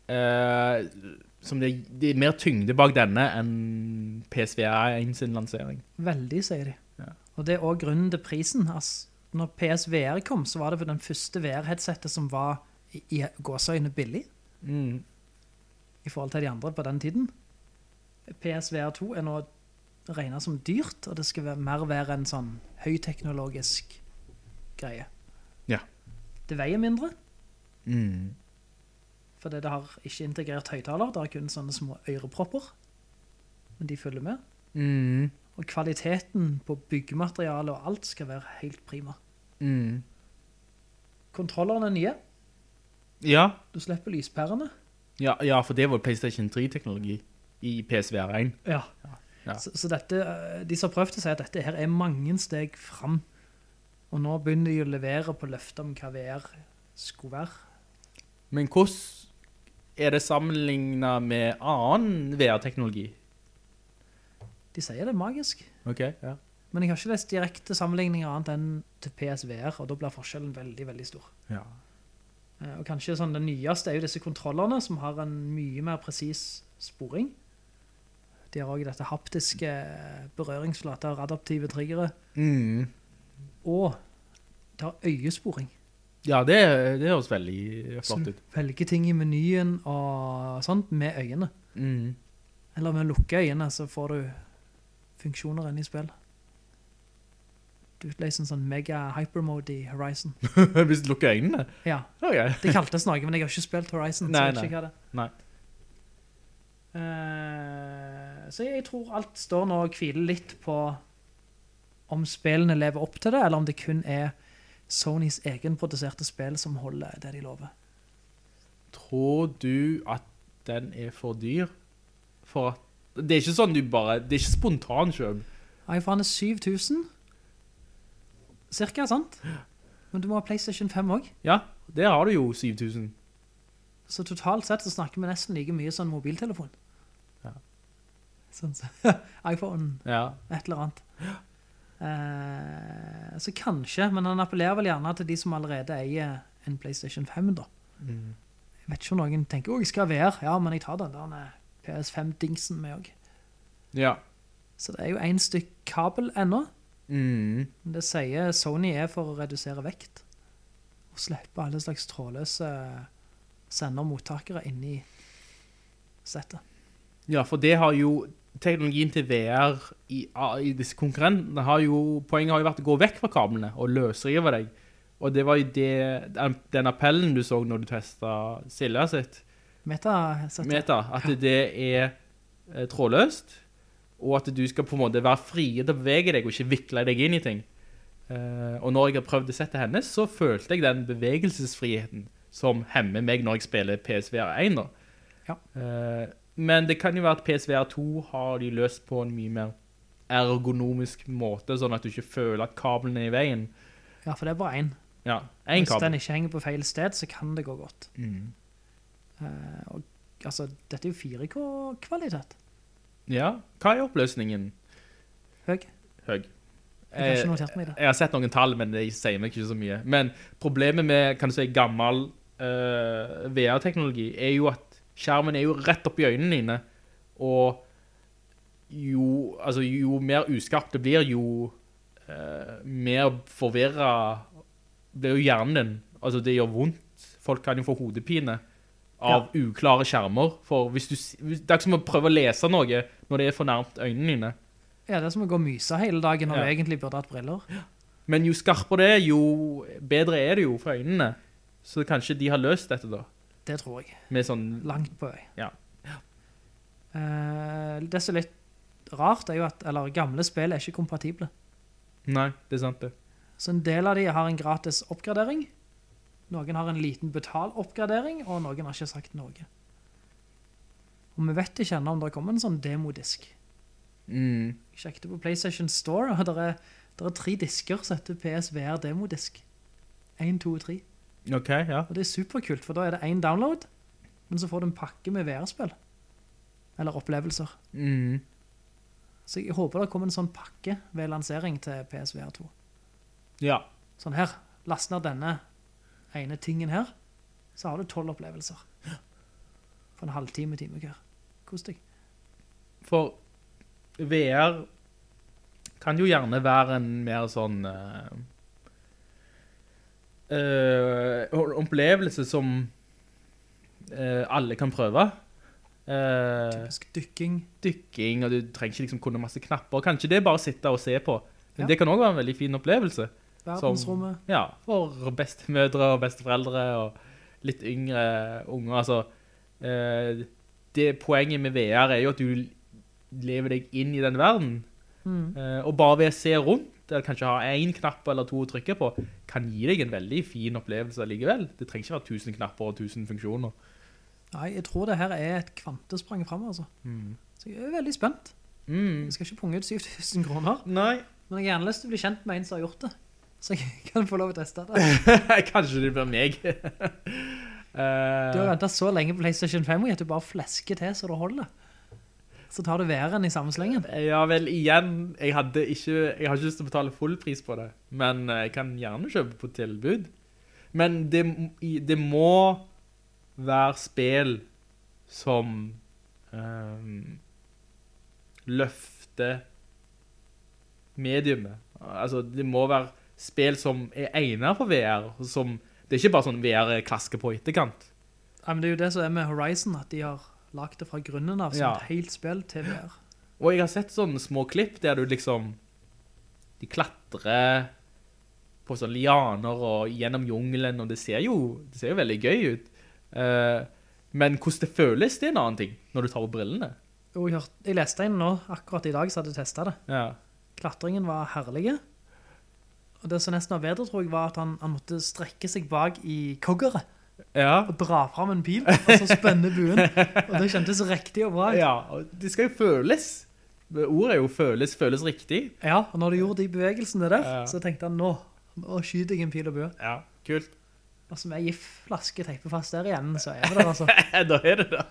[SPEAKER 8] eh, som det, det er mer tyngde bak denne enn PSVR1 sin lansering.
[SPEAKER 1] Veldig, sier de.
[SPEAKER 8] Ja.
[SPEAKER 1] Og det er også grunnen til prisen. Altså, når PSVR kom, så var det for den første VR-headsetet som var i, i gåseøyne billig,
[SPEAKER 8] Mm.
[SPEAKER 1] i forhold til de andre på den tiden. PSVR 2 er nå regnet som dyrt, og det skal være, mer være en sånn høyteknologisk greie.
[SPEAKER 8] Ja.
[SPEAKER 1] Det veier mindre,
[SPEAKER 8] Mm.
[SPEAKER 1] fordi det har ikke integrert høyttaler, det har kun sånne små ørepropper, men de følger med.
[SPEAKER 8] Mm.
[SPEAKER 1] Og kvaliteten på byggematerialet og alt skal være helt prima.
[SPEAKER 8] Mm.
[SPEAKER 1] Kontrollerne er nye.
[SPEAKER 8] Ja.
[SPEAKER 1] Du slipper lyspærene.
[SPEAKER 8] Ja, ja, for det var PlayStation 3-teknologi i PSVR1.
[SPEAKER 1] Ja.
[SPEAKER 8] Ja.
[SPEAKER 1] Så, så dette, eh, de som har prøvd å si at dette her er mange steg fram. Og nå begynner de å levere på løftet om hva VR skulle være.
[SPEAKER 8] Men hvordan er det sammenlignet med annen VR-teknologi?
[SPEAKER 1] De sier det er magisk.
[SPEAKER 8] Ok, ja.
[SPEAKER 1] Men jeg har ikke lest direkte sammenligninger annet enn til PSVR, og da blir forskjellen veldig, veldig stor.
[SPEAKER 8] Ja.
[SPEAKER 1] Eh, Og kanskje sånn det nyeste er jo disse kontrollerne, som har en mye mer presis sporing. De har også dette haptiske berøringsflater, adaptive triggere,
[SPEAKER 8] Mm.
[SPEAKER 1] og det har øyesporing.
[SPEAKER 8] Ja, det, det høres veldig
[SPEAKER 1] Så
[SPEAKER 8] flott
[SPEAKER 1] du
[SPEAKER 8] ut.
[SPEAKER 1] velger ting i menyen og sånt med øynene.
[SPEAKER 8] Mm.
[SPEAKER 1] Eller med å lukke øynene, så får du funksjoner inne i spill. Du utløser en sånn mega hypermode i Horizon.
[SPEAKER 8] Hvis du lukker øynene.
[SPEAKER 1] Ja,
[SPEAKER 8] Ok.
[SPEAKER 1] det kaltes noe, men jeg har ikke spilt Horizon,
[SPEAKER 8] Nei,
[SPEAKER 1] så jeg vet ikke hva det er.
[SPEAKER 8] Nei.
[SPEAKER 1] Eh, så jeg tror alt står nå og hviler litt på om spillene lever opp til det, eller om det kun er Sonys egenproduserte spill som holder det de lover.
[SPEAKER 8] Tror du at den er for dyr? For at... Det er ikke sånn du bare... Det er ikke spontan kjøp.
[SPEAKER 1] iPhone er 7000, cirka, sant? Men du må ha PlayStation 5 også.
[SPEAKER 8] Ja, der har du jo 7000.
[SPEAKER 1] Så totalt sett så snakker vi nesten like mye sånn mobiltelefon.
[SPEAKER 8] Ja.
[SPEAKER 1] Sånn, så, iPhone,
[SPEAKER 8] Ja.
[SPEAKER 1] et eller annet. Eh, så kanskje, men han appellerer vel gjerne til de som allerede eier en PlayStation 5 da. Jeg vet ikke om noen tenker, å, jeg skal ha VR. Ja, men jeg tar den der eh, PS5-dingsen med også.
[SPEAKER 8] Ja.
[SPEAKER 1] Så det er jo en stykk kabel ennå.
[SPEAKER 8] Mm.
[SPEAKER 1] Men Det sier Sony er for å redusere vekt. Og slippe alle slags trådløse sendermottakere inn i settet.
[SPEAKER 8] Ja, for det har jo teknologien til VR i, i disse konkurrentene har jo, poenget har jo vært å gå vekk fra kablene og løsrive deg. Og det var jo det, den, den appellen du så når du testet Silja sitt,
[SPEAKER 1] Meta-settet.
[SPEAKER 8] Meta, at det er eh, trådløst, og at du skal på en måte være fri til å bevege deg og ikke vikle deg inn i ting. Eh, og når jeg har prøvd å sette hennes, så følte jeg den bevegelsesfriheten som hemmer meg når jeg spiller PSVR 1 da.
[SPEAKER 1] Ja.
[SPEAKER 8] Eh, men det kan jo være at PSVR 2 har de løst på en mye mer ergonomisk måte, sånn at du ikke føler at kabelen er i veien.
[SPEAKER 1] Ja, for det er bare én.
[SPEAKER 8] Ja, en
[SPEAKER 1] Hvis den
[SPEAKER 8] kabel. Mm.
[SPEAKER 1] ikke henger på feil sted, så kan det gå godt. Eh, og, altså, dette er jo 4K-kvalitet.
[SPEAKER 8] Ja, hva er oppløsningen?
[SPEAKER 1] Høy.
[SPEAKER 8] Høy.
[SPEAKER 1] Jeg har ikke
[SPEAKER 8] Eh,
[SPEAKER 1] notert meg det.
[SPEAKER 8] Jeg har sett noen tall, men det sier meg ikke så mye. Men problemet med kan du si, gammel eh, VR-teknologi er jo at skjermen er jo rett opp i øynene dine, og jo, altså, jo mer uskarpt det blir, jo eh, mer forvirret blir jo hjernen din. Altså, det gjør vondt. Folk kan jo få hodepine av uklare skjermer. For hvis du, s- hvis, det er ikke som å prøve å lese noe når det er for nærmt øynene dine.
[SPEAKER 1] Ja, det er som å gå og myse hele dagen når
[SPEAKER 8] Ja.
[SPEAKER 1] du egentlig burde hatt briller.
[SPEAKER 8] Men jo skarpere det er, jo bedre er det jo for øynene. Så kanskje de har løst dette, da.
[SPEAKER 1] Det tror jeg.
[SPEAKER 8] Med sånn
[SPEAKER 1] Langt på vei.
[SPEAKER 8] Ja.
[SPEAKER 1] Eh, det som er litt rart, er jo at eller, gamle spill er ikke kompatible.
[SPEAKER 8] Nei, det er sant, det.
[SPEAKER 1] Så en del av de har en gratis oppgradering. Noen har en liten betaloppgradering, og noen har ikke sagt noe. Og vi vet ikke ennå om det kommer en sånn demodisk.
[SPEAKER 8] Mm.
[SPEAKER 1] Jeg sjekket på PlayStation Store, og det er, der er tre disker som heter PSVR demodisk. 1, 2 og 3.
[SPEAKER 8] OK, ja.
[SPEAKER 1] Og det er superkult, for da er det én download, men så får du en pakke med VR-spill. Eller opplevelser.
[SPEAKER 8] Mm.
[SPEAKER 1] Så jeg håper det kommer en sånn pakke ved lansering til PSVR 2.
[SPEAKER 8] Ja.
[SPEAKER 1] Sånn her. Last ned denne ene tingen her, så har du tolv opplevelser. For en halvtime, time hver. Kos deg.
[SPEAKER 8] For VR kan jo gjerne være en mer sånn eh, eh, opplevelse som eh, alle kan prøve. Eh,
[SPEAKER 1] Typisk dykking.
[SPEAKER 8] dykking, og du trenger ikke liksom kunne masse knapper. Kanskje det er bare å sitte og se på. Men
[SPEAKER 1] Ja.
[SPEAKER 8] det kan også være en veldig fin opplevelse.
[SPEAKER 1] Verdensrommet.
[SPEAKER 8] Ja, for bestemødre og besteforeldre og litt yngre unger. Altså, eh, det poenget med VR er jo at du lever deg inn i den verden. Eh, og bare ved å se rundt, eller kanskje ha én knapp eller to å trykke på, kan gi deg en veldig fin opplevelse likevel. Det trenger ikke være tusen knapper og tusen funksjoner.
[SPEAKER 1] Nei, jeg tror det her er et kvantesprang fram, altså. Så jeg er veldig spent.
[SPEAKER 8] Mm.
[SPEAKER 1] Jeg skal ikke punge ut 7000 kroner,
[SPEAKER 8] Nei,
[SPEAKER 1] men jeg har gjerne lyst til å bli kjent med en som har gjort det. Så jeg kan få lov å teste det.
[SPEAKER 8] Eh. kanskje det blir meg.
[SPEAKER 1] Du har
[SPEAKER 8] Eh,
[SPEAKER 1] ventet så lenge på PlayStation 5 og at du bare flesker til så det holder. Så tar du VR-en i samme slengen.
[SPEAKER 8] ja vel, igjen, jeg, hadde ikke, jeg har ikke lyst til å betale full pris på det, men eh, jeg kan gjerne kjøpe på tilbud. Men det, m- i- det må være spill som ehm, løfter mediumet. Altså, det må være spill som er egnet for VR, og som, det er ikke bare sånn VR klasker på etterkant.
[SPEAKER 1] Ja, men det er jo det som er med Horizon, at de har lagt det fra grunnen av som
[SPEAKER 8] Ja.
[SPEAKER 1] et helt spill til VR.
[SPEAKER 8] Og jeg har sett sånne små klipp der du liksom De klatrer på sånne lianer og gjennom jungelen, og det ser jo, det ser jo veldig gøy ut. Eh, men hvordan det føles, det er en annen ting, når du tar på brillene.
[SPEAKER 1] Og jeg, hørte, jeg leste en nå, akkurat i dag, så hadde jeg testet det.
[SPEAKER 8] Ja.
[SPEAKER 1] Klatringen var herlig. Og det som nesten var bedre, tror jeg, var at han, han måtte strekke seg bak i koggeret
[SPEAKER 8] Ja,
[SPEAKER 1] og dra fram en pil, og så spenne buen. Og det kjentes riktig og bra. ut.
[SPEAKER 8] ja og det skal jo føles. Ordet er jo føles, føles riktig.
[SPEAKER 1] Ja, og når du gjorde de bevegelsene der,
[SPEAKER 8] Ja.
[SPEAKER 1] så tenkte han nå, nå skyter jeg en pil og bue.
[SPEAKER 8] Ja, kult.
[SPEAKER 1] Altså, med giftflaske teipe fast der igjen, så er det der, altså.
[SPEAKER 8] da er det det.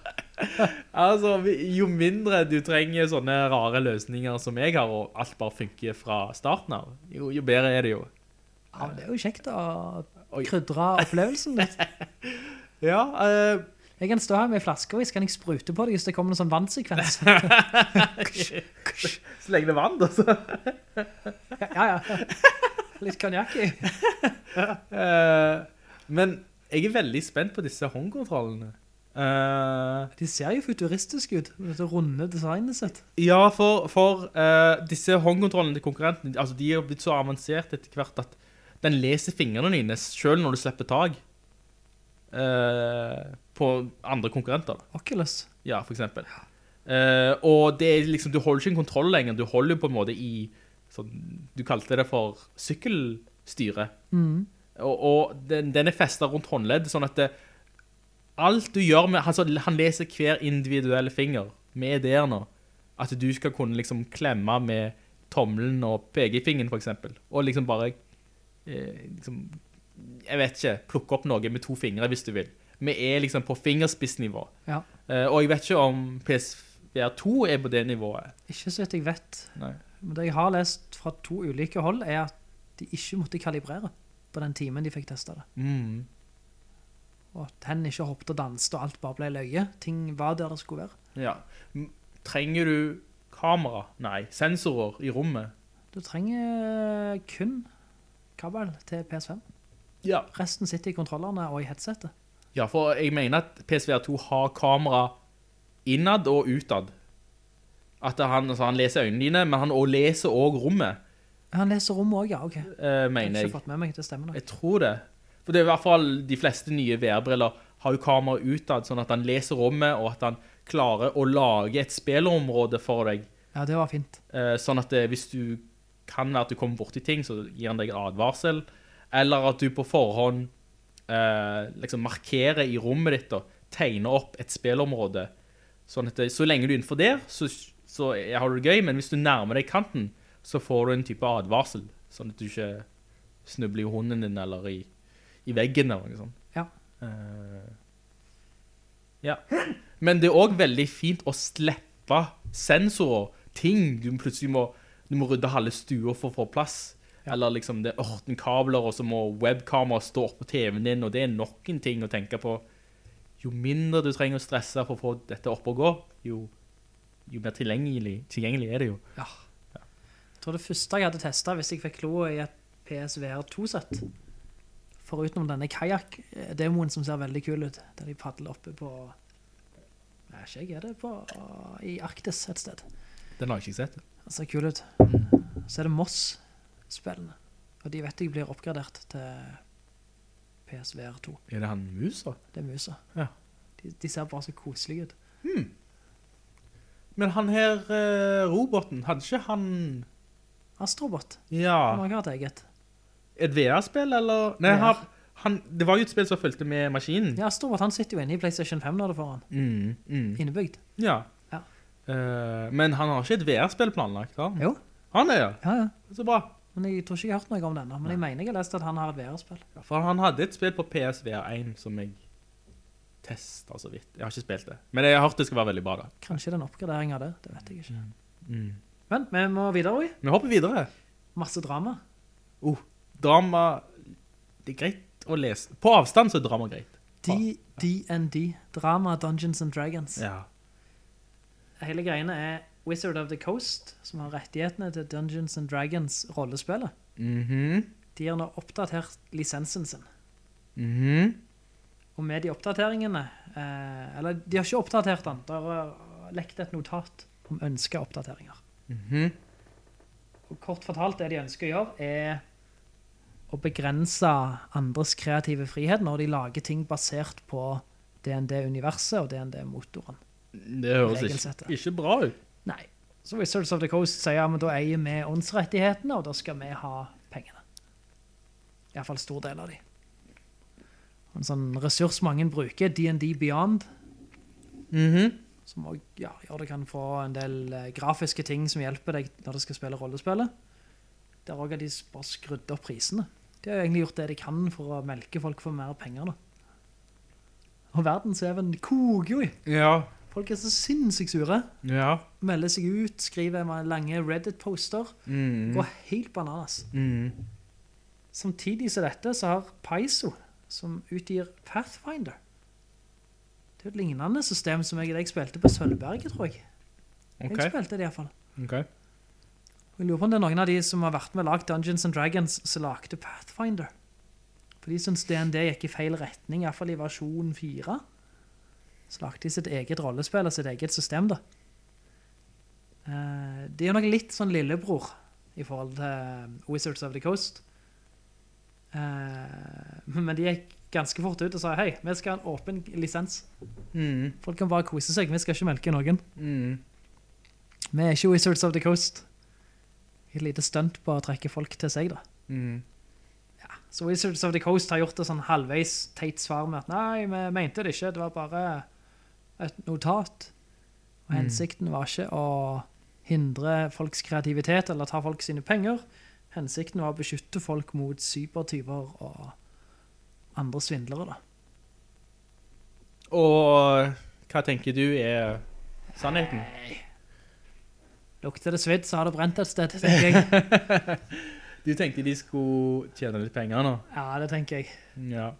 [SPEAKER 8] altså, vi- jo mindre du trenger sånne rare løsninger som jeg har, og alt bare funker fra starten av, jo, jo bedre er det jo.
[SPEAKER 1] Ja, men det er jo kjekt å
[SPEAKER 8] Oi.
[SPEAKER 1] krydre opplevelsen litt.
[SPEAKER 8] Ja, eh,
[SPEAKER 1] Jeg kan stå her med en flaske, og så kan jeg liksom sprute på deg hvis det kommer en sånn vannsekvens.
[SPEAKER 8] så lenge det er vann, da. så.
[SPEAKER 1] Ja, ja. Litt konjakk i.
[SPEAKER 8] Eh, men jeg er veldig spent på disse håndkontrollene. Eh,
[SPEAKER 1] De ser jo futuristiske ut, med dette runde designet sitt.
[SPEAKER 8] Ja, for, for eh, disse håndkontrollene til konkurrenten, altså de er jo blitt så avansert etter hvert at den leser fingrene dine selv når du slipper tag eh, på andre konkurrenter. da.
[SPEAKER 1] Oculus.
[SPEAKER 8] Ja, for eksempel. Eh, og det er liksom, du holder ikke en kontroll lenger, du holder jo på en måte i, sånn, du kalte det for sykkelstyret. Og, og den, den er festet rundt håndledd, sånn at det, alt du gjør med, altså, han leser hver individuelle finger, med der nå, at du skal kunne liksom klemme med tommelen og pekefingeren for eksempel, og liksom bare, eh, liksom, jeg vet ikke, plukke opp noe med to fingre hvis du vil. Vi er liksom på fingerspissnivå.
[SPEAKER 1] Ja.
[SPEAKER 8] Eh, og jeg vet ikke om PSVR2 er på det nivået.
[SPEAKER 1] Ikke så vidt jeg vet.
[SPEAKER 8] Nei.
[SPEAKER 1] Men det jeg har lest fra to ulike hold, er at de ikke måtte kalibrere på den timen de fikk testet det.
[SPEAKER 8] Mm,
[SPEAKER 1] Og at hen ikke hoppet og danset, og alt bare ble løye. Ting var der det skulle være.
[SPEAKER 8] Ja. M- Trenger du kamera? Nei. Sensorer i rommet?
[SPEAKER 1] Du trenger eh, kun kabel til PS5.
[SPEAKER 8] Ja.
[SPEAKER 1] Resten sitter i kontrollerne og i headsetet.
[SPEAKER 8] Ja, for jeg mener at PSVR 2 har kamera innad og utad. At han, altså, han leser øynene dine, men han også leser også rommet,
[SPEAKER 1] Han leser rommet òg, ja. OK. Jeg
[SPEAKER 8] eh,
[SPEAKER 1] har
[SPEAKER 8] mener jeg.
[SPEAKER 1] ikke fått med meg det stemmer nok.
[SPEAKER 8] Jeg tror det. For det er i hvert fall de fleste nye VR-briller har jo kamera utad, sånn at han leser rommet, og at han klarer å lage et spillerområde for deg.
[SPEAKER 1] Ja, det var fint.
[SPEAKER 8] Eh, sånn at det, hvis du kan være at du kommer borti ting, så gir han deg en advarsel. Eller at du på forhånd eh, liksom markerer i rommet ditt og tegner opp et spillområde. Sånn at det, så lenge du er innenfor der, så, så er- har du det gøy, men hvis du nærmer deg kanten, så får du en type advarsel. Sånn at du ikke snubler i hunden din eller i, i veggen eller noe sånt.
[SPEAKER 1] Ja.
[SPEAKER 8] Eh, ja. Men det er òg veldig fint å slippe sensorer, ting. Du plutselig må, du må rydde halve stua for å få plass. Eller liksom det er 18 kabler, og så må webkamera stå oppå TV-en din, og det er nok en ting å tenke på. Jo mindre du trenger å stresse for å få dette opp og gå, jo, jo mer tilgjengelig, tilgjengelig er det jo.
[SPEAKER 1] Jeg tror det første jeg hadde testa hvis jeg fikk kloa i et PSVR 2-sett, forutenom denne kajakk-demoen som ser veldig kul ut, der de padler oppe på Nei, ikke jeg er det på I Arktis et sted.
[SPEAKER 8] Den har jeg ikke sett.
[SPEAKER 1] Det ser kul ut. Så er det Moss-spillene. Og de vet jeg blir oppgradert til PSVR 2.
[SPEAKER 8] Er det han musa?
[SPEAKER 1] Det er musa.
[SPEAKER 8] Ja.
[SPEAKER 1] De, de ser bare så koselige ut.
[SPEAKER 8] Men han her, eh, roboten, hadde ikke han
[SPEAKER 1] Astrobot. Han
[SPEAKER 8] Ja.
[SPEAKER 1] har ikke hatt eget.
[SPEAKER 8] Et VR-spill, eller Nei,
[SPEAKER 1] VR.
[SPEAKER 8] han, han, det var jo et spill som fulgte med maskinen.
[SPEAKER 1] Ja, Astrobot han sitter jo inne i PlayStation 5 når det får han.
[SPEAKER 8] Mm, mm.
[SPEAKER 1] Innebygd.
[SPEAKER 8] Ja.
[SPEAKER 1] Ja.
[SPEAKER 8] Eh, men han har ikke et VR-spill planlagt, har han?
[SPEAKER 1] Jo.
[SPEAKER 8] Han er, ja.
[SPEAKER 1] Ja, ja.
[SPEAKER 8] Så bra.
[SPEAKER 1] Men jeg tror ikke jeg har hørt noe om denne, men jeg mener jeg har lest at han har et VR-spill.
[SPEAKER 8] Ja, For han hadde et spill på PSVR1 som jeg testa så vidt. Jeg har ikke spilt det. Men jeg har hørt det skal være veldig bra, da.
[SPEAKER 1] Kanskje det er en oppgradering av det, det vet jeg ikke. Men vi må videre, Oi.
[SPEAKER 8] Vi hopper videre.
[SPEAKER 1] Masse drama.
[SPEAKER 8] Oh, drama Det er greit å lese. På avstand så er drama greit.
[SPEAKER 1] D- D&D, drama Dungeons and Dragons.
[SPEAKER 8] Ja.
[SPEAKER 1] Hele greiene er Wizard of the Coast, som har rettighetene til Dungeons and Dragons rollespillet.
[SPEAKER 8] Mhm,
[SPEAKER 1] De har nå oppdatert lisensen sin.
[SPEAKER 8] mhm.
[SPEAKER 1] Og med de oppdateringene, eh, eller de har ikke oppdatert den, der har lekt et notat om ønskede oppdateringer. Og kort fortalt, det de ønsker å gjøre er å begrense andres kreative frihet når de lager ting basert på D&D-universet og D&D-motoren.
[SPEAKER 8] Det høres ikke,
[SPEAKER 1] Regelsettet.
[SPEAKER 8] ikke bra ut.
[SPEAKER 1] Nei. Så Wizards of the Coast sier ja, men da eier vi åndsrettighetene, og da skal vi ha pengene. Iallfall stor del av de. En sånn ressurs mange bruker, DND Beyond,
[SPEAKER 8] Mhm.
[SPEAKER 1] som også, ja, gjør du kan få en del eh, grafiske ting som hjelper deg når du skal spille rollespillet. Der òg har de s- bare skrudd opp prisene. De har jo egentlig gjort det de kan for å melke folk for mer penger. da. Og verdensveven koker jo i.
[SPEAKER 8] Ja.
[SPEAKER 1] Folk er så sinnssykt sure
[SPEAKER 8] Ja.
[SPEAKER 1] melder seg ut, skriver med lange Reddit-poster,
[SPEAKER 8] Mm,
[SPEAKER 1] går helt bananas. Samtidig som dette, så har Paizo, som utgir Pathfinder, det er jo et lignende system som jeg, jeg spilte på Sølvberget, tror jeg.
[SPEAKER 8] OK.
[SPEAKER 1] Jeg spilte det i hvert fall.
[SPEAKER 8] ok.
[SPEAKER 1] Og Jeg lurer på om det er noen av de som har vært med og lagd Dungeons and Dragons, som lagde Pathfinder. For de syns DND gikk i feil retning, iallfall i versjon 4. Så lagde de sitt eget rollespill og sitt eget system, da. Eh, De er nok litt sånn lillebror i forhold til eh, Wizards of the Coast. Eh, Men de gikk ganske fort ut og sa hei, vi skal ha en åpen lisens.
[SPEAKER 8] Mm,
[SPEAKER 1] Folk kan bare kose seg, vi skal ikke melke noen. Vi er ikke Wizards of the Coast et lite stunt på å trekke folk til seg, da. Ja. Så Wizards of the Coast har gjort det sånn halvveis teit svar med at nei, vi mente det ikke, det var bare et notat. Og hensikten var ikke å hindre folks kreativitet eller ta folk sine penger. Hensikten var å beskytte folk mot cybertyver og andre svindlere, da.
[SPEAKER 8] Og hva tenker du er sannheten?
[SPEAKER 1] Lukter det svidd, så har det brent et sted, tenker jeg.
[SPEAKER 8] Du tenkte de skulle tjene litt penger nå?
[SPEAKER 1] Ja, det tenker jeg.
[SPEAKER 8] Ja.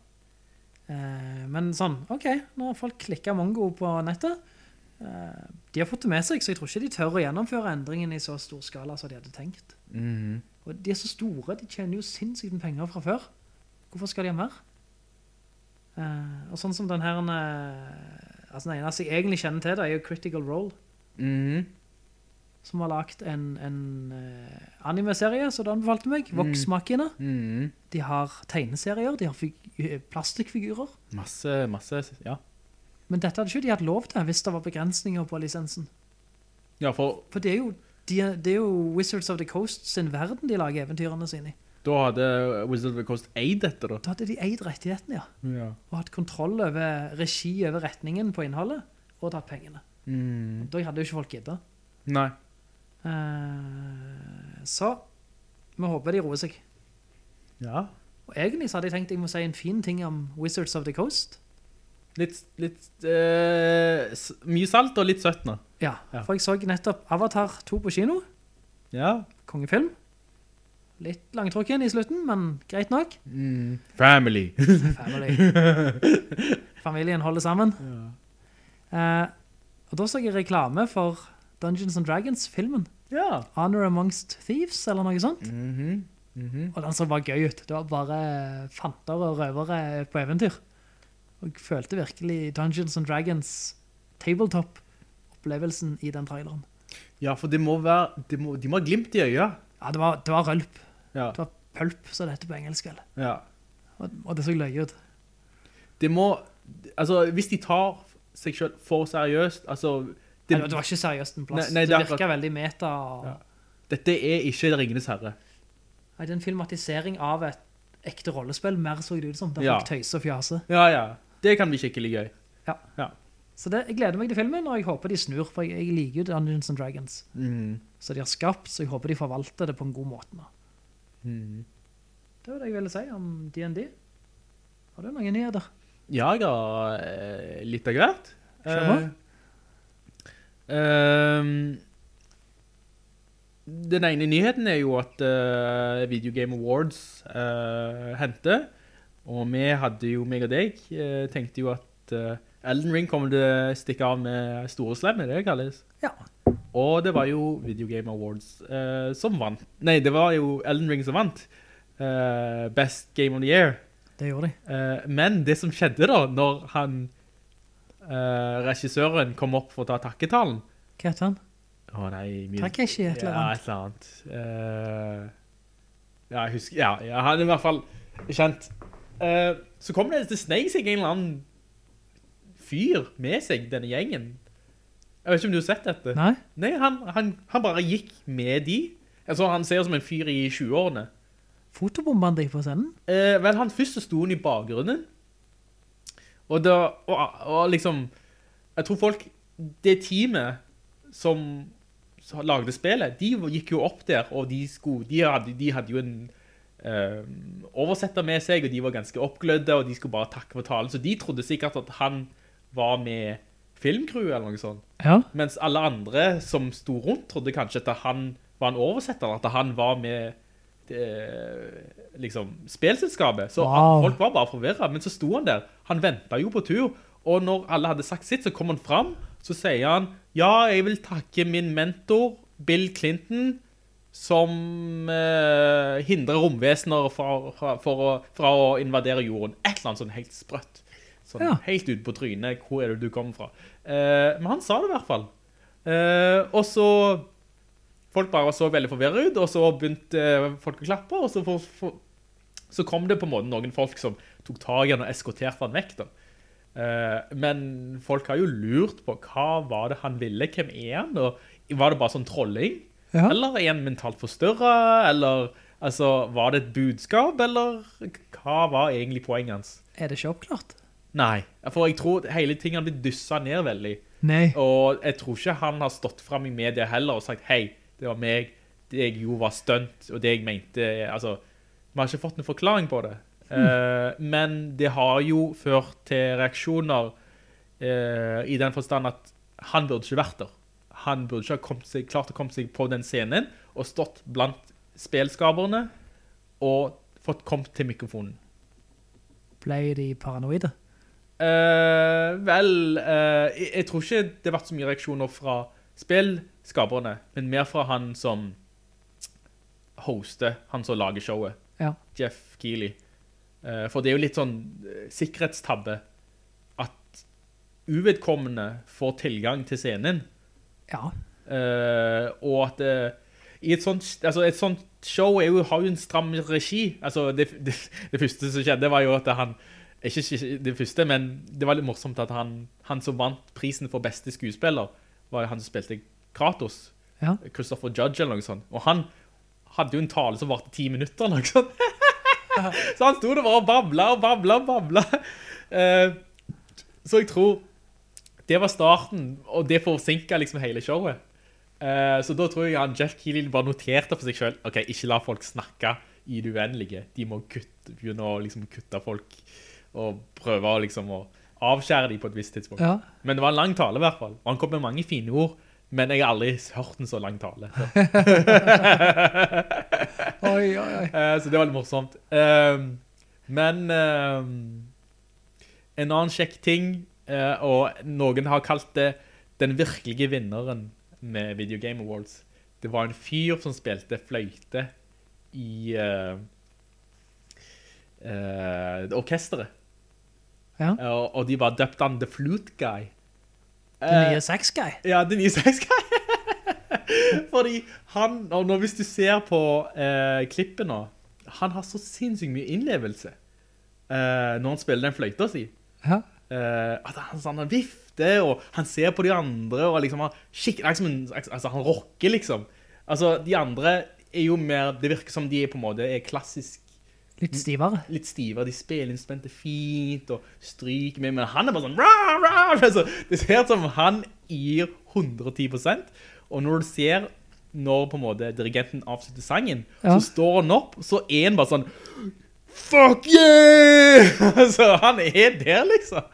[SPEAKER 1] Eh, men sånn, ok, nå har folk klikket mongo på nettet. Eh, de har fått det med seg, så jeg tror ikke de tør å gjennomføre endringen i så stor skala som de hadde tenkt.
[SPEAKER 8] Mhm.
[SPEAKER 1] Og de er så store, de tjener jo sinnssykt med penger fra før. Hvorfor skal de ha mer? Eh, og sånn som den her eh, altså Den eneste jeg egentlig kjenner til, det er jo Critical Role.
[SPEAKER 8] Mhm.
[SPEAKER 1] Som har lagt en, en eh, animeserie, så det anbefalte meg. Voksmakkene.
[SPEAKER 8] Mhm.
[SPEAKER 1] De har tegneserier, de har fig- eh, plastikkfigurer.
[SPEAKER 8] Masse, masse Ja,
[SPEAKER 1] Men dette hadde ikke de hatt lov til hvis det var begrensninger på lisensen.
[SPEAKER 8] ja for
[SPEAKER 1] For det er jo, de, det er jo Wizards of the Coast sin verden de lager eventyrene sine i.
[SPEAKER 8] da hadde Wizard of the Coast eid dette, da.
[SPEAKER 1] Da hadde de eid rettighetene, ja.
[SPEAKER 8] Ja.
[SPEAKER 1] Og hatt kontroll over regi over retningen på innholdet, og tatt pengene. Da hadde jo ikke folk gidda.
[SPEAKER 8] Mhm. Nei.
[SPEAKER 1] Eh, så vi håper de roer seg.
[SPEAKER 8] Ja.
[SPEAKER 1] Og egentlig så hadde jeg tenkt jeg må si en fin ting om Wizards of the Coast.
[SPEAKER 8] Litt, litt eh, s- Mye salt og litt søtt nå.
[SPEAKER 1] Ja,
[SPEAKER 8] Ja.
[SPEAKER 1] for jeg så nettopp Avatar 2 på kino.
[SPEAKER 8] Ja.
[SPEAKER 1] Kongefilm. Litt langtrukken i slutten, men greit nok.
[SPEAKER 8] Mhm. Family.
[SPEAKER 1] Family. Familien holder sammen. Eh, og da så jeg reklame for Dungeons and Dragons-filmen.
[SPEAKER 8] ja.
[SPEAKER 1] Honor Amongst Thieves, eller noe sånt.
[SPEAKER 8] Mhm. Mm.
[SPEAKER 1] Og den så bare gøy ut. Det var bare fanter og røvere på eventyr. Og jeg følte virkelig Dungeons and Dragons tabletop-opplevelsen i den traileren.
[SPEAKER 8] ja, for det må være det må, De må ha glimt i øya.
[SPEAKER 1] Ja, det var, det var rølp.
[SPEAKER 8] Ja.
[SPEAKER 1] Det var pølp, som det heter på engelsk. vel.
[SPEAKER 8] ja.
[SPEAKER 1] Og, og det så løye ut.
[SPEAKER 8] Det må Altså, hvis de tar seg sjøl for seriøst Altså det,
[SPEAKER 1] Nei, det var ikke seriøst en plass.
[SPEAKER 8] Nei, nei,
[SPEAKER 1] det,
[SPEAKER 8] det er
[SPEAKER 1] virket veldig meta. Og...
[SPEAKER 8] Ja. Dette er ikke Ringenes herre.
[SPEAKER 1] Nei, det er en filmatisering av et ekte rollespill, mer så det ut som, der
[SPEAKER 8] Ja.
[SPEAKER 1] folk tøyser og fjaser.
[SPEAKER 8] Ja, ja. Det kan bli skikkelig gøy.
[SPEAKER 1] Ja.
[SPEAKER 8] Ja.
[SPEAKER 1] Så det, jeg gleder meg til filmen, og jeg håper de snur, for jeg, jeg liker jo Dungeons and Dragons. Så de har skapt, så jeg håper de forvalter det på en god måte nå. Det var det jeg ville si om D&D. Har du noen nyheter?
[SPEAKER 8] Ja, jeg har eh, litt av hvert.
[SPEAKER 1] Kjør på.
[SPEAKER 8] Eh, ehm, den ene nyheten er jo at eh, Video Game Awards eh, henter, og vi hadde jo, meg og deg, eh, tenkte jo at eh, Elden Ring kommer til å stikke av med store slem, er det det kalles?
[SPEAKER 1] Ja.
[SPEAKER 8] Og det var jo Video Game Awards eh, som vant. Nei, det var jo Elden Ring som vant. Eh, best Game of the Year.
[SPEAKER 1] Det gjorde de.
[SPEAKER 8] Eh, men det som skjedde da, når han, eh, regissøren kom opp for å ta takketalen,
[SPEAKER 1] Hva heter han?
[SPEAKER 8] å nei, mye...
[SPEAKER 1] Takeshi, et eller
[SPEAKER 8] Ja,
[SPEAKER 1] annet.
[SPEAKER 8] et eller annet. Eh, ja, jeg husker, ja, ja, han er i hvert fall kjent. Eh, så kom det til sneg seg en eller annen fyr med seg, denne gjengen. Jeg vet ikke om du har sett dette.
[SPEAKER 1] Nei?
[SPEAKER 8] han, han, han bare gikk med de. Altså, han ser ut som en fyr i 20-årene.
[SPEAKER 1] Fotobomben de på scenen?
[SPEAKER 8] Eh, vel, han først så sto han i bakgrunnen. Og da, og, og liksom, jeg tror folk, det teamet som som lagde spillet, de gikk jo opp der, og de, skulle, de, hadde, de hadde jo en eh, oversetter med seg, og de var ganske oppglødde, og de skulle bare takke for talen, så de trodde sikkert at han var med filmcrew eller noe sånt.
[SPEAKER 1] Ja.
[SPEAKER 8] Mens alle andre som sto rundt trodde kanskje at han var en oversetter, at han var med eh, liksom, spelselskapet. Så
[SPEAKER 1] Wow.
[SPEAKER 8] folk var bare forvirret, men så sto han der. Han ventet jo på tur, og når alle hadde sagt sitt, så kom han fram, så sier han, ja, jeg vil takke min mentor, Bill Clinton, som eh, hindrer romvesener fra, fra, for å, fra å invadere jorden. Et eller annet sånn helt sprøtt. Sånn
[SPEAKER 1] Ja.
[SPEAKER 8] helt ut på trynet, hvor er det du kommer fra? Eh, men han sa det i hvert fall. Eh, og så Folk bare så veldig forvirret ut, og så begynte eh, folk å klappe, og så, for, for, så kom det på en måte noen folk som tok tag i han og eskorterte han vekk. Da. Eh, men folk har jo lurt på hva var det han ville, hvem er han? Og var det bare sånn trolling?
[SPEAKER 1] Ja.
[SPEAKER 8] Eller er han mentalt forstørret? Eller altså, var det et budskap? Eller hva var egentlig poenget hans?
[SPEAKER 1] Er det ikke oppklart?
[SPEAKER 8] Nei, for jeg tror hele ting har blitt dyssa ned veldig.
[SPEAKER 1] Nei.
[SPEAKER 8] Og jeg tror ikke han har stått frem i media heller og sagt «Hei, det var meg, det jeg gjorde var stønt, og det jeg mente, altså, vi har ikke fått noen forklaring på det». Eh, men det har jo ført til reaksjoner eh, i den forstand at han burde ikke vært der. Han burde ikke ha kommet seg, klart å komme seg på den scenen og stått blant spelskaperne og fått kommet til mikrofonen.
[SPEAKER 1] Ble de paranoide?
[SPEAKER 8] Eh, vel, eh, jeg, jeg tror ikke det har vært så mye reaksjoner fra spillskaperne, men mer fra han som hoster, han som lager showet,
[SPEAKER 1] Ja.
[SPEAKER 8] Jeff Keighley. Eh, For det er jo litt sånn eh, sikkerhetstabbe at uvedkommende får tilgang til scenen.
[SPEAKER 1] Ja.
[SPEAKER 8] Eh, og at eh, i et sånt, altså et sånt show er jo, har jo en stram regi. Altså det, det, det første som skjedde var jo at han ikke, ikke det første, men det var litt morsomt at han, han som vant prisen for beste skuespiller, var jo han som spilte Kratos.
[SPEAKER 1] Ja.
[SPEAKER 8] Christopher Judge eller noe sånt. Og han hadde jo en tale som varte ti minutter eller noe sånt. Så han sto der bare og babla og babla og babla. Eh, så jeg tror det var starten, og det forsinket liksom hele showet. Eh, så da tror jeg han Jeff Keighley bare noterte for seg selv, ok, ikke la folk snakke i det uendelige. De må kutte, begynne å liksom kutte folk og prøve å liksom å avskjære dem på et visst tidspunkt.
[SPEAKER 1] Ja.
[SPEAKER 8] Men det var en lang tale i hvert fall. Og han kom med mange fine ord, men jeg har aldri hørt en så lang tale. Så.
[SPEAKER 1] Oi, oi, oi.
[SPEAKER 8] Eh, så det var litt morsomt. Ehm, men ehm, en annen kjekk ting, eh, og noen har kalt det den virkelige vinneren med Video Game Awards, det var en fyr som spilte fløyte i eh, eh, orkesteret.
[SPEAKER 1] Ja.
[SPEAKER 8] Og, og de bare døpte han The Flute Guy. Eh.
[SPEAKER 1] Den nye sex guy.
[SPEAKER 8] Ja, den nye sexguy. Fordi han, og nå hvis du ser på eh, klippet nå, han har så sinnssykt mye innlevelse eh, når han spiller den fløyta si.
[SPEAKER 1] Ja.
[SPEAKER 8] Eh, at han, sånn, han vifter, og han ser på de andre, og liksom han, skikk, liksom, en- altså, han rocker liksom. Altså, de andre er jo mer, det virker som de er på en måte er klassisk
[SPEAKER 1] Litt stivere.
[SPEAKER 8] litt stivere, de spiller instrumentet fint og stryker med, men han er bare sånn rah, rah, altså, Det ser ut som han gir 110 og når du ser når på en måte dirigenten avslutter sangen,
[SPEAKER 1] Ja.
[SPEAKER 8] så står han opp, så er han bare sånn Fuck yeah! altså, han er der, liksom.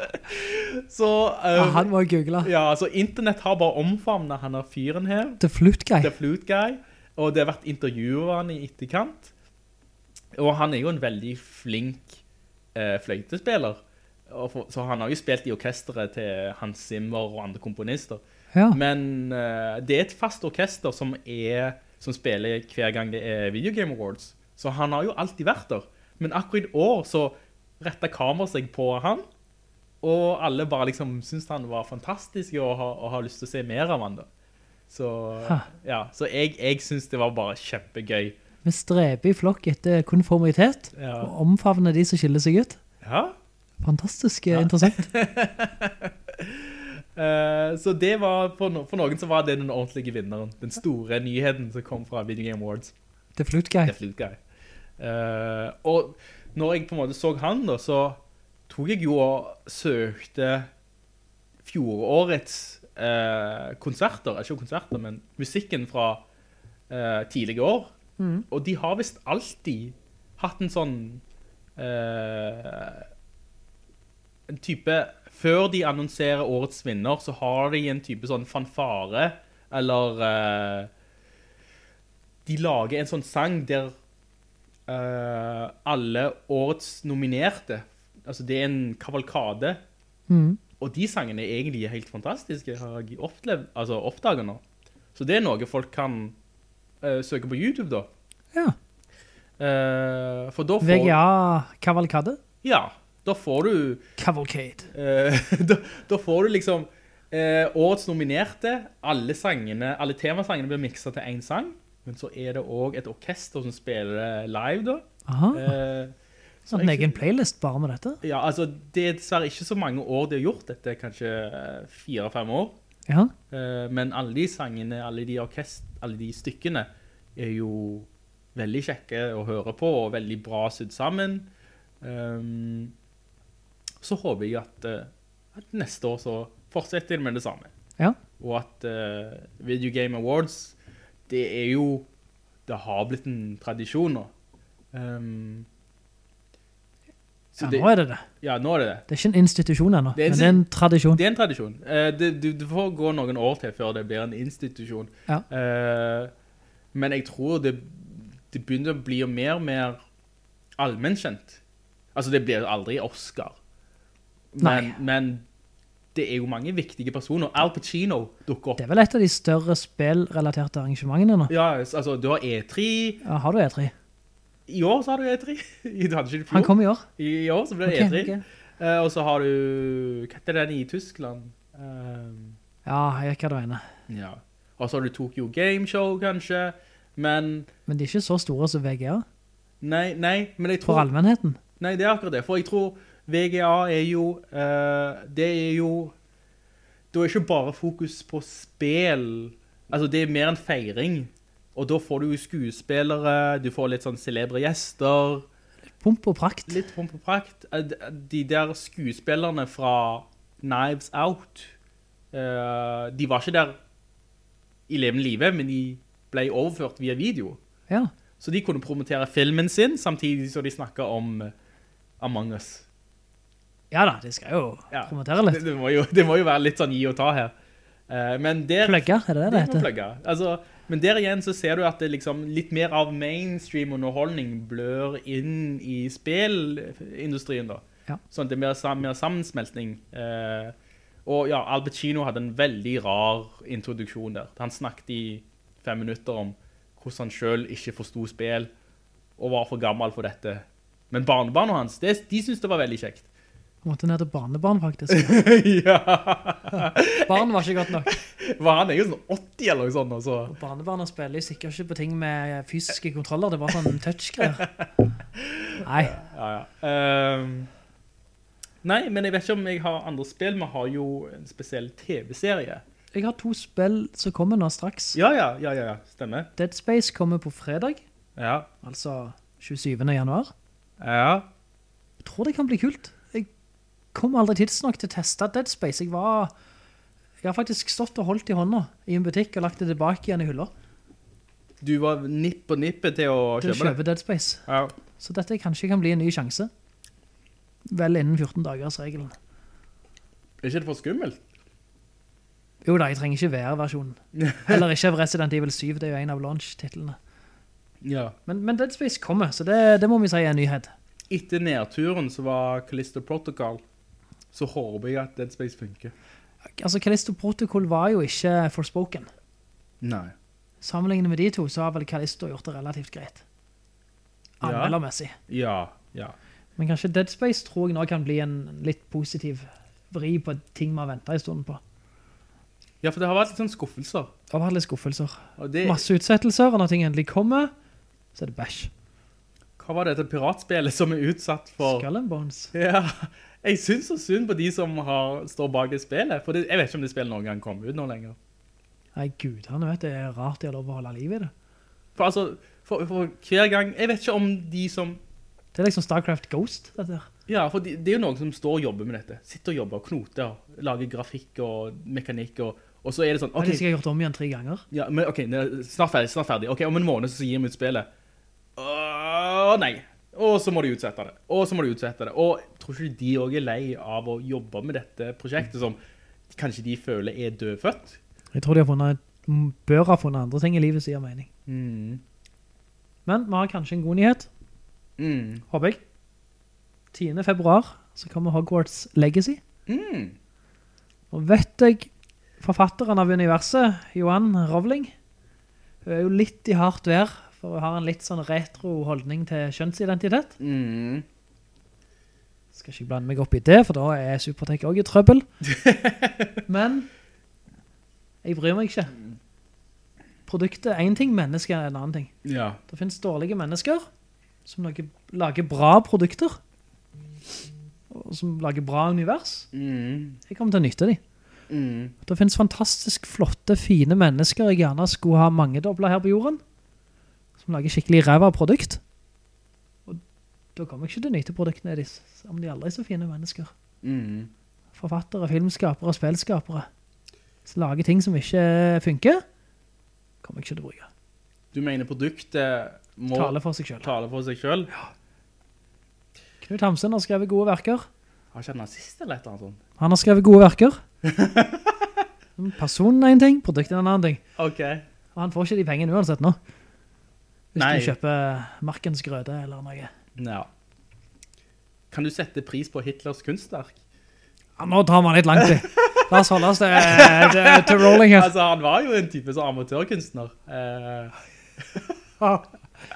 [SPEAKER 8] Så
[SPEAKER 1] Ja,
[SPEAKER 8] eh,
[SPEAKER 1] han må jeg google.
[SPEAKER 8] ja, så internett har bare omfavna han her fyren her.
[SPEAKER 1] The flute guy.
[SPEAKER 8] The Flute Guy, og det har vært intervjuer av han i etterkant. Og han er jo en veldig flink eh, fløytespiller, og for, så han har jo spilt i orkestret til Hans Zimmer og andre komponister.
[SPEAKER 1] Ja.
[SPEAKER 8] Men eh, det er et fast orkester som, er, som spiller hver gang det er Video Game Awards, så han har jo alltid vært der. Men akkurat i år så rettet kameraet seg på han, og alle bare liksom syntes han var fantastisk og har, og har lyst til å se mer av han da. Så, ja, så jeg, jeg synes det var bare kjempegøy.
[SPEAKER 1] Vi streber i flokk etter konformitet,
[SPEAKER 8] Ja.
[SPEAKER 1] og omfavner de som skiller seg ut.
[SPEAKER 8] Ja.
[SPEAKER 1] Fantastisk eh, interessant.
[SPEAKER 8] Eh, så det var, for, no for noen så var det den ordentlige vinneren. Den store nyheten som kom fra Video Game Awards.
[SPEAKER 1] The flute guy.
[SPEAKER 8] The Flute Guy. Eh, og når jeg på en måte så han da, så tok jeg jo og søkte fjorårets eh, konserter, ikke konserter, men musikken fra eh, tidligere år. Og de har visst alltid hatt en sånn eh, en type Før de annonserer årets vinner, så har de en type sånn fanfare eller eh, De lager en sånn sang der eh, alle årets nominerte Altså, det er en kavalkade. Og de sangene er egentlig helt fantastiske, har jeg opplevd, altså oppdaget nå. Så det er noe folk kan eh, søke på YouTube, da.
[SPEAKER 1] Ja.
[SPEAKER 8] Eh, for da får
[SPEAKER 1] VGA Cavalcade.
[SPEAKER 8] ja, da får du
[SPEAKER 1] Cavalcade.
[SPEAKER 8] eh, da, da får du liksom eh, årets nominerte, alle sangene, alle temasangene blir mikset til en sang, men så er det også et orkester som spiller live da.
[SPEAKER 1] Aha. Sånn
[SPEAKER 8] Eh, så
[SPEAKER 1] En
[SPEAKER 8] jeg-
[SPEAKER 1] Ah. egen playlist bare med dette.
[SPEAKER 8] Ja, altså det er dessverre ikke så mange år det er gjort, dette er kanskje eh, fire-fem år,
[SPEAKER 1] Ja.
[SPEAKER 8] eh, men alle de sangene, alle de orkest, alle de stykkene er jo veldig kjekke å høre på, og veldig bra sydd sammen. Ehm, så håper jeg at, eh, at neste år så fortsetter de med det samme.
[SPEAKER 1] Ja.
[SPEAKER 8] Og at eh, Video Game Awards, det er jo, det har blitt en tradisjon nå. Ehm, så
[SPEAKER 1] ja,
[SPEAKER 8] det-
[SPEAKER 1] nå er det det.
[SPEAKER 8] ja, nå er det det.
[SPEAKER 1] Det er ikke en institusjon ennå,
[SPEAKER 8] Det er en
[SPEAKER 1] men det er en tradisjon.
[SPEAKER 8] Det er en tradisjon. Eh, det, du, du får gå noen år til før det blir en institusjon.
[SPEAKER 1] Ja.
[SPEAKER 8] Eh, men jeg tror det, det begynner å bli jo mer og mer allmennkjent. Altså, det blir jo aldri Oscar. Men,
[SPEAKER 1] Nei.
[SPEAKER 8] men det er jo mange viktige personer. Al Pacino dukker opp.
[SPEAKER 1] Det er vel et av de større spillrelaterte arrangementene nå.
[SPEAKER 8] Ja, altså, du har E3,
[SPEAKER 1] Ja, har du E3?
[SPEAKER 8] E I år så har du E3. I- Du hadde ikke det i
[SPEAKER 1] E Han
[SPEAKER 8] fjor.
[SPEAKER 1] kom i år.
[SPEAKER 8] I i år så ble det
[SPEAKER 1] Ok,
[SPEAKER 8] E3.
[SPEAKER 1] ok.
[SPEAKER 8] Eh, og så har du Hva heter den i Tyskland? Eh,
[SPEAKER 1] Ja, jeg vet hva du mener.
[SPEAKER 8] ja. Og så har du Tokyo Game Show, kanskje. Men
[SPEAKER 1] Men de er ikke så store som VGA
[SPEAKER 8] Nei, nei, men jeg
[SPEAKER 1] for
[SPEAKER 8] tror
[SPEAKER 1] allmennheten.
[SPEAKER 8] Nei, det er akkurat det. For jeg tror VGA er jo eh, Det er jo Da er ikke bare fokus på spill. Altså, det er mer en feiring. Og da får du jo skuespillere, du får litt sånn celebre gjester.
[SPEAKER 1] Pump og prakt.
[SPEAKER 8] Litt pomp og prakt. Eh, d- De der skuespillerne fra Knives Out eh, De var ikke der i levende live, men de ble overført via video.
[SPEAKER 1] Ja.
[SPEAKER 8] Så de kunne promotere filmen sin, samtidig som de snakket om eh, Among Us.
[SPEAKER 1] ja da, de skal jo
[SPEAKER 8] Ja.
[SPEAKER 1] promotere
[SPEAKER 8] Det,
[SPEAKER 1] litt.
[SPEAKER 8] det, må jo, det må jo være litt sånn gi og ta her. Eh, men der,
[SPEAKER 1] Plugge, er det
[SPEAKER 8] Det
[SPEAKER 1] det det
[SPEAKER 8] må
[SPEAKER 1] heter?
[SPEAKER 8] plugge. Altså, men der igjen så ser du at det liksom litt mer av mainstream underholdning blør inn i spillindustrien da.
[SPEAKER 1] Ja.
[SPEAKER 8] Sånn at det er mer, sam mer sammensmeltning. Eh, og ja, Albert Kino hadde en veldig rar introduksjon der. Han snakket i fem minutter om hvordan han selv ikke forstod spill, og var for gammel for dette. Men barnebarna hans, det, de syntes det var veldig kjekt.
[SPEAKER 1] Han måtte ned til barnebarn, faktisk.
[SPEAKER 8] ja.
[SPEAKER 1] Barn var ikke godt nok.
[SPEAKER 8] Var han er jo sånn 80 eller noe sånt, altså.
[SPEAKER 1] Barnebarna spiller jo sikkert ikke på ting med fysiske kontroller, det var sånn touch-greier. Nei,
[SPEAKER 8] ja, ja. Ehm, nei, men jeg vet ikke om jeg har andre spill. Vi har jo en spesiell TV-serie.
[SPEAKER 1] jeg har to spill som kommer nå straks.
[SPEAKER 8] Ja, ja, ja, ja, ja, stemmer.
[SPEAKER 1] Dead Space kommer på fredag,
[SPEAKER 8] Ja,
[SPEAKER 1] altså 27. januar.
[SPEAKER 8] ja.
[SPEAKER 1] Jeg tror det kan bli kult. Jeg kom aldri tidsnok til å teste Dead Space. Jeg var... Jeg har faktisk stått og holdt i hånda i en butikk og lagt det tilbake igjen i hyller
[SPEAKER 8] Du var nipp på nippet til å kjøpe
[SPEAKER 1] til å
[SPEAKER 8] det.
[SPEAKER 1] kjøpe Dead Space.
[SPEAKER 8] Ja.
[SPEAKER 1] Så dette kanskje kan bli en ny sjanse. Vel innen 14 dagers regelen.
[SPEAKER 8] Er ikke det for skummelt?
[SPEAKER 1] Jo da, jeg trenger ikke VR-versjonen. Heller ikke av Resident Evil 7, det er jo en av launch-titlene.
[SPEAKER 8] Ja.
[SPEAKER 1] Men, men Dead Space kommer, så det, det må vi si er en nyhet.
[SPEAKER 8] Etter nedturen som var Callisto Protocol, så håper jeg at Dead Space funker.
[SPEAKER 1] Altså, Callisto Protocol var jo ikke Forspoken.
[SPEAKER 8] Nei.
[SPEAKER 1] Sammenlignet med de to, så har vel Callisto gjort det relativt greit.
[SPEAKER 8] Ja.
[SPEAKER 1] Anmeldermessig.
[SPEAKER 8] Ja, ja.
[SPEAKER 1] Men kanskje Dead Space tror jeg nå kan bli en litt positiv vri på ting vi har ventet en stund på.
[SPEAKER 8] Ja, for det har vært litt sånn skuffelser.
[SPEAKER 1] Det har vært litt skuffelser.
[SPEAKER 8] Og det,
[SPEAKER 1] Masse utsettelser, og når ting endelig kommer, så er det bæsj.
[SPEAKER 8] hva var dette piratspillet som er utsatt for...
[SPEAKER 1] Skull and Bones.
[SPEAKER 8] Ja, jeg synes så synd på de som har, står bak det spillet, for det, jeg vet ikke om det spillet noen gang kom ut nå lenger.
[SPEAKER 1] Nei, gud, han vet, det er rart de har lov å holde liv i det.
[SPEAKER 8] For altså, for, for hver gang, jeg vet ikke om de som,
[SPEAKER 1] Det er liksom StarCraft Ghost, dette her.
[SPEAKER 8] ja, for de, det er jo noen som står og jobber med dette, sitter og jobber og knoter, og lager grafikk og mekanikk, og, og så er det sånn,
[SPEAKER 1] Det har de
[SPEAKER 8] ok,
[SPEAKER 1] sikkert gjort om igjen tre ganger.
[SPEAKER 8] ja, men, ok, ne- snart ferdig, snart ferdig, ok, om en måned så gir vi ut spillet. Åh, nei. Og så må de utsette det, og så må de utsette det, og jeg tror ikke de også er lei av å jobbe med dette prosjektet som kanskje de føler er dødfødt?
[SPEAKER 1] Jeg tror de har funnet, m- bør ha funnet andre ting i livet som gir mening. Men vi har kanskje en god nyhet,
[SPEAKER 8] Mm.
[SPEAKER 1] håper jeg. 10. februar så kommer Hogwarts Legacy.
[SPEAKER 8] Mm.
[SPEAKER 1] Og vet jeg, forfatteren av universet, Johan Rovling, hun er jo litt i hardt vær, for hun har en litt sånn retro holdning til kjønnsidentitet.
[SPEAKER 8] Mm.
[SPEAKER 1] Skal ikke blande meg opp i det, for da er Supertech også i trøbbel. Men jeg bryr meg ikke. Produktet er en ting, mennesket er en annen ting.
[SPEAKER 8] Ja.
[SPEAKER 1] Det finnes dårlige mennesker som lager, lager bra produkter, og som lager bra univers.
[SPEAKER 8] Mm.
[SPEAKER 1] Jeg kommer til å nytte dem.
[SPEAKER 8] Mm.
[SPEAKER 1] Det finnes fantastisk flotte, fine mennesker jeg gjerne skulle ha mangedoblet her på jorden, som lager skikkelig ræva produkt. Og da kommer jeg ikke til å nyte produktene deres, om de aldri er så fine mennesker.
[SPEAKER 8] Mm.
[SPEAKER 1] forfattere, filmskapere og spillskapere som lager ting som ikke funker, kommer jeg ikke til å bruke.
[SPEAKER 8] Du mener produktet må
[SPEAKER 1] Tale for seg selv.
[SPEAKER 8] tale for seg sjøl?
[SPEAKER 1] Knut Hamsen har skrevet gode verker.
[SPEAKER 8] Har ikke han nazist eller et eller annet sånt?
[SPEAKER 1] Han har skrevet gode verker. Mm, Personen er en ting, produkten er en annen ting.
[SPEAKER 8] OK.
[SPEAKER 1] Og han får ikke de pengene uansett nå. Hvis
[SPEAKER 8] Nei.
[SPEAKER 1] du kjøper Markens grøde eller noe.
[SPEAKER 8] Ja. Kan du sette pris på Hitlers kunstverk?
[SPEAKER 1] Ja, nå tar man litt langt i. La oss holde oss til, til, til rolling her.
[SPEAKER 8] Altså, Han var jo en type sånn amatørkunstner. Eh,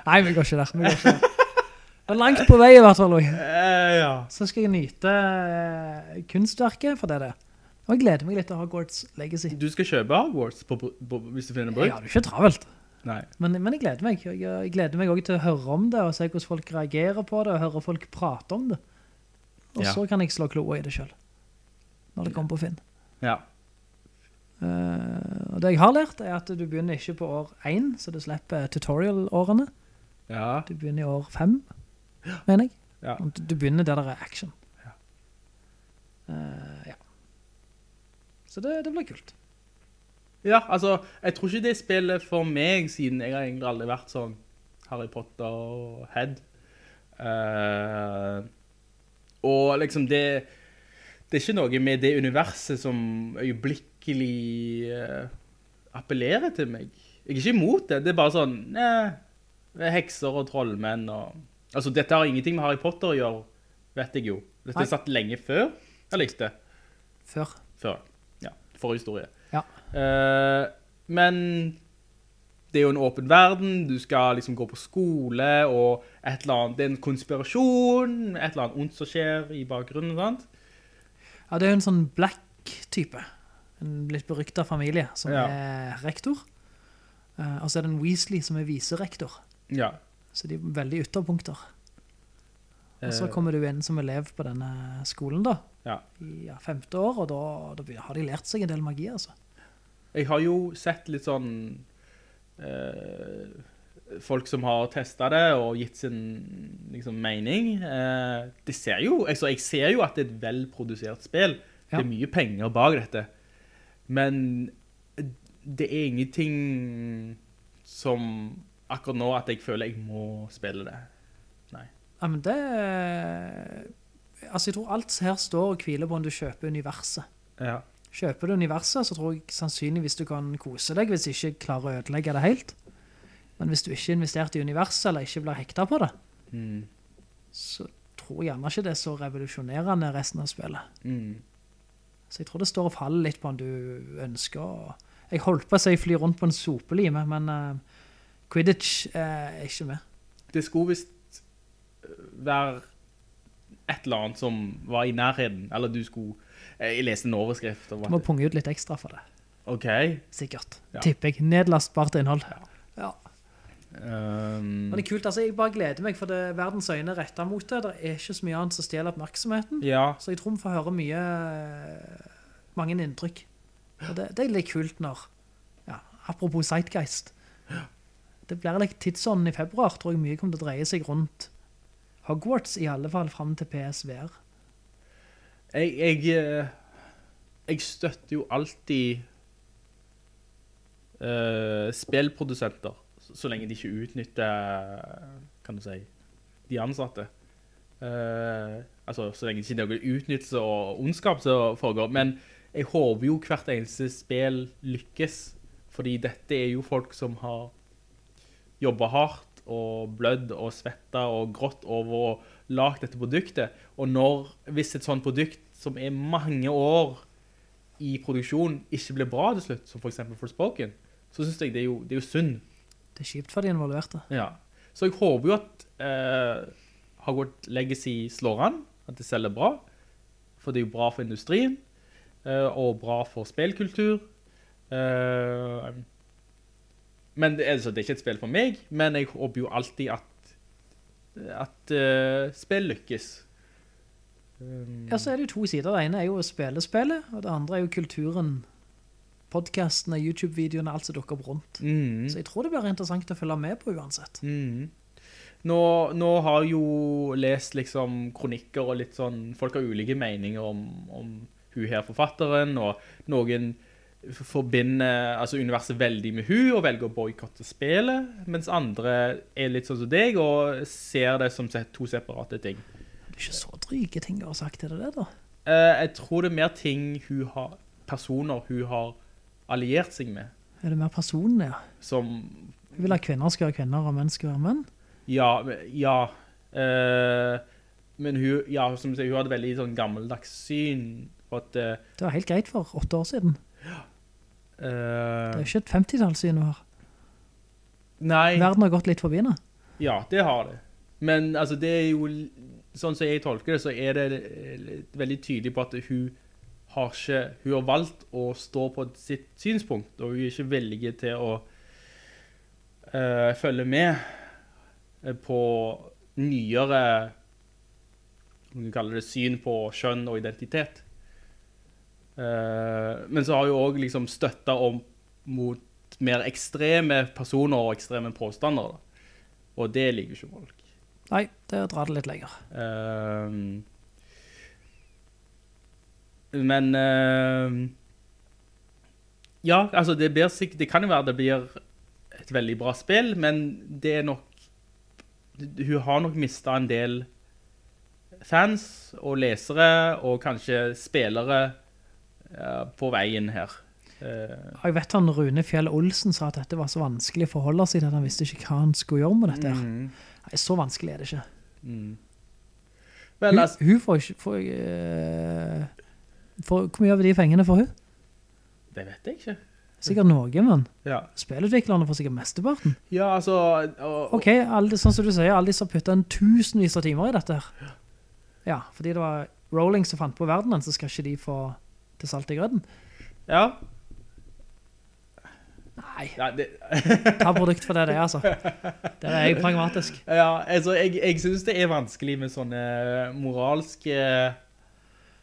[SPEAKER 1] Nei, vi går ikke der. Vi går ikke der. Men langt på vei i hvert fall. også.
[SPEAKER 8] Eh, ja.
[SPEAKER 1] Så skal jeg nyte eh, kunstverket for det det. er. Og jeg gleder meg litt til Hogwarts Legacy.
[SPEAKER 8] Du skal kjøpe Hogwarts på, på, på, hvis du finner en
[SPEAKER 1] Jeg
[SPEAKER 8] bruk?
[SPEAKER 1] har det jo ikke travelt,
[SPEAKER 8] Nei.
[SPEAKER 1] men, men jeg gleder meg. Jeg, jeg gleder meg også til å høre om det, og se hvordan folk reagerer på det, og høre folk prate om det. Og
[SPEAKER 8] Ja.
[SPEAKER 1] så kan jeg slå kloa i det selv. Når det kommer på Finn.
[SPEAKER 8] Ja.
[SPEAKER 1] Eh, og det jeg har lært er at du begynner ikke på år 1, så du slipper tutorial-årene.
[SPEAKER 8] Ja.
[SPEAKER 1] Du begynner i år 5, mener jeg.
[SPEAKER 8] Ja.
[SPEAKER 1] Du, du begynner der det er action. Eh, ja. Så det, det blir kult.
[SPEAKER 8] ja, altså, jeg tror ikke det spillet for meg, siden jeg har egentlig aldri vært sånn Harry Potter og Head. Eh, og liksom, det, det er ikke noe med det universet som øyeblikkelig eh, appellerer til meg. Jeg er ikke imot det, det er bare sånn, eh, det er hekser og trollmenn og... Altså, dette har ingenting med Harry Potter å gjøre, vet jeg jo. Dette
[SPEAKER 1] Nei.
[SPEAKER 8] er satt lenge før, jeg likte det.
[SPEAKER 1] Før.
[SPEAKER 8] før. Ja, forhistorie.
[SPEAKER 1] Ja.
[SPEAKER 8] Eh, men det er jo en åpen verden, du skal liksom gå på skole, og et eller annet, det er en konspirasjon, et eller annet ondt som skjer i bakgrunnen, sant?
[SPEAKER 1] Ja, det er jo en sånn black-type. En litt berykta familie som
[SPEAKER 8] Ja.
[SPEAKER 1] er rektor. Eh, og så er det en Weasley som er viserektor.
[SPEAKER 8] Ja.
[SPEAKER 1] Så de er veldig ytterpunkter. Og så
[SPEAKER 8] Eh.
[SPEAKER 1] kommer du inn som elev på denne skolen da,
[SPEAKER 8] Ja.
[SPEAKER 1] i ja, femte år, og da, da begynner- har de lært seg en del magi, altså.
[SPEAKER 8] Jeg har jo sett litt sånn eh, folk som har testa det og gitt sin liksom, mening. Eh, det ser jo, altså, jeg ser jo at det er et velprodusert spill.
[SPEAKER 1] Ja.
[SPEAKER 8] Det er mye penger bak dette. Men det er ingenting som akkurat nå at jeg føler jeg må spille det.
[SPEAKER 1] Ja, men det... Altså, jeg tror alt her står og hviler på om du kjøper universet.
[SPEAKER 8] Ja.
[SPEAKER 1] Kjøper du universet, så tror jeg sannsynligvis du kan kose deg hvis du ikke klarer å ødelegge det helt. Men hvis du ikke er investert i universet, eller ikke blir hekta på det, så tror jeg gjerne ikke det er så revolusjonerende resten av spillet.
[SPEAKER 8] Mm.
[SPEAKER 1] Så jeg tror det står og faller litt på om du ønsker å... Jeg holdt på å si fly rundt på en sopelime, men eh, Quidditch eh, er ikke med.
[SPEAKER 8] Det skulle visst eh, være et eller annet som var i nærheten. Eller du skulle Jeg leste en overskrift om
[SPEAKER 1] Du må
[SPEAKER 8] at
[SPEAKER 1] punge ut litt ekstra for det,
[SPEAKER 8] OK.
[SPEAKER 1] sikkert.
[SPEAKER 8] Ja.
[SPEAKER 1] Tipper jeg. Nedlastbart innhold. ja.
[SPEAKER 8] ehm,
[SPEAKER 1] Men det er kult, altså jeg bare gleder meg, for det, verdens øyne er rettet mot det. Det er ikke så mye annet som stjeler oppmerksomheten.
[SPEAKER 8] ja.
[SPEAKER 1] Så jeg tror vi får høre mye, eh, mange inntrykk. Og det, det er litt kult når, ja, apropos Zeitgeist. Det blir litt tidsånden i februar, tror jeg mye kommer til å dreie seg rundt Hogwarts, i alle fall frem til PSVR.
[SPEAKER 8] Jeg, jeg, eh, jeg støtter jo alltid eh, spillprodusenter, så- så lenge de ikke utnytter kan du si, de ansatte. Eh, altså, så lenge det ikke er noe utnyttelse og ondskap som foregår. Men jeg håper jo hvert eneste spill lykkes, fordi dette er jo folk som har jobba hardt og blødd og svetta og grått over å lage dette produktet. Og når, hvis et sånt produkt som er mange år i produksjon ikke blir bra til slutt, som f.eks. Forspoken, så syns jeg det er jo, det er jo synd.
[SPEAKER 1] Det er kjipt for de involverte.
[SPEAKER 8] Ja. Så jeg håper jo at eh, Hogwarts Legacy slår an, at det selger bra. For det er jo bra for industrien, eh, og bra for spillkultur. Eh, men det, altså, det er ikke et spill for meg, men jeg håper jo alltid at, at eh, spill lykkes.
[SPEAKER 1] Ja, så er det jo to sider. Det ene er jo å spille spillet, og det andre er jo kulturen, podcastene, YouTube-videoene, alt som dukker opp rundt.
[SPEAKER 8] Mm.
[SPEAKER 1] Så jeg tror det blir interessant å følge med på uansett.
[SPEAKER 8] Mm. Nå, nå har jeg jo lest liksom kronikker og litt sånn, folk har ulike meninger om, om hun her forfatteren, og noen f- forbinder altså universet veldig med hun, og velger å boykotte spillet, mens andre er litt sånn som deg, og ser det som se- to separate ting.
[SPEAKER 1] Det er ikke så dryge ting å ha sagt til det der, da.
[SPEAKER 8] Eh, jeg tror det er mer ting hun har, personer hun har alliert seg med,
[SPEAKER 1] Er det mer personlig? ja?
[SPEAKER 8] som
[SPEAKER 1] Hun vil at kvinner skal være kvinner, og menn skal være menn.
[SPEAKER 8] Ja, men- ja. eh, men hun, ja, som du sier, hun hadde veldig sånn gammeldags syn på at eh,
[SPEAKER 1] Det var helt greit for åtte år siden. Det
[SPEAKER 8] eh,
[SPEAKER 1] er jo ikke et 50-tallssyn du har.
[SPEAKER 8] Nei,
[SPEAKER 1] Verden har gått litt forbi nå.
[SPEAKER 8] ja, det har det. Men altså, det er jo Sånn som jeg tolker det, så er det eh, veldig tydelig på at hun har ikke Hun har valgt å stå på sitt synspunkt, og hun er ikke villig til å eh, følge med eh, på nyere Om du kaller det syn på kjønn og identitet. Eh, men så har hun òg liksom støtta om mot mer ekstreme personer og ekstreme påstander. Da. Og det liker ikke folk.
[SPEAKER 1] Nei, det er å dra det litt lenger.
[SPEAKER 8] Ehm, men ehm, Ja, altså det, blir, sikk- det kan jo være det blir et veldig bra spill, men det er nok Hun har nok mista en del fans og lesere og kanskje spillere eh, på veien her. Eh,
[SPEAKER 1] Og Jeg vet han Rune Fjell Olsen sa at dette var så vanskelig å forholde seg til at han visste ikke hva han skulle gjøre med dette. her. Nei, så vanskelig er det ikke.
[SPEAKER 8] vel,
[SPEAKER 1] Hun,
[SPEAKER 8] altså,
[SPEAKER 1] hun får ikke får, eh, får, Hvor mye av de pengene får hun?
[SPEAKER 8] det vet jeg ikke.
[SPEAKER 1] Sikkert noe, men
[SPEAKER 8] Ja,
[SPEAKER 1] spillutviklerne får sikkert mesteparten.
[SPEAKER 8] ja altså og,
[SPEAKER 1] Ok, alle, de- sånn som du sier, alle disse har puttet en tusenvis av timer i dette her. Ja, fordi det var Rowling som fant på verdenen, så skal ikke de få til salt i grøden.
[SPEAKER 8] Ja,
[SPEAKER 1] Nei,
[SPEAKER 8] ja det,
[SPEAKER 1] ta produkt for det det er, altså. Der er jeg pragmatisk.
[SPEAKER 8] Ja, altså, jeg, jeg synes det er vanskelig med sånne eh, moralske eh,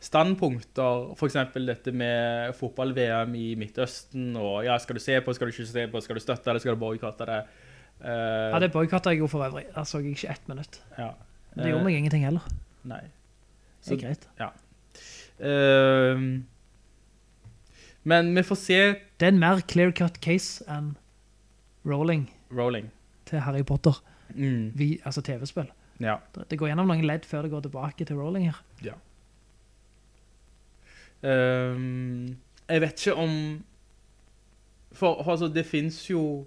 [SPEAKER 8] standpunkter. For eksempel dette med fotball-VM i Midtøsten, og ja, skal du se på, skal du ikke se på, skal du støtte det, skal du boykotte det? Eh,
[SPEAKER 1] Ja, det boykottet jeg jo for øvrig. Der så jeg ikke ett minutt.
[SPEAKER 8] ja.
[SPEAKER 1] Men det gjorde meg ingenting heller.
[SPEAKER 8] Eh, Nei.
[SPEAKER 1] Det er greit.
[SPEAKER 8] Ehm, men vi får se
[SPEAKER 1] Det er en mer clear-cut case enn Rowling
[SPEAKER 8] Rowling.
[SPEAKER 1] til Harry Potter,
[SPEAKER 8] Mm,
[SPEAKER 1] vi, altså tv-spill.
[SPEAKER 8] ja.
[SPEAKER 1] Det- Det går gjennom noen ledd før det går tilbake til Rowling her.
[SPEAKER 8] Ehm, jeg vet ikke om For altså, det fins jo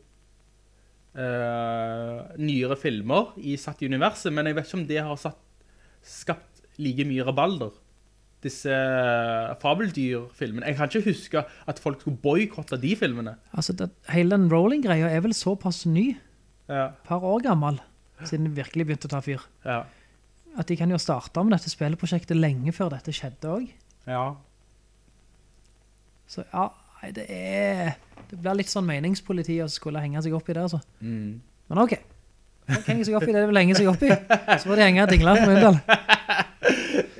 [SPEAKER 8] eh, nyere filmer i satt i universet, men jeg vet ikke om det har satt, skapt like mye rabalder. Disse eh, fabeldyrfilmene. Jeg kan ikke huske at folk skulle boikotte de filmene.
[SPEAKER 1] Altså, det, hele den Rowling-greia er vel såpass ny,
[SPEAKER 8] Ja,
[SPEAKER 1] par år gammel, siden det virkelig begynte å ta fyr.
[SPEAKER 8] ja,
[SPEAKER 1] at de kan jo starte med dette spillprosjektet lenge før dette skjedde også.
[SPEAKER 8] ja.
[SPEAKER 1] Så ja, nei, det er... Det blir litt sånn meningspoliti å skulle henge seg opp i det, altså. Men ok. Folk henger seg opp i det de vil henge seg opp i. Så får de henge dingler for min del.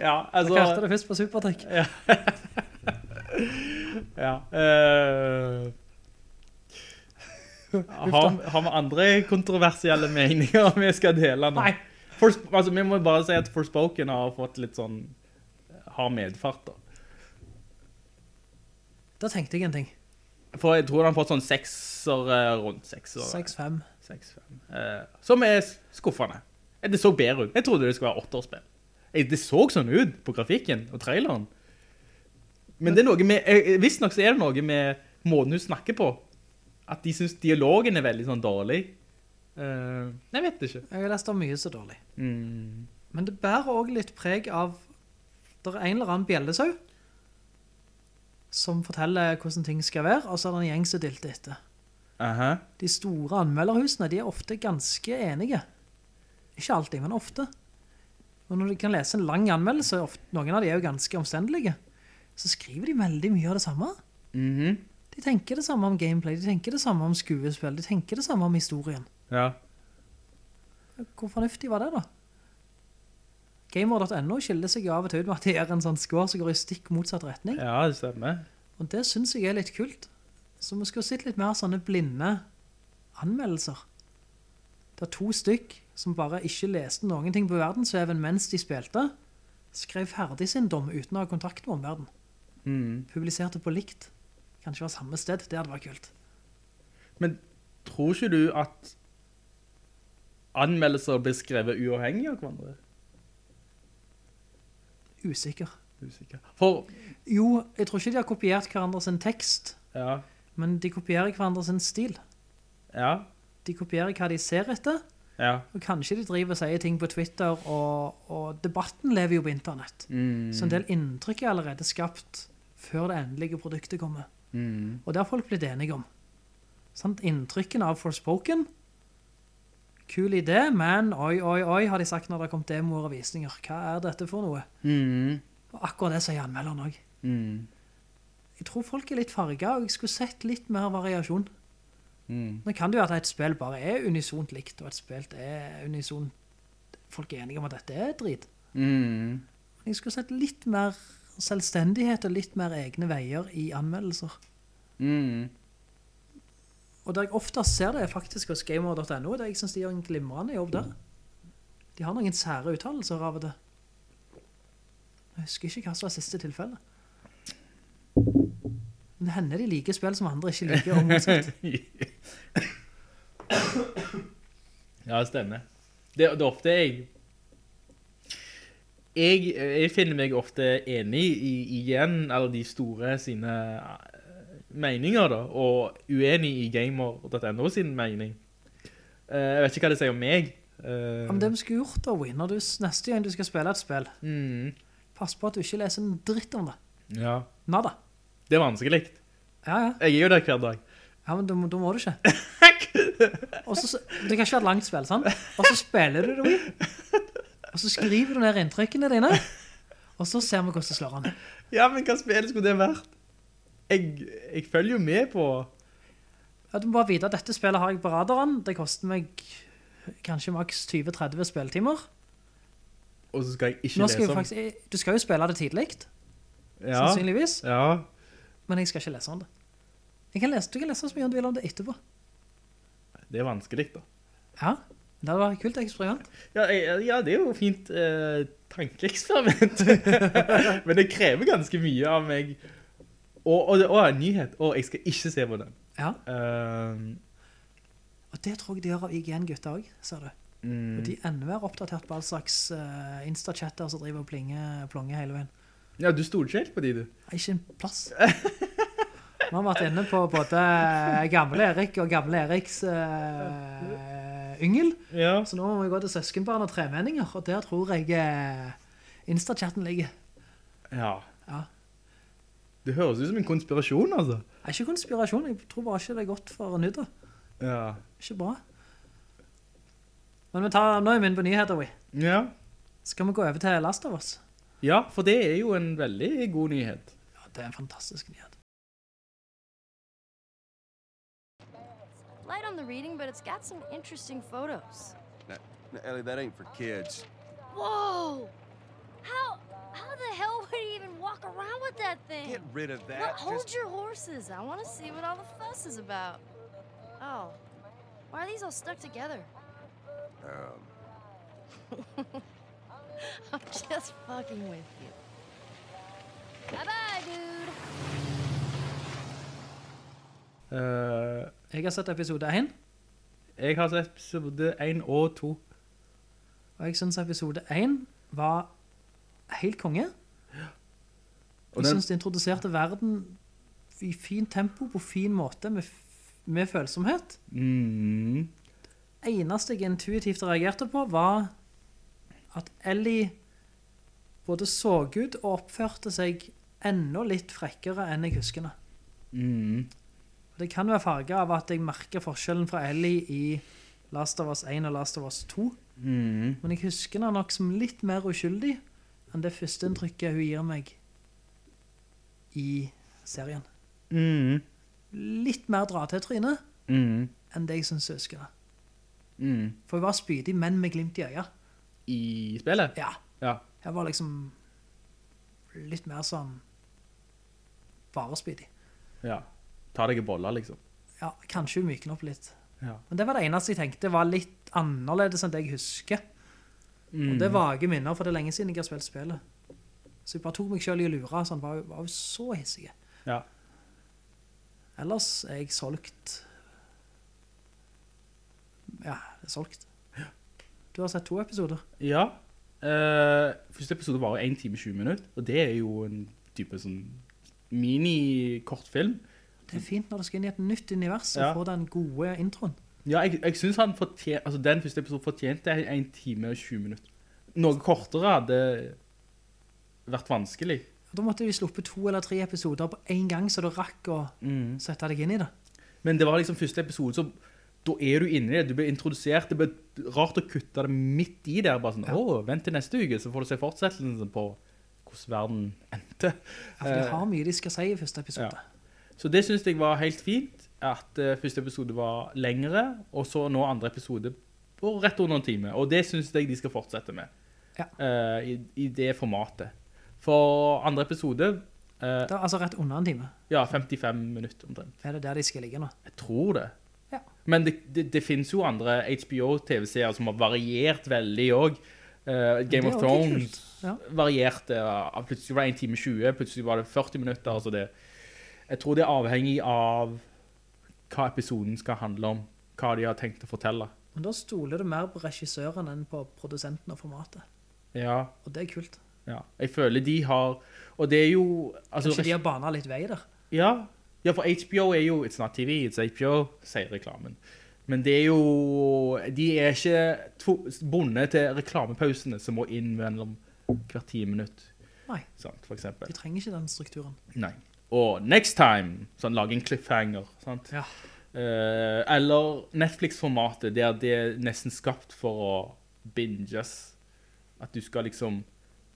[SPEAKER 8] altså
[SPEAKER 1] Jeg hørte det først på Supertrekk.
[SPEAKER 8] ja. eh, har, har vi andre kontroversielle meninger vi skal dele nå?
[SPEAKER 1] Nei.
[SPEAKER 8] Fors, altså, vi må bare si at Forspoken har fått litt sånn hard medfart. da.
[SPEAKER 1] Da tenkte jeg en ting.
[SPEAKER 8] For jeg tror han har fått sånn sekser eh, rundt sekser.
[SPEAKER 1] 6-5.
[SPEAKER 8] Seks, fem. Eh, som er s- skuffende. Eh, Det så bedre ut. Jeg trodde det skulle være åtteårsspill. Eh, Det så sånn ut på grafikken og traileren. Men det er noe med, eh, eh, visstnok så er det noe med måten hun snakker på. At de syns dialogen er veldig sånn dårlig. Eh, jeg vet ikke.
[SPEAKER 1] Jeg har lest om mye så dårlig.
[SPEAKER 8] Mm.
[SPEAKER 1] Men det bærer også litt preg av... Det er en eller annen bjellesau som forteller hvordan ting skal være, og så er det en gjeng som dilter etter.
[SPEAKER 8] Aha.
[SPEAKER 1] de store anmelderhusene, de er ofte ganske enige. Ikke alltid, men ofte. Og når du kan lese en lang anmeldelse, ofte, noen av de er jo ganske omstendelige, så skriver de veldig mye av det samme.
[SPEAKER 8] Mm-hmm.
[SPEAKER 1] De tenker det samme om gameplay, de tenker det samme om skuespill, de tenker det samme om historien.
[SPEAKER 8] Ja.
[SPEAKER 1] Hvor fornuftig var det da? Gamer.no skiller seg jo av og til ut med at de er en sånn skår som går i stikk motsatt retning.
[SPEAKER 8] ja, det stemmer.
[SPEAKER 1] Og det synes jeg er litt kult. Så vi skulle sett litt mer sånne blinde anmeldelser. Det er to stykk som bare ikke leste noen ting på verdensveven mens de spilte, skrev ferdig sin dom uten å ha kontakt med omverdenen. Publiserte på likt. Kanskje var samme sted. Det hadde vært kult.
[SPEAKER 8] Men tror ikke du at anmeldelser blir skrevet uavhengig av hverandre?
[SPEAKER 1] Usikker.
[SPEAKER 8] Usikker. For
[SPEAKER 1] Jo, jeg tror ikke de har kopiert hverandre sin tekst,
[SPEAKER 8] Ja.
[SPEAKER 1] men de kopierer hverandre sin stil.
[SPEAKER 8] Ja.
[SPEAKER 1] De kopierer hva de ser etter,
[SPEAKER 8] Ja.
[SPEAKER 1] Og kanskje de driver og sier ting på Twitter, og, og debatten lever jo på internett. Så en del inntrykk er allerede skapt før det endelige produktet kommer. Og det har folk blitt enige om. Sant? Inntrykken av Forspoken Kul idé, men oi, oi, oi, har de sagt når det har kommet demoer og visninger. Hva er dette for noe? Og akkurat det sier anmelderen òg. Jeg tror folk er litt farga, og jeg skulle sett litt mer variasjon. Nå kan det jo være at et spill bare er unisont likt, og et spill er unisont Folk er enige om at dette er drit. Men jeg skulle sett litt mer selvstendighet og litt mer egne veier i anmeldelser. Og der jeg oftest ser det er faktisk hos gamer.no, der jeg synes de gjør en glimrende jobb der. De har noen sære uttalelser av det. Jeg husker ikke hva som var siste tilfelle. Men det hender de liker spill som andre ikke liker, og motsatt.
[SPEAKER 8] Ja, det stemmer. Det, det er ofte jeg jeg, jeg finner meg ofte enig i igjen alle de store sine eh, meninger, da, og uenig i gamer.no sin mening. Eh, jeg vet ikke hva det sier om meg. eh,
[SPEAKER 1] Men det vi skulle gjort da, Win, når du, neste gang du skal spille et spill,
[SPEAKER 8] mm,
[SPEAKER 1] pass på at du ikke leser en dritt om det.
[SPEAKER 8] ja.
[SPEAKER 1] Nada.
[SPEAKER 8] Det er vanskelig.
[SPEAKER 1] Ja, ja.
[SPEAKER 8] Jeg er jo der hver dag.
[SPEAKER 1] Ja, men da må da må du ikke. Og så, det kan ikke være et langt spill, sant? Og så spiller du det, Wii. Og så skriver du ned inntrykkene dine. Og så ser vi hvordan det slår an.
[SPEAKER 8] Ja, men hva spill skulle det vært? Jeg, jeg følger jo med på
[SPEAKER 1] Ja, du må bare vite at dette spillet har jeg på radaren. Det koster meg kanskje maks 20-30 spilltimer.
[SPEAKER 8] Og så skal jeg ikke
[SPEAKER 1] Nå
[SPEAKER 8] lese
[SPEAKER 1] skal jeg
[SPEAKER 8] om
[SPEAKER 1] faktisk, du skal jo spille det tidlig,
[SPEAKER 8] ja.
[SPEAKER 1] sannsynligvis.
[SPEAKER 8] Ja.
[SPEAKER 1] Men jeg skal ikke lese om det. Jeg kan lese, du kan lese så mye du vil om det etterpå.
[SPEAKER 8] Det er vanskelig, da.
[SPEAKER 1] Ja, det hadde vært et kult eksperiment.
[SPEAKER 8] Ja, jeg- ja, det er jo fint eh, tankeeksperiment. Men det krever ganske mye av meg. Og, og, det- å, en nyhet. Å, jeg skal ikke se på den.
[SPEAKER 1] Ja,
[SPEAKER 8] Eh,
[SPEAKER 1] og det tror jeg de gjør av IGN-gutta også, ser du.
[SPEAKER 8] mm,
[SPEAKER 1] Og de er enda mer oppdatert på all slags eh, Insta-chatter som driver og plinger, plonger hele veien.
[SPEAKER 8] ja, du stoler ikke helt på de, du.
[SPEAKER 1] Det er ikke en plass. Vi har vært inne på både gamle Erik og gamle Eriks eh, yngel.
[SPEAKER 8] Ja.
[SPEAKER 1] Så nå må vi gå til søskenbarn og tremenninger, og der tror jeg eh, Insta-chatten ligger.
[SPEAKER 8] ja.
[SPEAKER 1] Ja.
[SPEAKER 8] Det høres ut som en konspirasjon, altså.
[SPEAKER 1] Det er ikke konspirasjon, jeg tror bare ikke det er godt for nudda.
[SPEAKER 8] Ja.
[SPEAKER 1] Ikke bra. Men vi tar nå er vi inne på nyheter, vi.
[SPEAKER 8] Ja,
[SPEAKER 1] Skal vi gå over til Last of Us?
[SPEAKER 8] ja for det er jo en veldig god nyhet.
[SPEAKER 1] Ja, det er en fantastisk nyhet.
[SPEAKER 9] Light on the reading, but it's got some interesting photos.
[SPEAKER 5] Ellie, that ain't for kids.
[SPEAKER 9] Whoa! How how the hell would he even walk around with that thing?
[SPEAKER 5] Get rid of
[SPEAKER 9] Look,
[SPEAKER 5] that.
[SPEAKER 9] hold
[SPEAKER 5] Just-
[SPEAKER 9] your horses. I want to see what all the fuss is about. Oh, why are these all stuck together? Um. I'm just fucking with you. Bye bye, dude.
[SPEAKER 8] Eh,
[SPEAKER 1] Jeg har sett episode 1,
[SPEAKER 8] jeg har sett episode 1 og 2.
[SPEAKER 1] og jeg synes episode 1 var helt konge.
[SPEAKER 8] Og den,
[SPEAKER 1] Jeg synes det introduserte verden i fint tempo, på fin måte, med, f- med følsomhet.
[SPEAKER 8] mm,
[SPEAKER 1] Eneste jeg intuitivt reagerte på var at Ellie både så ut og oppførte seg enda litt frekkere enn jeg husker henne.
[SPEAKER 8] Mm.
[SPEAKER 1] Det kan være farget av at jeg merker forskjellen fra Ellie i Last of Us 1 og Last of Us 2.
[SPEAKER 8] Mm.
[SPEAKER 1] Men jeg husker henne nok som litt mer uskyldig enn det første inntrykket hun gir meg i serien.
[SPEAKER 8] mm,
[SPEAKER 1] litt mer dra til trynet
[SPEAKER 8] mm,
[SPEAKER 1] enn det jeg synes jeg husker det.
[SPEAKER 8] mm.
[SPEAKER 1] For jeg var spydig, men med glimt i øya.
[SPEAKER 8] I spillet?
[SPEAKER 1] Ja,
[SPEAKER 8] Ja.
[SPEAKER 1] jeg var liksom litt mer sånn bare spydig.
[SPEAKER 8] Ja. Ta deg i boller, liksom.
[SPEAKER 1] Ja, kanskje hun mykner opp litt.
[SPEAKER 8] Ja.
[SPEAKER 1] Men det var det eneste jeg tenkte var litt annerledes enn det jeg husker. Og
[SPEAKER 8] Mm.
[SPEAKER 1] det er vage minner, for det er lenge siden jeg har spilt spillet. Så jeg bare tok meg selv i å lure, så han var, jo- var jo så hissig.
[SPEAKER 8] Ja.
[SPEAKER 1] Ellers er jeg solgt. Ja, jeg er solgt. Du har sett to episoder.
[SPEAKER 8] ja. Eh, første episode var jo 1 time 20 minutter, og det er jo en type sånn mini-kortfilm.
[SPEAKER 1] Det er fint når du skal inn i et nytt univers og
[SPEAKER 8] Mm. Ja.
[SPEAKER 1] få den gode introen.
[SPEAKER 8] Ja, jeg, jeg synes han fortjente, altså den første episoden fortjente 1 time og 20 minutter. Noe kortere hadde vært vanskelig.
[SPEAKER 1] Da måtte de sluppe to eller tre
[SPEAKER 8] Mm.
[SPEAKER 1] episoder på en gang, så du rakk å sette deg inn i det.
[SPEAKER 8] Men det var liksom første episode, så da er du inne i det. Du blir introdusert. Det blir rart å kutte det midt i der. Bare sånn, å, vent til neste uke, så får du se fortsettelsen på hvordan verden endte. Eh.
[SPEAKER 1] Ja, for de har mye de skal si i første episode.
[SPEAKER 8] Ja. Så det synes jeg var helt fint, at eh, første episode var lengre, og så nå andre episode på rett under en time. Og det synes jeg de skal fortsette med,
[SPEAKER 1] Ja.
[SPEAKER 8] eh, i, i det formatet. For andre episode, eh,
[SPEAKER 1] Da, altså rett under en time.
[SPEAKER 8] ja, 55 minutter omtrent.
[SPEAKER 1] Er det der de skal ligge nå?
[SPEAKER 8] Jeg tror det.
[SPEAKER 1] Ja.
[SPEAKER 8] Men det, det, det finnes jo andre HBO-tv-serier som har variert veldig også. Eh, Game of
[SPEAKER 1] Det er jo ikke
[SPEAKER 8] Thrones
[SPEAKER 1] kult. Ja.
[SPEAKER 8] varierte. ja. Plutselig var det 1 time 20, plutselig var det 40 minutter. Altså det. Jeg tror det er avhengig av hva episoden skal handle om, hva de har tenkt å fortelle.
[SPEAKER 1] Men da stoler du mer på regissøren enn på produsenten og formatet.
[SPEAKER 8] Ja,
[SPEAKER 1] Og det er kult.
[SPEAKER 8] ja. Jeg føler de har, og det er jo, altså,
[SPEAKER 1] Kanskje de har bana litt vei der.
[SPEAKER 8] ja, ja, for HBO er jo, it's not TV, it's HBO, sier reklamen. Men det er jo, de er ikke tvo- bundet til reklamepausene som må inn mellom hver 10 minutter,
[SPEAKER 1] Nei,
[SPEAKER 8] sant, for eksempel.
[SPEAKER 1] de trenger ikke den strukturen.
[SPEAKER 8] Nei. Og next time, sånn lage en cliffhanger, sant?
[SPEAKER 1] Ja.
[SPEAKER 8] Eh, eller Netflix-formatet, der det er nesten skapt for å binges. At du skal liksom,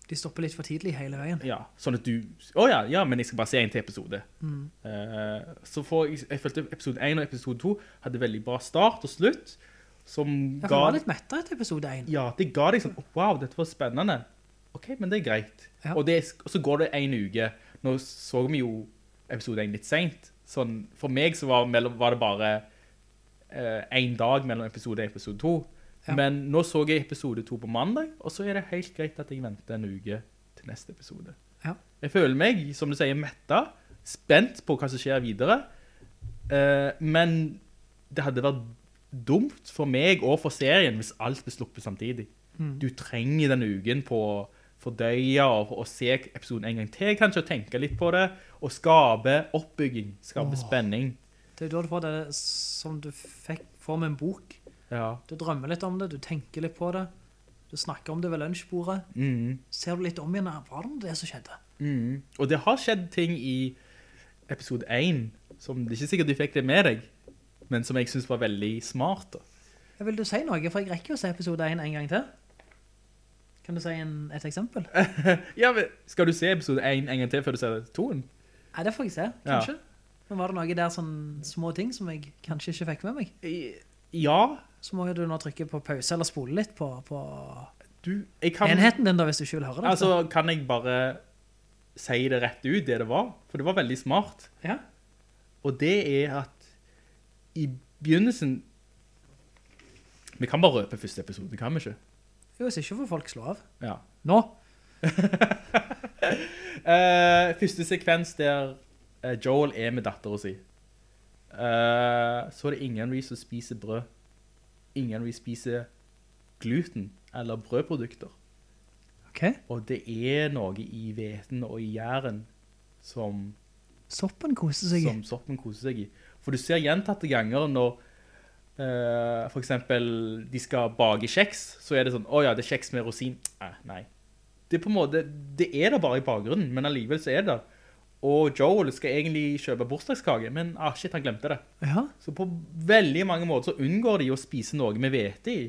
[SPEAKER 1] De stopper litt for tidlig hele veien.
[SPEAKER 8] ja, sånn at du, å ja, ja, men jeg skal bare se en til episode. Eh, så får jeg, jeg følte episode 1 og episode 2 hadde veldig bra start og slutt, som
[SPEAKER 1] Jeg
[SPEAKER 8] ga,
[SPEAKER 1] var litt mettet etter episode 1.
[SPEAKER 8] ja, det ga deg sånn, «Å, wow, dette var spennende. Ok, men det er greit.
[SPEAKER 1] Ja.
[SPEAKER 8] Og, det, og så går det en uke. Nå så vi jo episode 1 litt sent. Sånn, for meg så var, mellom, var det bare eh, en dag mellom episode 1 og episode 2.
[SPEAKER 1] Ja.
[SPEAKER 8] Men nå så jeg episode 2 på mandag, og så er det helt greit at jeg venter en uke til neste episode.
[SPEAKER 1] Ja.
[SPEAKER 8] Jeg føler meg, som du sier, metta, spent på hva som skjer videre. Eh, men det hadde vært dumt for meg og for serien hvis alt ble sluppet samtidig. Du trenger den uken på å fordøye og, og se episoden en gang til, kanskje, og tenke litt på det, og skape oppbygging, skape spenning.
[SPEAKER 1] Det er jo da du får det som du fikk, får med en bok.
[SPEAKER 8] Ja.
[SPEAKER 1] Du drømmer litt om det, du tenker litt på det. Du snakker om det ved lunsjbordet. Ser du litt om igjen, var det noe det som skjedde?
[SPEAKER 8] Mm. Og det har skjedd ting i episode 1, som det er ikke sikkert du fikk det med deg, men som jeg synes var veldig smart. Da.
[SPEAKER 1] Jeg vil du si noe, for jeg rekker jo å se episode 1 en gang til. Kan du si en, et eksempel?
[SPEAKER 8] Ja, men skal du se episode 1 en gang til før du ser 2-en?
[SPEAKER 1] Nei, det får jeg se, kanskje. Men var det noe der sånn små ting som jeg kanskje ikke fikk med meg?
[SPEAKER 8] Ja,
[SPEAKER 1] Så må jo du nå trykke på pause eller spole litt på, på
[SPEAKER 8] du, jeg kan...
[SPEAKER 1] enheten din da, hvis du ikke vil høre det.
[SPEAKER 8] Altså, kan jeg bare si det rett ut, det det var? For det var veldig smart.
[SPEAKER 1] Ja.
[SPEAKER 8] Og det er at i begynnelsen... Vi kan bare røpe første episode, kan vi ikke?
[SPEAKER 1] Jo, hvis ikke får folk slå av.
[SPEAKER 8] Ja.
[SPEAKER 1] Nå!
[SPEAKER 8] Eh, første sekvens der eh, Joel er med datteren sin. Eh, så er det ingen vi som spiser brød. Ingen vi spiser gluten eller brødprodukter.
[SPEAKER 1] Ok,
[SPEAKER 8] Og det er noe i veten og i gjæren som
[SPEAKER 1] soppen koser seg.
[SPEAKER 8] som soppen koser seg i. For du ser gjentatte ganger når eh, for eksempel de skal bake kjeks, så er det sånn, åja, det er kjeks med rosin. Eh, nei. Det er på en måte, det er det bare i bakgrunnen, men alligevel så er det der. Og Joel skal egentlig kjøpe bursdagskake, men ah, shit, han glemte det.
[SPEAKER 1] Ja,
[SPEAKER 8] Så på veldig mange måter så unngår de å spise noe med vete i.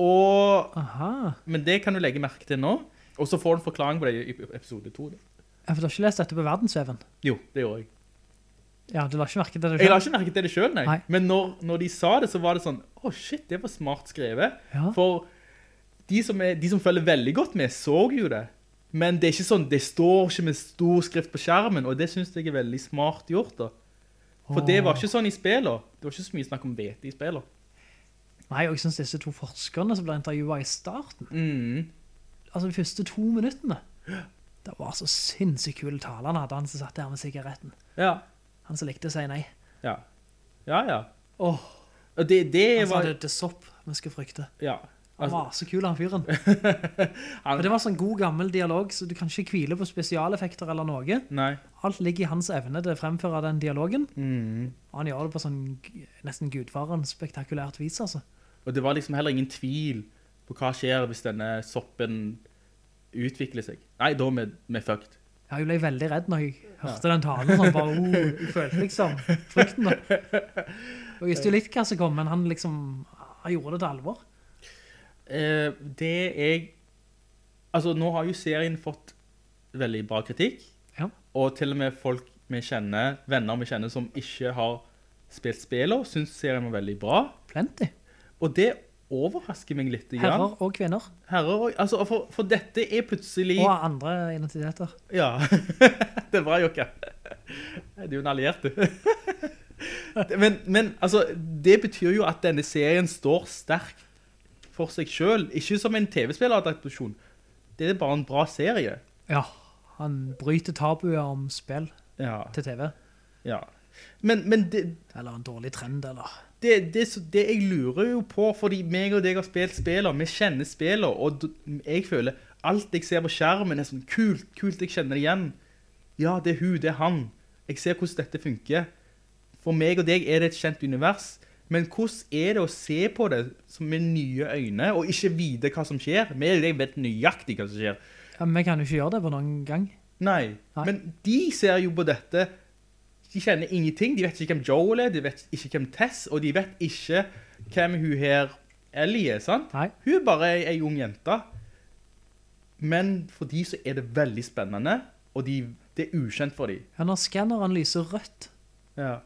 [SPEAKER 8] Og,
[SPEAKER 1] aha.
[SPEAKER 8] men det kan du legge merke til nå. Og så får du en forklaring på det i episode 2. Da.
[SPEAKER 1] Ja, for Du har ikke lest dette på verdensveven?
[SPEAKER 8] Jo, det gjorde jeg.
[SPEAKER 1] Ja, du la ikke merke til det du
[SPEAKER 8] Jeg la
[SPEAKER 1] selv?
[SPEAKER 8] ikke merke til det sjøl, nei.
[SPEAKER 1] Nei.
[SPEAKER 8] Men når, når de sa det, så var det sånn Å, shit, det var smart skrevet.
[SPEAKER 1] Ja.
[SPEAKER 8] For de som, er, de som følger veldig godt med, så jo det. Men det er ikke sånn, det står ikke med stor skrift på skjermen, og det syns jeg er veldig smart gjort. da. For det var ikke sånn i spillene. Det var ikke så mye snakk om hvete i spillene.
[SPEAKER 1] Nei, og jeg synes disse to forskerne som ble intervjuet i starten,
[SPEAKER 8] Mm.
[SPEAKER 1] altså de første to minuttene, det var så sinnssykt kule taler han hadde, han som satt der med sigaretten.
[SPEAKER 8] Ja.
[SPEAKER 1] Han som likte å si nei.
[SPEAKER 8] Ja, ja. ja.
[SPEAKER 1] Åh,
[SPEAKER 8] Og det, det
[SPEAKER 1] han sa
[SPEAKER 8] var
[SPEAKER 1] det, det er sopp vi skal frykte.
[SPEAKER 8] Ja. Altså,
[SPEAKER 1] Han var så kul, han fyren.
[SPEAKER 8] Han-
[SPEAKER 1] Og det var sånn god gammel dialog, så du kan ikke hvile på spesialeffekter eller noe.
[SPEAKER 8] Nei.
[SPEAKER 1] Alt ligger i hans evne til å fremføre den dialogen.
[SPEAKER 8] Mm.
[SPEAKER 1] Og han gjør det på sånn g- nesten gudfaren spektakulært vis, altså.
[SPEAKER 8] Og det var liksom heller ingen tvil på hva skjer hvis denne soppen utvikler seg. Nei, da er vi- vi fucked.
[SPEAKER 1] Ja, jeg ble veldig redd når jeg hørte den talen. Sånn, bare, oh, jeg følte liksom frykten. Da. Og jeg visste jo litt hva som kom, men han liksom han gjorde det til alvor.
[SPEAKER 8] Eh, det jeg Altså, nå har jo serien fått veldig bra kritikk.
[SPEAKER 1] Ja.
[SPEAKER 8] Og til og med folk vi kjenner, venner vi kjenner som ikke har spilt spiller, syns serien var veldig bra.
[SPEAKER 1] Plenty.
[SPEAKER 8] Og det overrasker meg litt.
[SPEAKER 1] Herrer
[SPEAKER 8] Herrer.
[SPEAKER 1] og kvinner.
[SPEAKER 8] Herrer og, altså, for, for dette er plutselig
[SPEAKER 1] Og andre identiteter.
[SPEAKER 8] Ja. det er bra, Jokke. Du er jo en alliert, du. men, men altså, det betyr jo at denne serien står sterkt for seg sjøl. Ikke som en TV-spilleradaptasjon. Det er bare en bra serie.
[SPEAKER 1] Ja, han bryter tabuer om spill
[SPEAKER 8] Ja.
[SPEAKER 1] til TV.
[SPEAKER 8] ja. Men, men det,
[SPEAKER 1] Eller en dårlig trend, eller...
[SPEAKER 8] det, det, så- det jeg lurer jo på, fordi meg og deg har spilt spiller, vi kjenner spiller, og d- jeg føler alt jeg ser på skjermen er sånn kult, kult, jeg kjenner det igjen. Ja, det er hun, det er han. Jeg ser hvordan dette funker. For meg og deg er det et kjent univers, men hvordan er det å se på det som med nye øyne, og ikke vite hva som skjer? Vi og deg vet nøyaktig hva som skjer.
[SPEAKER 1] Ja, men vi kan jo ikke gjøre det på noen gang.
[SPEAKER 8] Nei,
[SPEAKER 1] Nei.
[SPEAKER 8] men de ser jo på dette De kjenner ingenting. De vet ikke hvem Joel er, de vet ikke hvem Tess, og de vet ikke hvem hun her Ellie er, sant?
[SPEAKER 1] Nei.
[SPEAKER 8] Hun er bare ei, ei ung jente. Men for de så er det veldig spennende, og de, det er ukjent for de.
[SPEAKER 1] Ja, når skanneren lyser rødt
[SPEAKER 8] Ja.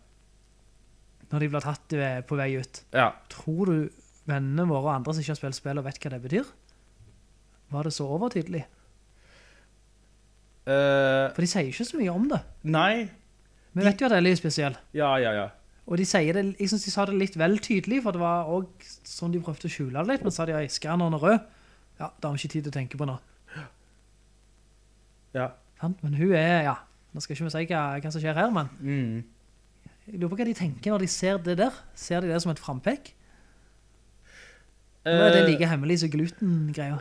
[SPEAKER 1] når de blir tatt eh, på vei ut,
[SPEAKER 8] ja.
[SPEAKER 1] tror du vennene våre og andre som ikke har spilt spill og vet hva det betyr? Var det så overtydelig?
[SPEAKER 8] Eh,
[SPEAKER 1] For de sier ikke så mye om det.
[SPEAKER 8] nei.
[SPEAKER 1] Vi vet jo at Ellie er spesiell.
[SPEAKER 8] Ja, ja, ja.
[SPEAKER 1] Og de sier det, jeg synes de sa det litt vel tydelig, for det var også sånn de prøvde å skjule det litt, men sa de, ja, skanneren er rød. Ja, det har vi ikke tid til å tenke på nå.
[SPEAKER 8] Ja.
[SPEAKER 1] Sant? Men hun er, ja, nå skal ikke vi si hva, hva som skjer her, men
[SPEAKER 8] Mm.
[SPEAKER 1] jeg lurer på hva de tenker når de ser det der. Ser de det som et frampekk? Nå er det
[SPEAKER 8] Eh,
[SPEAKER 1] like hemmelig som gluten-greia.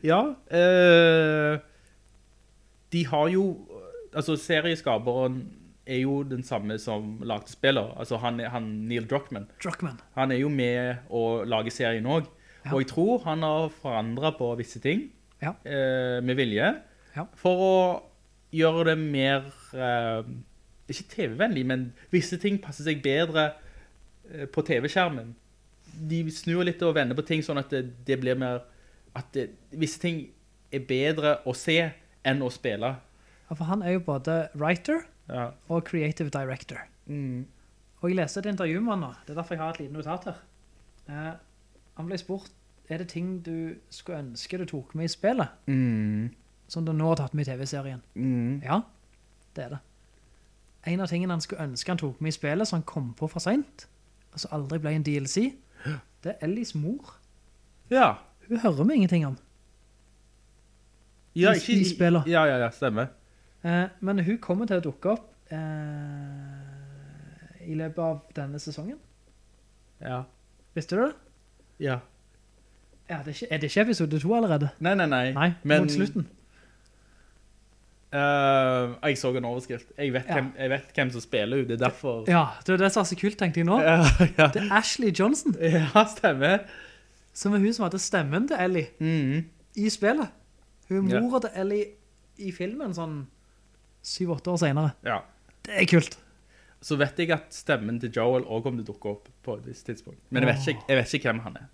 [SPEAKER 8] ja. eh, de har jo Altså, serieskaperen er jo den samme som lagde spiller. Altså, han, er- han Neil Druckmann.
[SPEAKER 1] Druckmann.
[SPEAKER 8] Han er jo med å lage serien òg.
[SPEAKER 1] Ja.
[SPEAKER 8] Og jeg tror han har forandra på visse ting
[SPEAKER 1] Ja.
[SPEAKER 8] eh, med vilje.
[SPEAKER 1] Ja.
[SPEAKER 8] For å gjøre det mer eh, Ikke TV-vennlig, men visse ting passer seg bedre eh, på TV-skjermen. De snur litt og vender på ting sånn at det, det blir mer At det, visse ting er bedre å se enn å spille.
[SPEAKER 1] Ja, for han er jo både writer
[SPEAKER 8] Ja.
[SPEAKER 1] og creative director.
[SPEAKER 8] Mm.
[SPEAKER 1] Og jeg leste et intervju med han nå. Det er derfor jeg har et liten notat her. Eh, han ble spurt, er det ting du skulle ønske du tok med i spillet?
[SPEAKER 8] Mm.
[SPEAKER 1] Som du nå har tatt med i TV-serien?
[SPEAKER 8] Mm.
[SPEAKER 1] Ja, det er det. En av tingene han skulle ønske han tok med i spillet, som han kom på for sent, og som aldri ble en DLC, det er Ellis mor.
[SPEAKER 8] ja.
[SPEAKER 1] Hun hører vi ingenting om.
[SPEAKER 8] Ja,
[SPEAKER 1] I- i spillet.
[SPEAKER 8] Ja, ja, ja, stemmer.
[SPEAKER 1] Eh, men hun kommer til å dukke opp eh, i løpet av denne sesongen.
[SPEAKER 8] Ja.
[SPEAKER 1] Visste du det?
[SPEAKER 8] ja.
[SPEAKER 1] Ja, det er, ikke, er det ikke episode 2 allerede?
[SPEAKER 8] Nei, nei, nei.
[SPEAKER 1] Nei,
[SPEAKER 8] Men,
[SPEAKER 1] mot slutten.
[SPEAKER 8] Eh, jeg så en overskrift. Jeg vet,
[SPEAKER 1] Ja.
[SPEAKER 8] hvem, jeg vet hvem som spiller ut. Det er derfor
[SPEAKER 1] Ja, det er det som er så kult, tenkte jeg nå.
[SPEAKER 8] Ja, ja.
[SPEAKER 1] Det er Ashley Johnson,
[SPEAKER 8] ja stemmer.
[SPEAKER 1] som er hun som hadde stemmen til Ellie
[SPEAKER 8] Mhm.
[SPEAKER 1] i spillet. Hun
[SPEAKER 8] Ja.
[SPEAKER 1] er mora til Ellie i filmen sånn 7-8 år senere.
[SPEAKER 8] Ja.
[SPEAKER 1] Det er kult.
[SPEAKER 8] Så vet jeg at stemmen til Joel òg kommer til å dukke opp på et visst tidspunkt. Men jeg vet ikke, jeg vet ikke hvem han er.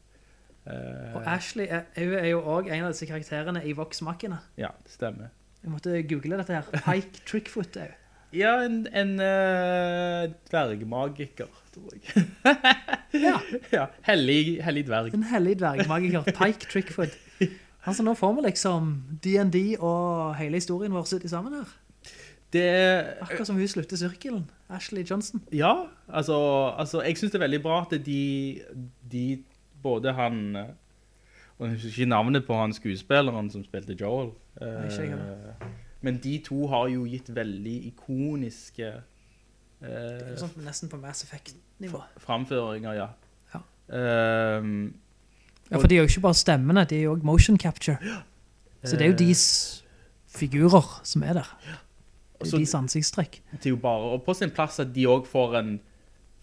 [SPEAKER 8] Eh,
[SPEAKER 1] Og Ashley er, hun er jo også en av disse karakterene i Vox-makkene.
[SPEAKER 8] ja, det stemmer.
[SPEAKER 1] Jeg måtte google dette her. Pike Trickfoot er hun.
[SPEAKER 8] Ja, en, en eh, dvergmagiker, tror jeg.
[SPEAKER 1] Ja.
[SPEAKER 8] ja. Hellig, hellig dverg.
[SPEAKER 1] En hellig dvergmagiker, Pike Trickfoot. Altså, nå får vi liksom D&D og hele historien vår sitt sammen her.
[SPEAKER 8] Det er
[SPEAKER 1] Akkurat som hun slutter sirkelen, Ashley Johnson.
[SPEAKER 8] Ja, altså, altså jeg synes det er veldig bra at de, de både han eh, og Jeg husker ikke navnet på han skuespilleren som spilte Joel. eh,
[SPEAKER 1] ikke jeg
[SPEAKER 8] men de to har jo gitt veldig ikoniske eh,
[SPEAKER 1] Sånn nesten på Mass Effect-nivå.
[SPEAKER 8] framføringer, ja.
[SPEAKER 1] Ja.
[SPEAKER 8] Ehm,
[SPEAKER 1] Ja, for de er jo ikke bare stemmene, de er jo også motion capture. Så det er jo deres figurer som er der. Det
[SPEAKER 8] Så-
[SPEAKER 1] er deres ansiktstrekk.
[SPEAKER 8] det er jo bare og på sin plass at de òg får en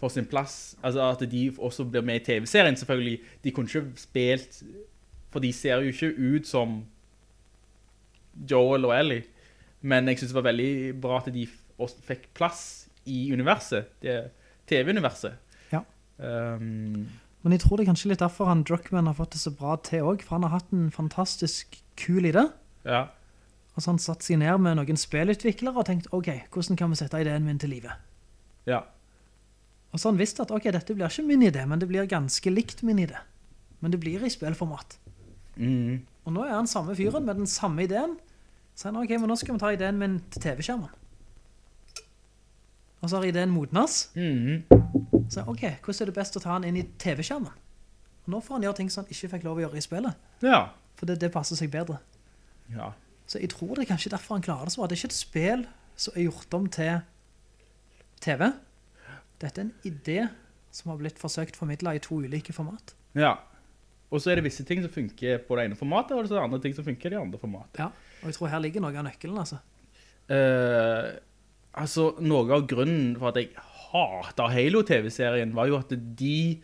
[SPEAKER 8] får sin plass, altså At de også blir med i TV-serien, selvfølgelig. De kunne ikke spilt For de ser jo ikke ut som Joel og Ellie. Men jeg synes det var veldig bra at de f- også fikk plass i universet, det TV-universet.
[SPEAKER 1] Ja.
[SPEAKER 8] Um,
[SPEAKER 1] Men jeg tror det er kanskje litt derfor han Druckmann har fått det så bra til også, for han har hatt en fantastisk kul idé.
[SPEAKER 8] ja.
[SPEAKER 1] Altså han satt seg ned med noen spillutviklere og tenkt, ok, hvordan kan vi sette ideen min til livet?
[SPEAKER 8] Ja.
[SPEAKER 1] Og så har han visst at, ok, dette blir ikke min idé, men det blir ganske likt min idé. Men det blir i spillformat.
[SPEAKER 8] Mm.
[SPEAKER 1] Og nå er han samme fyren med den samme ideen. Så han, ok, men nå skal vi ta ideen min til TV-skjermen. Og så har ideen modnes.
[SPEAKER 8] Mm.
[SPEAKER 1] Så ok, hvordan er det best å ta han inn i TV-skjermen? Og nå får han gjøre ting som han ikke fikk lov å gjøre i spillet,
[SPEAKER 8] Ja.
[SPEAKER 1] for det, det passer seg bedre.
[SPEAKER 8] Ja.
[SPEAKER 1] Så jeg tror det er kanskje derfor han klarer det så bra. Det er ikke et spill som er gjort om til TV. Dette er en idé som har blitt forsøkt formidlet i to ulike format.
[SPEAKER 8] Ja. Og så er det visse ting som funker på det ene formatet, og så er det andre ting som funker i det andre formatet.
[SPEAKER 1] Ja. Og jeg tror her ligger noe av nøkkelen, altså.
[SPEAKER 8] Eh, altså, noe av grunnen for at jeg hater Halo-TV-serien var jo at de
[SPEAKER 1] Den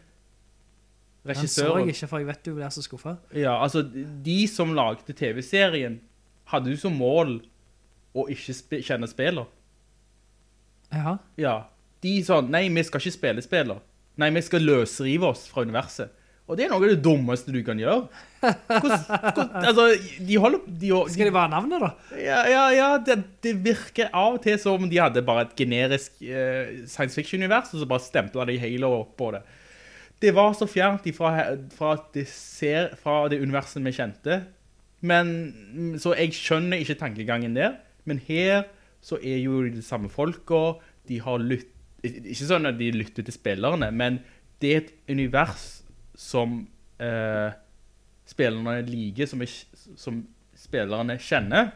[SPEAKER 1] så
[SPEAKER 8] regissører...
[SPEAKER 1] jeg ikke, for jeg vet du blir så skuffet.
[SPEAKER 8] Ja, altså, de som lagde TV-serien hadde jo som mål å ikke spe kjenne spiller.
[SPEAKER 1] Ja.
[SPEAKER 8] Ja. De sa, nei, vi skal ikke spille spiller. Nei, vi skal løsrive oss fra universet. Og det er noe av det dummeste du kan gjøre. Hvordan, hvordan, altså, de holder... De,
[SPEAKER 1] Skal de bare ha navnet da?
[SPEAKER 8] ja, ja, ja det, det virker av og til som om de hadde bare et generisk eh, science fiction-univers, og så bare stempla de Halo opp på det. Det var så fjernt ifra, he- fra, at det ser, fra det universet vi kjente. Men, mm, så jeg skjønner ikke tankegangen der. Men her så er jo de samme folka. De har lytt... Ikke sånn at de lytter til spillerne, men det er et univers som eh, spillerne liker, som, ikke, som spillerne kjenner.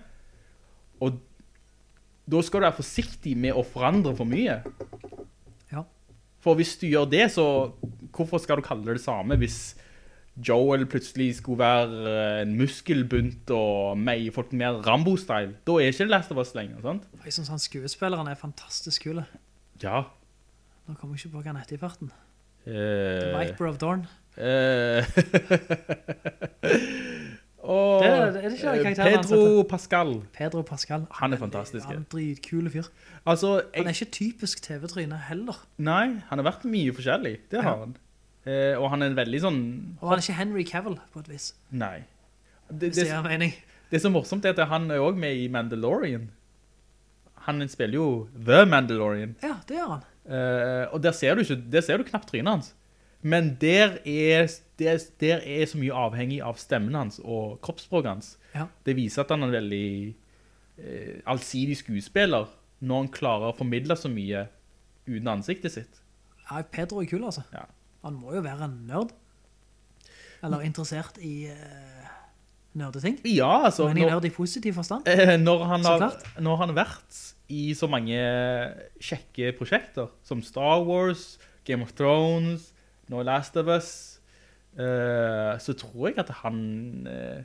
[SPEAKER 8] Og da skal du være forsiktig med å forandre for mye.
[SPEAKER 1] Ja.
[SPEAKER 8] For hvis du gjør det, så hvorfor skal du kalle det det samme hvis Joel plutselig skulle være eh, en muskelbunt og meg folk mer Rambo-style? Da er ikke det Last of Us lenger, sant?
[SPEAKER 1] Jeg synes han skuespilleren er fantastisk kule.
[SPEAKER 8] Ja.
[SPEAKER 1] Nå kommer jeg ikke på hva han heter i farten.
[SPEAKER 8] Eh,
[SPEAKER 1] Lightbrow Dorn.
[SPEAKER 8] eh, og,
[SPEAKER 1] Det er- er det ikke
[SPEAKER 8] eh,
[SPEAKER 1] karakteren han
[SPEAKER 8] Pedro Pascal.
[SPEAKER 1] Pedro Pascal.
[SPEAKER 8] Han er fantastisk, ja.
[SPEAKER 1] Han er en dritkule fyr.
[SPEAKER 8] Altså,
[SPEAKER 1] Han
[SPEAKER 8] jeg,
[SPEAKER 1] er ikke typisk TV-tryne heller.
[SPEAKER 8] nei, han har vært mye forskjellig. Det har
[SPEAKER 1] Ja.
[SPEAKER 8] han. Eh, og han er en veldig sånn
[SPEAKER 1] Og han er ikke Henry Cavill på et vis,
[SPEAKER 8] Nei. Det,
[SPEAKER 1] hvis det
[SPEAKER 8] det,
[SPEAKER 1] gir mening.
[SPEAKER 8] det som er morsomt er at han er også med i Mandalorian. Han spiller jo The Mandalorian.
[SPEAKER 1] Ja, det gjør han.
[SPEAKER 8] Eh, og der ser, du ikke, der ser du knapt trynet hans. Men der er, der, der er så mye avhengig av stemmen hans og kroppsspråket hans.
[SPEAKER 1] Ja.
[SPEAKER 8] Det viser at han er en veldig eh, allsidig skuespiller når han klarer å formidle så mye uten ansiktet sitt.
[SPEAKER 1] Ja, Pedro er kul, altså.
[SPEAKER 8] Ja.
[SPEAKER 1] Han må jo være en nerd. Eller interessert i eh, nerdeting.
[SPEAKER 8] Ja, altså...
[SPEAKER 1] Men i
[SPEAKER 8] når-
[SPEAKER 1] nerd i positiv forstand.
[SPEAKER 8] Eh, når, han
[SPEAKER 1] Så
[SPEAKER 8] har,
[SPEAKER 1] klart.
[SPEAKER 8] når han har vært i så mange kjekke prosjekter, som Star Wars, Game of Thrones, nå Last of Us, eh, så tror jeg at han eh,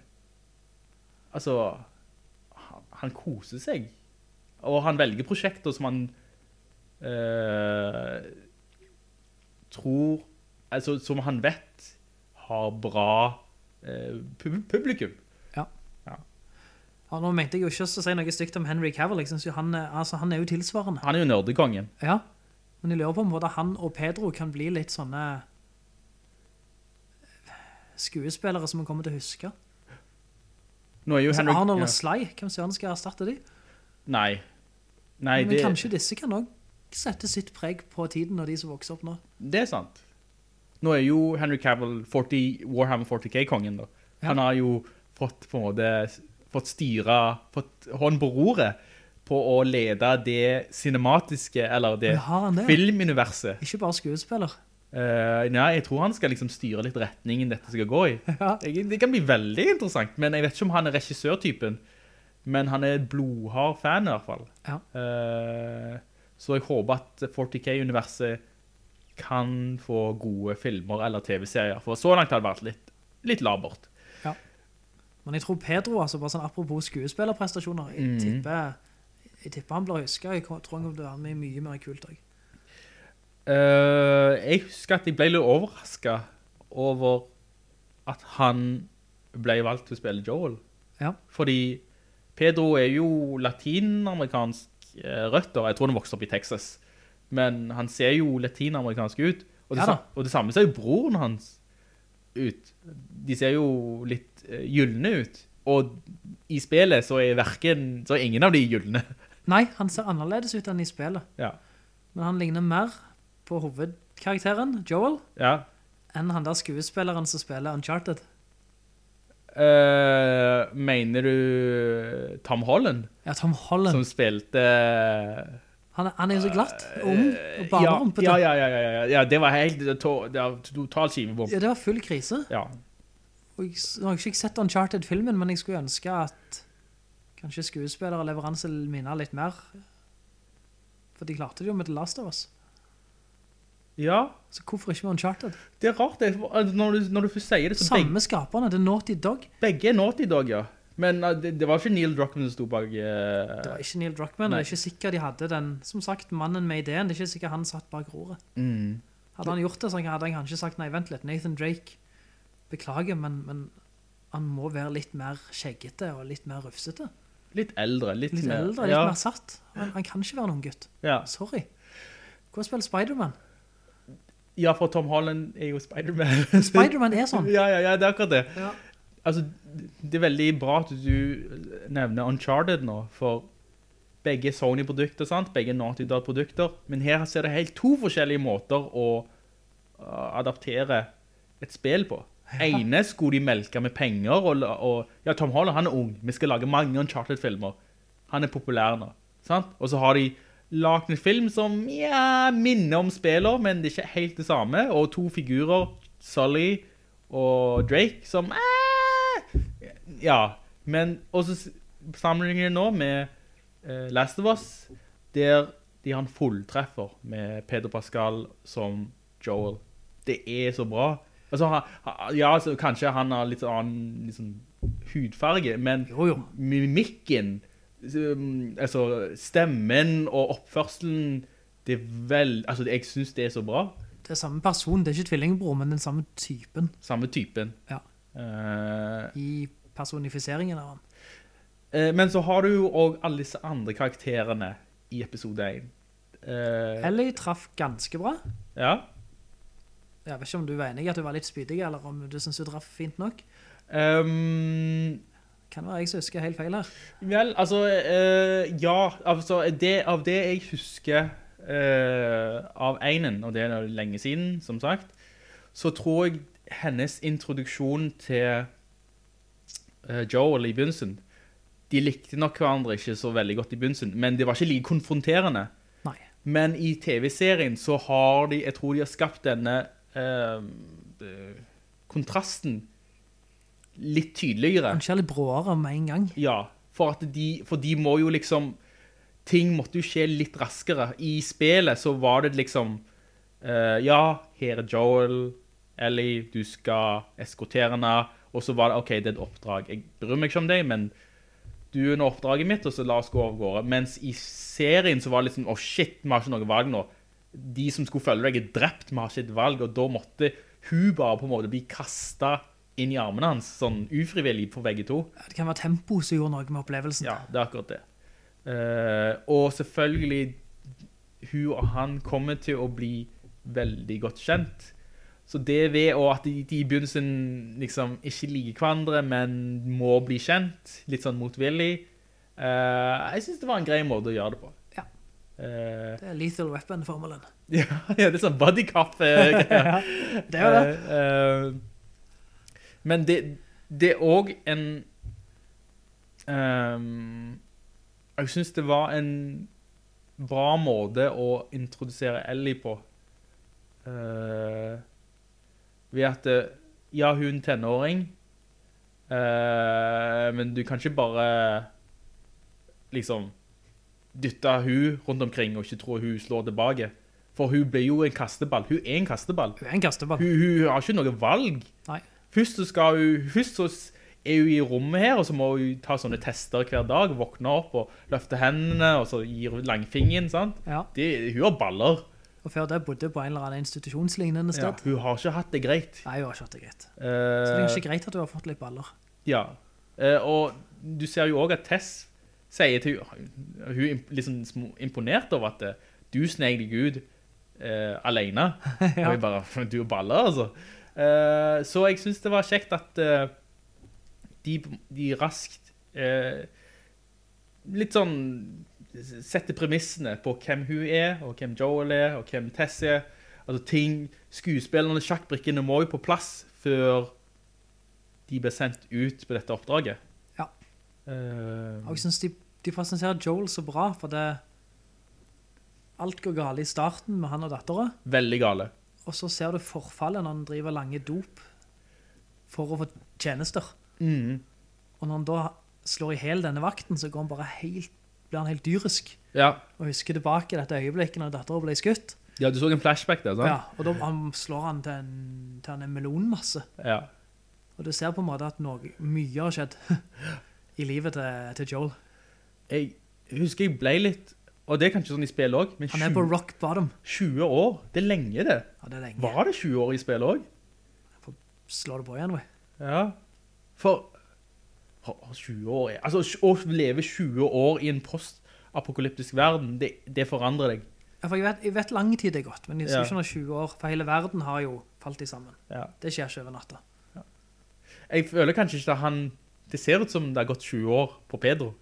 [SPEAKER 8] Altså han, han koser seg. Og han velger prosjekter som han eh, tror Altså som han vet har bra eh, pub publikum.
[SPEAKER 1] Ja, nå mente jeg jo ikke å si noe stygt om Henry Cavill. Jeg synes jo han, er- altså, han er jo tilsvarende.
[SPEAKER 8] Han er jo nerdekongen.
[SPEAKER 1] Ja, men jeg lurer på om både han og Pedro kan bli litt sånne eh, skuespillere som vi kommer til å huske.
[SPEAKER 8] Nå er jo
[SPEAKER 1] Altså,
[SPEAKER 8] Henry-
[SPEAKER 1] Arnold
[SPEAKER 8] ja.
[SPEAKER 1] og Sly, hvem søren skal erstatte de?
[SPEAKER 8] Nei. Nei,
[SPEAKER 1] Men
[SPEAKER 8] det,
[SPEAKER 1] kanskje disse kan også sette sitt preg på tiden og de som vokser opp nå.
[SPEAKER 8] det er sant. Nå er jo Henry Cavill 40, Warhammer 40K-kongen, da.
[SPEAKER 1] Ja.
[SPEAKER 8] Han har jo fått, på en måte, fått styre, fått hånd på roret på å lede det cinematiske, eller det
[SPEAKER 1] Men har han det?
[SPEAKER 8] filmuniverset.
[SPEAKER 1] Ikke bare skuespiller.
[SPEAKER 8] Eh, nei, jeg tror han skal liksom styre litt retningen dette skal gå i.
[SPEAKER 1] Ja.
[SPEAKER 8] Jeg, det kan bli veldig interessant, men jeg vet ikke om han er regissørtypen. Men han er blodhard fan i hvert fall.
[SPEAKER 1] Ja.
[SPEAKER 8] Eh, så jeg håper at 40K-universet kan få gode filmer eller TV-serier, for så langt har det vært litt, litt labert.
[SPEAKER 1] Men jeg tror Pedro, altså bare sånn apropos skuespillerprestasjoner, jeg,
[SPEAKER 8] Mm.
[SPEAKER 1] tipper, jeg tipper han blir husket. Jeg tror han kommer til å være med i mye mer kult også.
[SPEAKER 8] Eh, jeg husker at jeg ble litt overrasket over at han ble valgt til å spille Joel.
[SPEAKER 1] Ja.
[SPEAKER 8] Fordi Pedro er jo latinamerikansk eh, røtter. Jeg tror han vokste opp i Texas. Men han ser jo latinamerikansk ut. Og det,
[SPEAKER 1] Ja da.
[SPEAKER 8] sa- og det samme ser jo broren hans ut. De ser jo litt eh, gylne ut. Og i spillet så er, hverken, så er ingen av de gylne.
[SPEAKER 1] Nei, han ser annerledes ut enn i spillet.
[SPEAKER 8] Ja.
[SPEAKER 1] Men han ligner mer på hovedkarakteren, Joel,
[SPEAKER 8] ja.
[SPEAKER 1] enn han der skuespilleren som spiller Uncharted.
[SPEAKER 8] Eh, mener du Tom Holland,
[SPEAKER 1] Ja, Tom Holland.
[SPEAKER 8] som spilte
[SPEAKER 1] Han er, han er jo så glatt, og ung, og
[SPEAKER 8] ja,
[SPEAKER 1] barnerumpete.
[SPEAKER 8] Eh, ja, ja, ja, ja, ja, ja, det var helt det to- det var total skivebom.
[SPEAKER 1] Ja, det var full krise.
[SPEAKER 8] Ja.
[SPEAKER 1] Og jeg s- nå har jeg ikke sett Uncharted-filmen, men jeg skulle ønske at kanskje skuespillere og leveranse minner litt mer. For de klarte det jo med The Last of Us.
[SPEAKER 8] ja,
[SPEAKER 1] Så hvorfor ikke med Uncharted?
[SPEAKER 8] det er rart. Det, altså, når, du, når du først sier det, så begge,
[SPEAKER 1] Samme skaperne, det er Naughty Dog.
[SPEAKER 8] begge er Naughty Dog, ja. Men eh, det, det var ikke Neil Druckmann som sto bak eh,
[SPEAKER 1] Det var ikke Neil Druckmann, og det er ikke sikkert de hadde den, som sagt, mannen med ideen, det er ikke sikkert han satt bak roret.
[SPEAKER 8] Mm.
[SPEAKER 1] Hadde han gjort det, så hadde han kanskje sagt, nei, vent litt, Nathan Drake, beklager, men, men han må være litt mer skjeggete og litt mer rufsete.
[SPEAKER 8] litt eldre. Litt,
[SPEAKER 1] Litt
[SPEAKER 8] mer,
[SPEAKER 1] eldre, litt
[SPEAKER 8] ja,
[SPEAKER 1] mer satt. Han, han kan ikke være noen gutt.
[SPEAKER 8] Ja.
[SPEAKER 1] Sorry. Hvor spiller Spider-Man?
[SPEAKER 8] ja, for Tom Holland er jo Spider-Man.
[SPEAKER 1] Spider-Man er sånn.
[SPEAKER 8] Ja, ja, ja, det er akkurat det.
[SPEAKER 1] Ja.
[SPEAKER 8] Altså, det er veldig bra at du nevner Uncharted nå, for begge Sony-produkter, sant? Begge Naughty Dog-produkter. Men her ser det helt to forskjellige måter å uh, adaptere et spill på. Ene skulle de melke med penger, og, la- og ja, Tom Holland han er ung. Vi skal lage mange Uncharted-filmer. Han er populær nå, sant? Og så har de lagt en film som ja, minner om spiller, men det er ikke helt det samme. Og to figurer, Sully og Drake, som eh, Ja. Men også s- sammenligner jeg nå med eh, Last of Us, der de har en fulltreffer med Peder Pascal som Joel. Det er så bra. Altså, han, han- ja, så kanskje han har litt annen liksom, hudfarge, men
[SPEAKER 1] Jo, jo.
[SPEAKER 8] mimikken, um, altså stemmen og oppførselen, det er vel, altså jeg synes det er så bra,
[SPEAKER 1] Det er samme person, det er ikke tvillingbror, men den samme typen
[SPEAKER 8] samme typen.
[SPEAKER 1] Ja.
[SPEAKER 8] Eh,
[SPEAKER 1] i personifiseringen av han.
[SPEAKER 8] eh, men så har du jo også alle disse andre karakterene i episode 1. Eh,
[SPEAKER 1] Ellie traff ganske bra.
[SPEAKER 8] ja,
[SPEAKER 1] Jeg vet ikke om du var enig i at du var litt spydig, eller om du synes du traff fint nok.
[SPEAKER 8] Ehm,
[SPEAKER 1] Kan være jeg som husker helt feil her.
[SPEAKER 8] Vel, altså, eh, ja, altså, det, av det jeg husker eh, av einen, og det er nå lenge siden, som sagt, så tror jeg hennes introduksjon til eh, Joel i begynnelsen, de likte nok hverandre ikke så veldig godt i begynnelsen, men det var ikke like konfronterende.
[SPEAKER 1] Nei.
[SPEAKER 8] Men i TV-serien så har de, jeg tror de har skapt denne eh, eh, kontrasten litt tydeligere.
[SPEAKER 1] Kanskje litt bråere med en gang.
[SPEAKER 8] Ja, for, at de, for de må jo liksom Ting måtte jo skje litt raskere. I spillet så var det liksom eh, Ja, her er Joel. Ellie, du skal eskortere henne. Og så var det OK, det er et oppdrag. Jeg bryr meg ikke om deg, men du er under oppdraget mitt, og så la oss gå av gårde. Mens i serien så var det liksom Å, shit, vi har ikke noe valg nå. De som skulle følge deg, er drept. Vi har ikke et valg. Og da måtte hun bare på en måte bli kasta inn i armene hans, sånn ufrivillig for begge to.
[SPEAKER 1] Det kan være tempo som gjorde noe med opplevelsen.
[SPEAKER 8] Ja, det er akkurat det. Eh, og selvfølgelig, hun og han kommer til å bli veldig godt kjent. Så det ved å at de, de i begynnelsen liksom ikke liker hverandre, men må bli kjent, litt sånn motvillig, eh, jeg synes det var en grei måte å gjøre det på.
[SPEAKER 1] Ja.
[SPEAKER 8] Eh,
[SPEAKER 1] Det er lethal weapon-formelen.
[SPEAKER 8] ja, ja, det er sånn bodycuff-greier.
[SPEAKER 1] Det er jo det.
[SPEAKER 8] Eh, eh, men det, det er òg en ehm, Jeg syns det var en bra måte å introdusere Ellie på. Eh, ved at eh, Ja, hun er en tenåring, eh, men du kan ikke bare liksom dytte hun rundt omkring og ikke tro hun slår tilbake. For hun blir jo en kasteball. Hun er en kasteball
[SPEAKER 1] Hun er en kasteball.
[SPEAKER 8] hun, hun har ikke noe valg.
[SPEAKER 1] Nei.
[SPEAKER 8] Først så, skal hun, først så s- er hun i rommet her, og så må hun ta sånne tester hver dag, våkne opp og løfte hendene, og så gir hun langfingeren, sant?
[SPEAKER 1] Ja.
[SPEAKER 8] Det, hun har baller.
[SPEAKER 1] Og før det bodde på en eller annen institusjonslignende
[SPEAKER 8] Ja,
[SPEAKER 1] sted.
[SPEAKER 8] hun har ikke hatt det greit.
[SPEAKER 1] Nei, hun har ikke hatt det greit.
[SPEAKER 8] Eh,
[SPEAKER 1] Så det er kanskje greit at hun har fått litt baller.
[SPEAKER 8] ja. Eh, og du ser jo også at Tess sier til hun, hun er imp- liksom sm- imponert over at eh, du sneg deg ut eh, alene. Og jeg bare, du er baller, altså. Eh, så jeg synes det var kjekt at eh, de, de raskt eh, litt sånn setter premissene på hvem hun er, og hvem Joel er, og hvem Tess er. Altså ting, skuespillerne, sjakkbrikkene må jo på plass før de ble sendt ut på dette oppdraget.
[SPEAKER 1] Ja.
[SPEAKER 8] Eh,
[SPEAKER 1] Og jeg synes de, de presenterer Joel så bra, for det... Alt går galt i starten med han og datteren.
[SPEAKER 8] veldig gale.
[SPEAKER 1] Og så ser du forfallet når han driver lange dop for å få tjenester. Og når han da slår i hel denne vakten, så går han bare helt, blir han helt dyrisk.
[SPEAKER 8] Ja.
[SPEAKER 1] Og husker tilbake dette øyeblikket når datteren ble skutt.
[SPEAKER 8] ja, du så en flashback der,
[SPEAKER 1] Ja,
[SPEAKER 8] sant?
[SPEAKER 1] og da han slår han til en, til en melonmasse.
[SPEAKER 8] Ja.
[SPEAKER 1] Og du ser på en måte at noe, mye har skjedd i livet til, til Joel.
[SPEAKER 8] Jeg husker jeg ble litt, og det er kanskje sånn i spill også, men
[SPEAKER 1] Han er på
[SPEAKER 8] 20,
[SPEAKER 1] rock bottom.
[SPEAKER 8] 20 år, det er lenge det.
[SPEAKER 1] Ja, det er lenge.
[SPEAKER 8] Var det 20 år i spill også?
[SPEAKER 1] Slår det på igjen, anyway.
[SPEAKER 8] Ja. For for 20 år er- Altså, å leve 20 år i en postapokalyptisk verden, det, det forandrer deg.
[SPEAKER 1] Ja, for jeg vet, jeg vet lang tid det er gått, men jeg
[SPEAKER 8] Ja.
[SPEAKER 1] skal ikke når 20 år, for hele verden har jo falt i sammen.
[SPEAKER 8] Ja.
[SPEAKER 1] Det skjer ikke over natta.
[SPEAKER 8] Jeg føler kanskje ikke at han Det ser ut som det har gått 20 år på Pedro.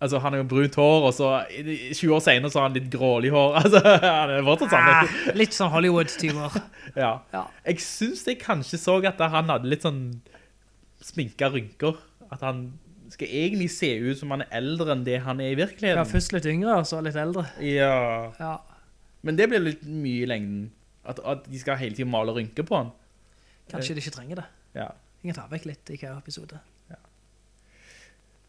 [SPEAKER 8] Altså, han har jo brunt hår, og så 20 år senere så har han litt grålig hår. Altså, han er fortsatt sånn.
[SPEAKER 1] Ah, litt sånn Hollywood-typer.
[SPEAKER 8] Ja.
[SPEAKER 1] Ja.
[SPEAKER 8] Jeg syns jeg kanskje så at han hadde litt sånn sminka rynker. At han skal egentlig se ut som han er eldre enn det han er i
[SPEAKER 1] Ja,
[SPEAKER 8] virkeligheten.
[SPEAKER 1] først litt yngre, og så litt eldre.
[SPEAKER 8] ja.
[SPEAKER 1] Ja.
[SPEAKER 8] Men det blir litt mye i lengden. At, at de skal hele tiden male rynker på han.
[SPEAKER 1] Kanskje de ikke trenger det.
[SPEAKER 8] Ja.
[SPEAKER 1] Jeg kan ta vekk litt i hver episode.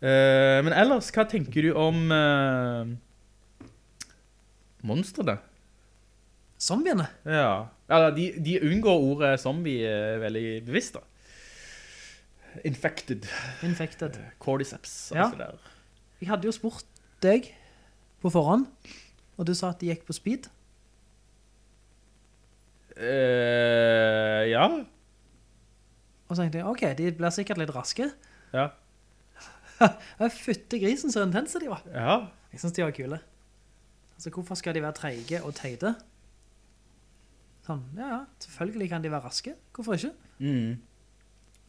[SPEAKER 8] Eh, men ellers, hva tenker du om uh, monstrene?
[SPEAKER 1] Zombiene?
[SPEAKER 8] Ja. Eller, de, de unngår ordet zombie eh, veldig bevisst, da. Infected.
[SPEAKER 1] Infected.
[SPEAKER 8] Cordyceps. og
[SPEAKER 1] Ja.
[SPEAKER 8] alt det der.
[SPEAKER 1] Jeg hadde jo spurt deg på forhånd, og du sa at de gikk på speed.
[SPEAKER 8] Eh, ja.
[SPEAKER 1] Og så tenkte jeg, ok, de blir sikkert litt raske.
[SPEAKER 8] Ja.
[SPEAKER 1] Jeg fytte grisen så intense de var.
[SPEAKER 8] Ja.
[SPEAKER 1] Jeg synes de var kule. Altså, hvorfor skal de være treige og teide? Sånn, ja, ja, selvfølgelig kan de være raske. Hvorfor ikke?
[SPEAKER 8] Mm.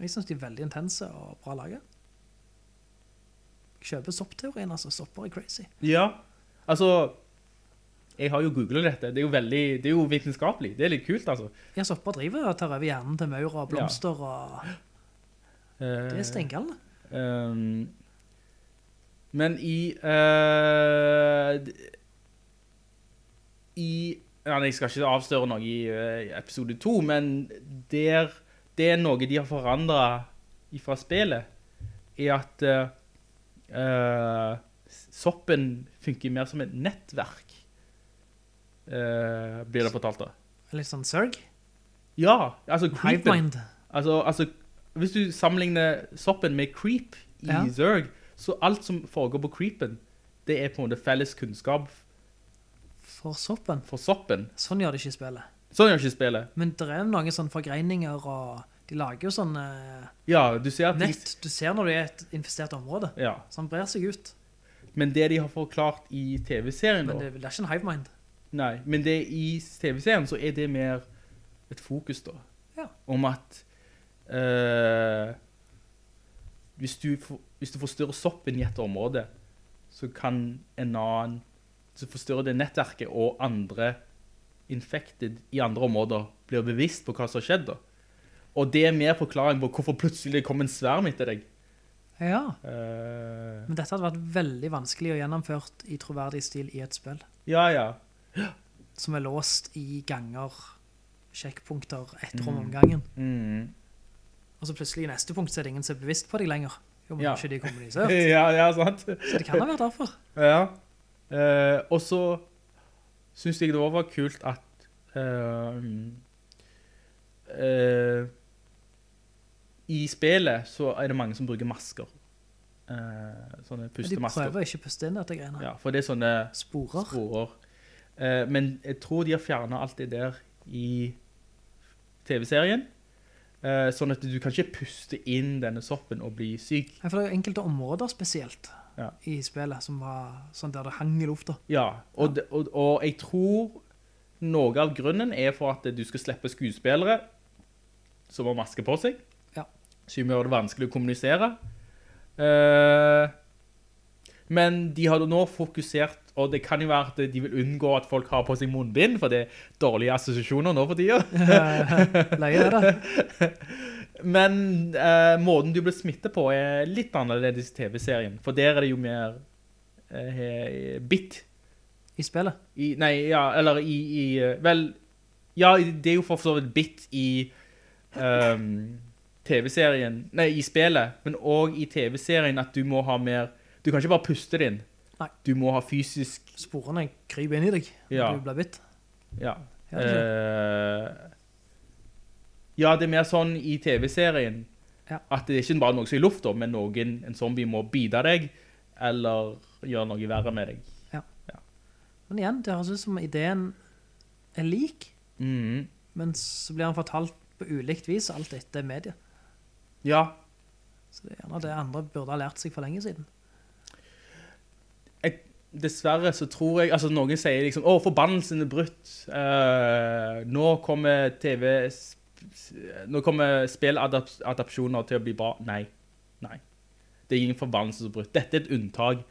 [SPEAKER 1] Jeg synes de er veldig intense og bra laget. Jeg kjøper soppteorien, altså. Sopper er crazy.
[SPEAKER 8] Ja. Altså Jeg har jo googla dette. Det er jo veldig Det er jo vitenskapelig. Det er litt kult, altså.
[SPEAKER 1] Ja, sopper driver og tar over hjernen til maur og blomster, og
[SPEAKER 8] Eh,
[SPEAKER 1] det er stengende.
[SPEAKER 8] Ehm, men i eh, d- I ja, nei, Jeg skal ikke avsløre noe i eh, episode to, men der, det er noe de har forandra fra spillet, er at eh, eh, soppen funker mer som et nettverk, eh, blir det fortalt da.
[SPEAKER 1] Litt sånn sørg.
[SPEAKER 8] Ja, altså creepen.
[SPEAKER 1] Hivemind.
[SPEAKER 8] Altså, altså, hvis du sammenligner soppen med creep i
[SPEAKER 1] Ja.
[SPEAKER 8] Zerg, så alt som foregår på creepen, det er på en måte felles kunnskap
[SPEAKER 1] For soppen.
[SPEAKER 8] for soppen.
[SPEAKER 1] Sånn gjør de ikke i spillet.
[SPEAKER 8] Sånn gjør ikke spillet.
[SPEAKER 1] Men det er noen sånne forgreininger, og de lager jo sånn eh,
[SPEAKER 8] Ja, du ser at de-
[SPEAKER 1] nett. Du ser når du er i et infestert område.
[SPEAKER 8] Ja,
[SPEAKER 1] Så han brer seg ut.
[SPEAKER 8] men det de har forklart i TV-serien
[SPEAKER 1] Men
[SPEAKER 8] da,
[SPEAKER 1] det, det er ikke en hivemind.
[SPEAKER 8] nei, men det i TV-serien så er det mer et fokus da,
[SPEAKER 1] Ja.
[SPEAKER 8] om at eh, hvis, du, for- hvis du forstyrrer soppen i et område, så kan en annen så forstyrrer det nettverket, og andre infected i andre områder blir bevisst på hva som har skjedd. Da. Og det er mer forklaring på hvorfor plutselig det kom en sverm etter deg.
[SPEAKER 1] Ja.
[SPEAKER 8] Eh,
[SPEAKER 1] Men dette hadde vært veldig vanskelig å gjennomført i troverdig stil i et spill.
[SPEAKER 8] ja, ja.
[SPEAKER 1] Som er låst i ganger, sjekkpunkter, ett rom om gangen.
[SPEAKER 8] Mm.
[SPEAKER 1] Og så plutselig i neste punkt så er det ingen som er bevisst på deg lenger. Jo, men
[SPEAKER 8] Ja.
[SPEAKER 1] ikke de kommunisert.
[SPEAKER 8] ja, ja, sant.
[SPEAKER 1] Så det kan ha vært derfor.
[SPEAKER 8] Ja. Eh, og så syns jeg det også var kult at eh, eh, I spillet så er det mange som bruker masker. Eh, sånne
[SPEAKER 1] Men de
[SPEAKER 8] pustemasker.
[SPEAKER 1] prøver ikke å puste inn dette greiene.
[SPEAKER 8] Ja, for det er sånne
[SPEAKER 1] Sporer.
[SPEAKER 8] sporer. Eh, men jeg tror de har fjernet alt det der i TV-serien. Eh, sånn at du kan ikke puste inn denne soppen og bli syk.
[SPEAKER 1] Nei, for det er jo enkelte områder spesielt
[SPEAKER 8] Ja.
[SPEAKER 1] i spillet som var sånn der det hang i lufta.
[SPEAKER 8] Ja, og, det- og, og jeg tror noe av grunnen er for at du skal slippe skuespillere som har maske på seg,
[SPEAKER 1] Ja.
[SPEAKER 8] som gjør det vanskelig å kommunisere. Eh, men de har nå fokusert, og det kan jo være at de vil unngå at folk har på seg munnbind, for det er dårlige assosiasjoner nå for tida.
[SPEAKER 1] Leie er det.
[SPEAKER 8] Men eh, måten du blir smittet på er litt annerledes i TV-serien, for der er det jo mer eh, bitt.
[SPEAKER 1] I spillet.
[SPEAKER 8] I, nei, ja, eller i, i eh, Vel, ja, i- det er jo for så vidt bitt i ehm, TV-serien Nei, i spillet, men òg i TV-serien at du må ha mer Du kan ikke bare puste det inn.
[SPEAKER 1] Nei.
[SPEAKER 8] Du må ha fysisk
[SPEAKER 1] Sporene kryper inn i deg når
[SPEAKER 8] Ja.
[SPEAKER 1] du blir bitt.
[SPEAKER 8] Ja.
[SPEAKER 1] Ja, det
[SPEAKER 8] Eh, ja, det er mer sånn i TV-serien
[SPEAKER 1] Ja.
[SPEAKER 8] at det er ikke bare noe som er i lufta, men noen, en zombie må bite deg eller gjøre noe verre med deg.
[SPEAKER 1] Men igjen, det høres ut som ideen er lik,
[SPEAKER 8] Mhm.
[SPEAKER 1] men så blir han fortalt på ulikt vis alt etter mediet.
[SPEAKER 8] Ja,
[SPEAKER 1] Så det er gjerne det andre burde ha lært seg for lenge siden.
[SPEAKER 8] jeg, dessverre så tror jeg, altså noen sier liksom, å, forbannelsen er brutt. Eh, nå kommer TV, nå kommer spilladapsjoner til å bli bra. Nei, nei. Det er ingen forbannelse som er brutt. Dette er et unntak.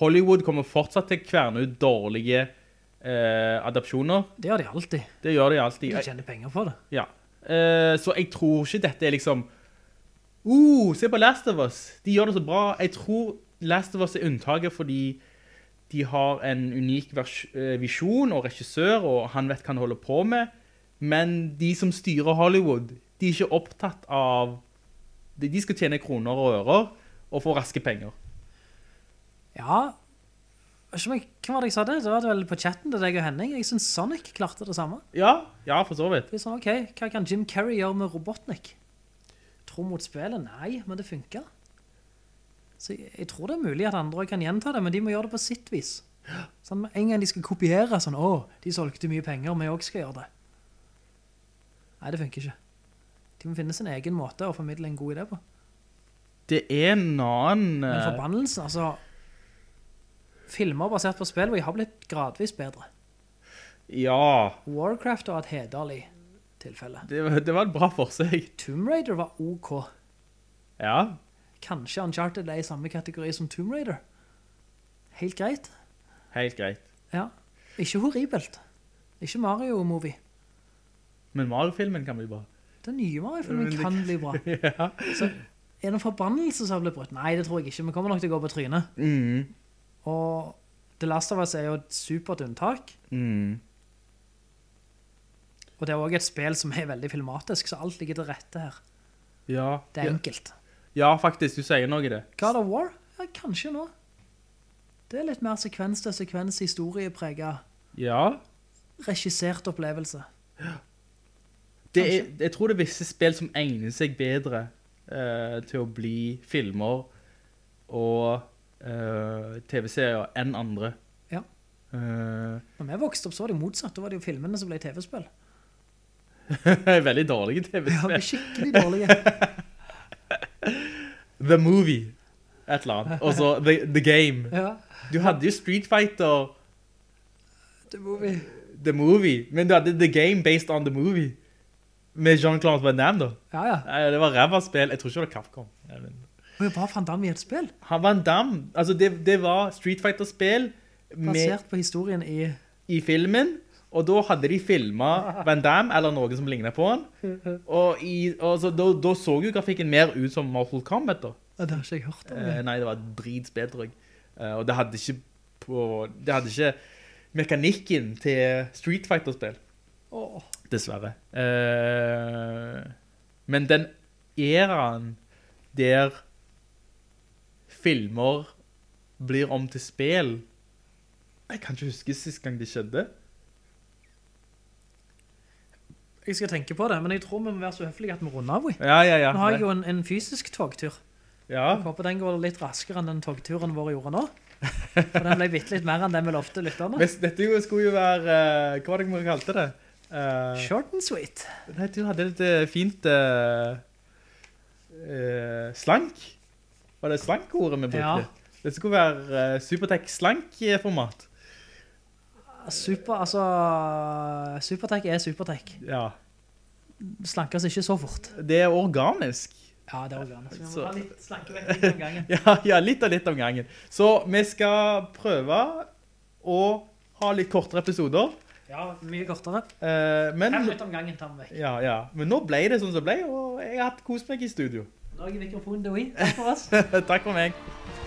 [SPEAKER 8] Hollywood kommer fortsatt til å kverne ut dårlige eh, adapsjoner.
[SPEAKER 1] Det gjør de alltid.
[SPEAKER 8] Det gjør de alltid.
[SPEAKER 1] De tjener penger på det.
[SPEAKER 8] Ja. Eh, så jeg tror ikke dette er liksom Uh, se på Last of Us! De gjør det så bra. Jeg tror Last of Us er unntaket fordi de har en unik vers- eh, visjon og regissør, og han vet hva han holder på med. Men de som styrer Hollywood, de er ikke opptatt av De de skal tjene kroner og ører og få raske penger.
[SPEAKER 1] Ja, vet ikke om jeg, hvem var det jeg sa det? Det var det vel på chatten til deg og Henning. Jeg synes Sonic klarte det samme.
[SPEAKER 8] Ja, ja for så vidt.
[SPEAKER 1] Det er sånn, ok, hva kan Jim Carrey gjøre med Robotnik? Tro mot spillet? Nei, men det funker. Så jeg, jeg tror det er mulig at andre også kan gjenta det, men de må gjøre det på sitt vis. Sånn, med en gang de skal kopiere, sånn, åh, de solgte mye penger, vi også skal gjøre det. Nei, det funker ikke. De må finne sin egen måte å formidle en god idé på.
[SPEAKER 8] Det er en annen
[SPEAKER 1] Men
[SPEAKER 8] eh,
[SPEAKER 1] forbannelsen, altså, filmer basert på spill, hvor jeg har blitt gradvis bedre.
[SPEAKER 8] eh, Ja.
[SPEAKER 1] Warcraft var et hederlig tilfelle.
[SPEAKER 8] Det, var- det var et bra forsøk.
[SPEAKER 1] Tomb Raider var ok.
[SPEAKER 8] Ja.
[SPEAKER 1] Kanskje Uncharted er i samme kategori som Tomb Raider. Helt greit.
[SPEAKER 8] Helt greit.
[SPEAKER 1] Ja. Ikke horribelt. Ikke Mario-movie.
[SPEAKER 8] Men Mario-filmen kan bli bra.
[SPEAKER 1] Den nye Mario-filmen kan bli bra. Så er det en forbannelse som har blitt brutt? Nei, det tror jeg ikke. Vi kommer nok til å gå på trynet. Og The Last of Us er jo et supert unntak. Og det er også et spill som er veldig filmatisk, så alt ligger til rette her.
[SPEAKER 8] Ja.
[SPEAKER 1] Det er
[SPEAKER 8] ja.
[SPEAKER 1] enkelt.
[SPEAKER 8] ja, faktisk, du sier noe i det.
[SPEAKER 1] God of War? Ja, kanskje nå. Det er litt mer sekvens til sekvens historiepreget
[SPEAKER 8] Ja.
[SPEAKER 1] regissert opplevelse.
[SPEAKER 8] Det er, jeg tror det er visse spill som egner seg bedre eh, til å bli filmer og eh, TV-serier enn andre.
[SPEAKER 1] Ja.
[SPEAKER 8] Eh,
[SPEAKER 1] Når vi vokste opp, så var det jo motsatt. Da var det jo filmene som ble TV-spill.
[SPEAKER 8] veldig dårlige
[SPEAKER 1] Ja,
[SPEAKER 8] TV-spill.
[SPEAKER 1] det er skikkelig dårlige.
[SPEAKER 8] The Movie, et eller annet. Og så the, the Game.
[SPEAKER 1] Ja,
[SPEAKER 8] Du hadde jo Street Fighter,
[SPEAKER 1] det må vi.
[SPEAKER 8] The Movie, men du hadde The Game based on The Movie. Med Jean-Claude Van Damme, da.
[SPEAKER 1] Ja, ja.
[SPEAKER 8] Nei, det var ræva spill. Jeg tror ikke det var Capcom. Jeg vet ikke.
[SPEAKER 1] Og jeg bare fant ham i et spill,
[SPEAKER 8] Han var en dam. Altså, det, det var Street Fighter-spill med-
[SPEAKER 1] basert på historien i...
[SPEAKER 8] i filmen, og da hadde de filmet Van Damme, eller noen som lignet på han. Og, i, og så, da, da så jo grafikken mer ut som Mortal Kombat, da.
[SPEAKER 1] Ja, det har ikke jeg hørt om.
[SPEAKER 8] Eh, nei, det var dritspill, tror jeg. Eh, og det hadde ikke på... Det hadde ikke mekanikken til Street Fighter-spill.
[SPEAKER 1] Åh.
[SPEAKER 8] Dessverre. Eh, men den eraen der filmer blir om til spill Jeg kan ikke huske sist gang det skjedde.
[SPEAKER 1] Jeg skal tenke på det, men jeg tror vi må være så høflige at vi runder av. vi.
[SPEAKER 8] Ja, ja, ja.
[SPEAKER 1] Nå har jeg jo en, en fysisk togtur. Jeg
[SPEAKER 8] ja.
[SPEAKER 1] håper den går litt raskere enn den togturen vår gjorde nå. For den ble bitt litt mer enn den vi lovte lytterne.
[SPEAKER 8] Men dette jo- skulle jo være eh, Hva var det vi kalte det? Eh,
[SPEAKER 1] Short and sweet.
[SPEAKER 8] Nei, du hadde et eh, fint eh, eh, slank. Var det slankordet vi brukte?
[SPEAKER 1] Ja.
[SPEAKER 8] Det skulle være eh, Supertech slank-format.
[SPEAKER 1] Super, altså, Supertech er Supertech.
[SPEAKER 8] Ja.
[SPEAKER 1] Slankes ikke så fort.
[SPEAKER 8] Det er organisk.
[SPEAKER 1] Ja, det er organisk. Vi
[SPEAKER 8] Så-
[SPEAKER 1] må ta litt slankevekting om gangen.
[SPEAKER 8] Ja, ja, litt og litt om gangen. Så vi skal prøve å ha litt kortere episoder.
[SPEAKER 1] Ja, mye kortere.
[SPEAKER 8] eh, men,
[SPEAKER 1] Fem minutter om gangen tar vi vekk.
[SPEAKER 8] ja, ja. men nå ble det sånn som det ble, og jeg har hatt kost meg i studio.
[SPEAKER 1] Nå er mikrofonen til Wii. Takk for oss.
[SPEAKER 8] Takk for meg.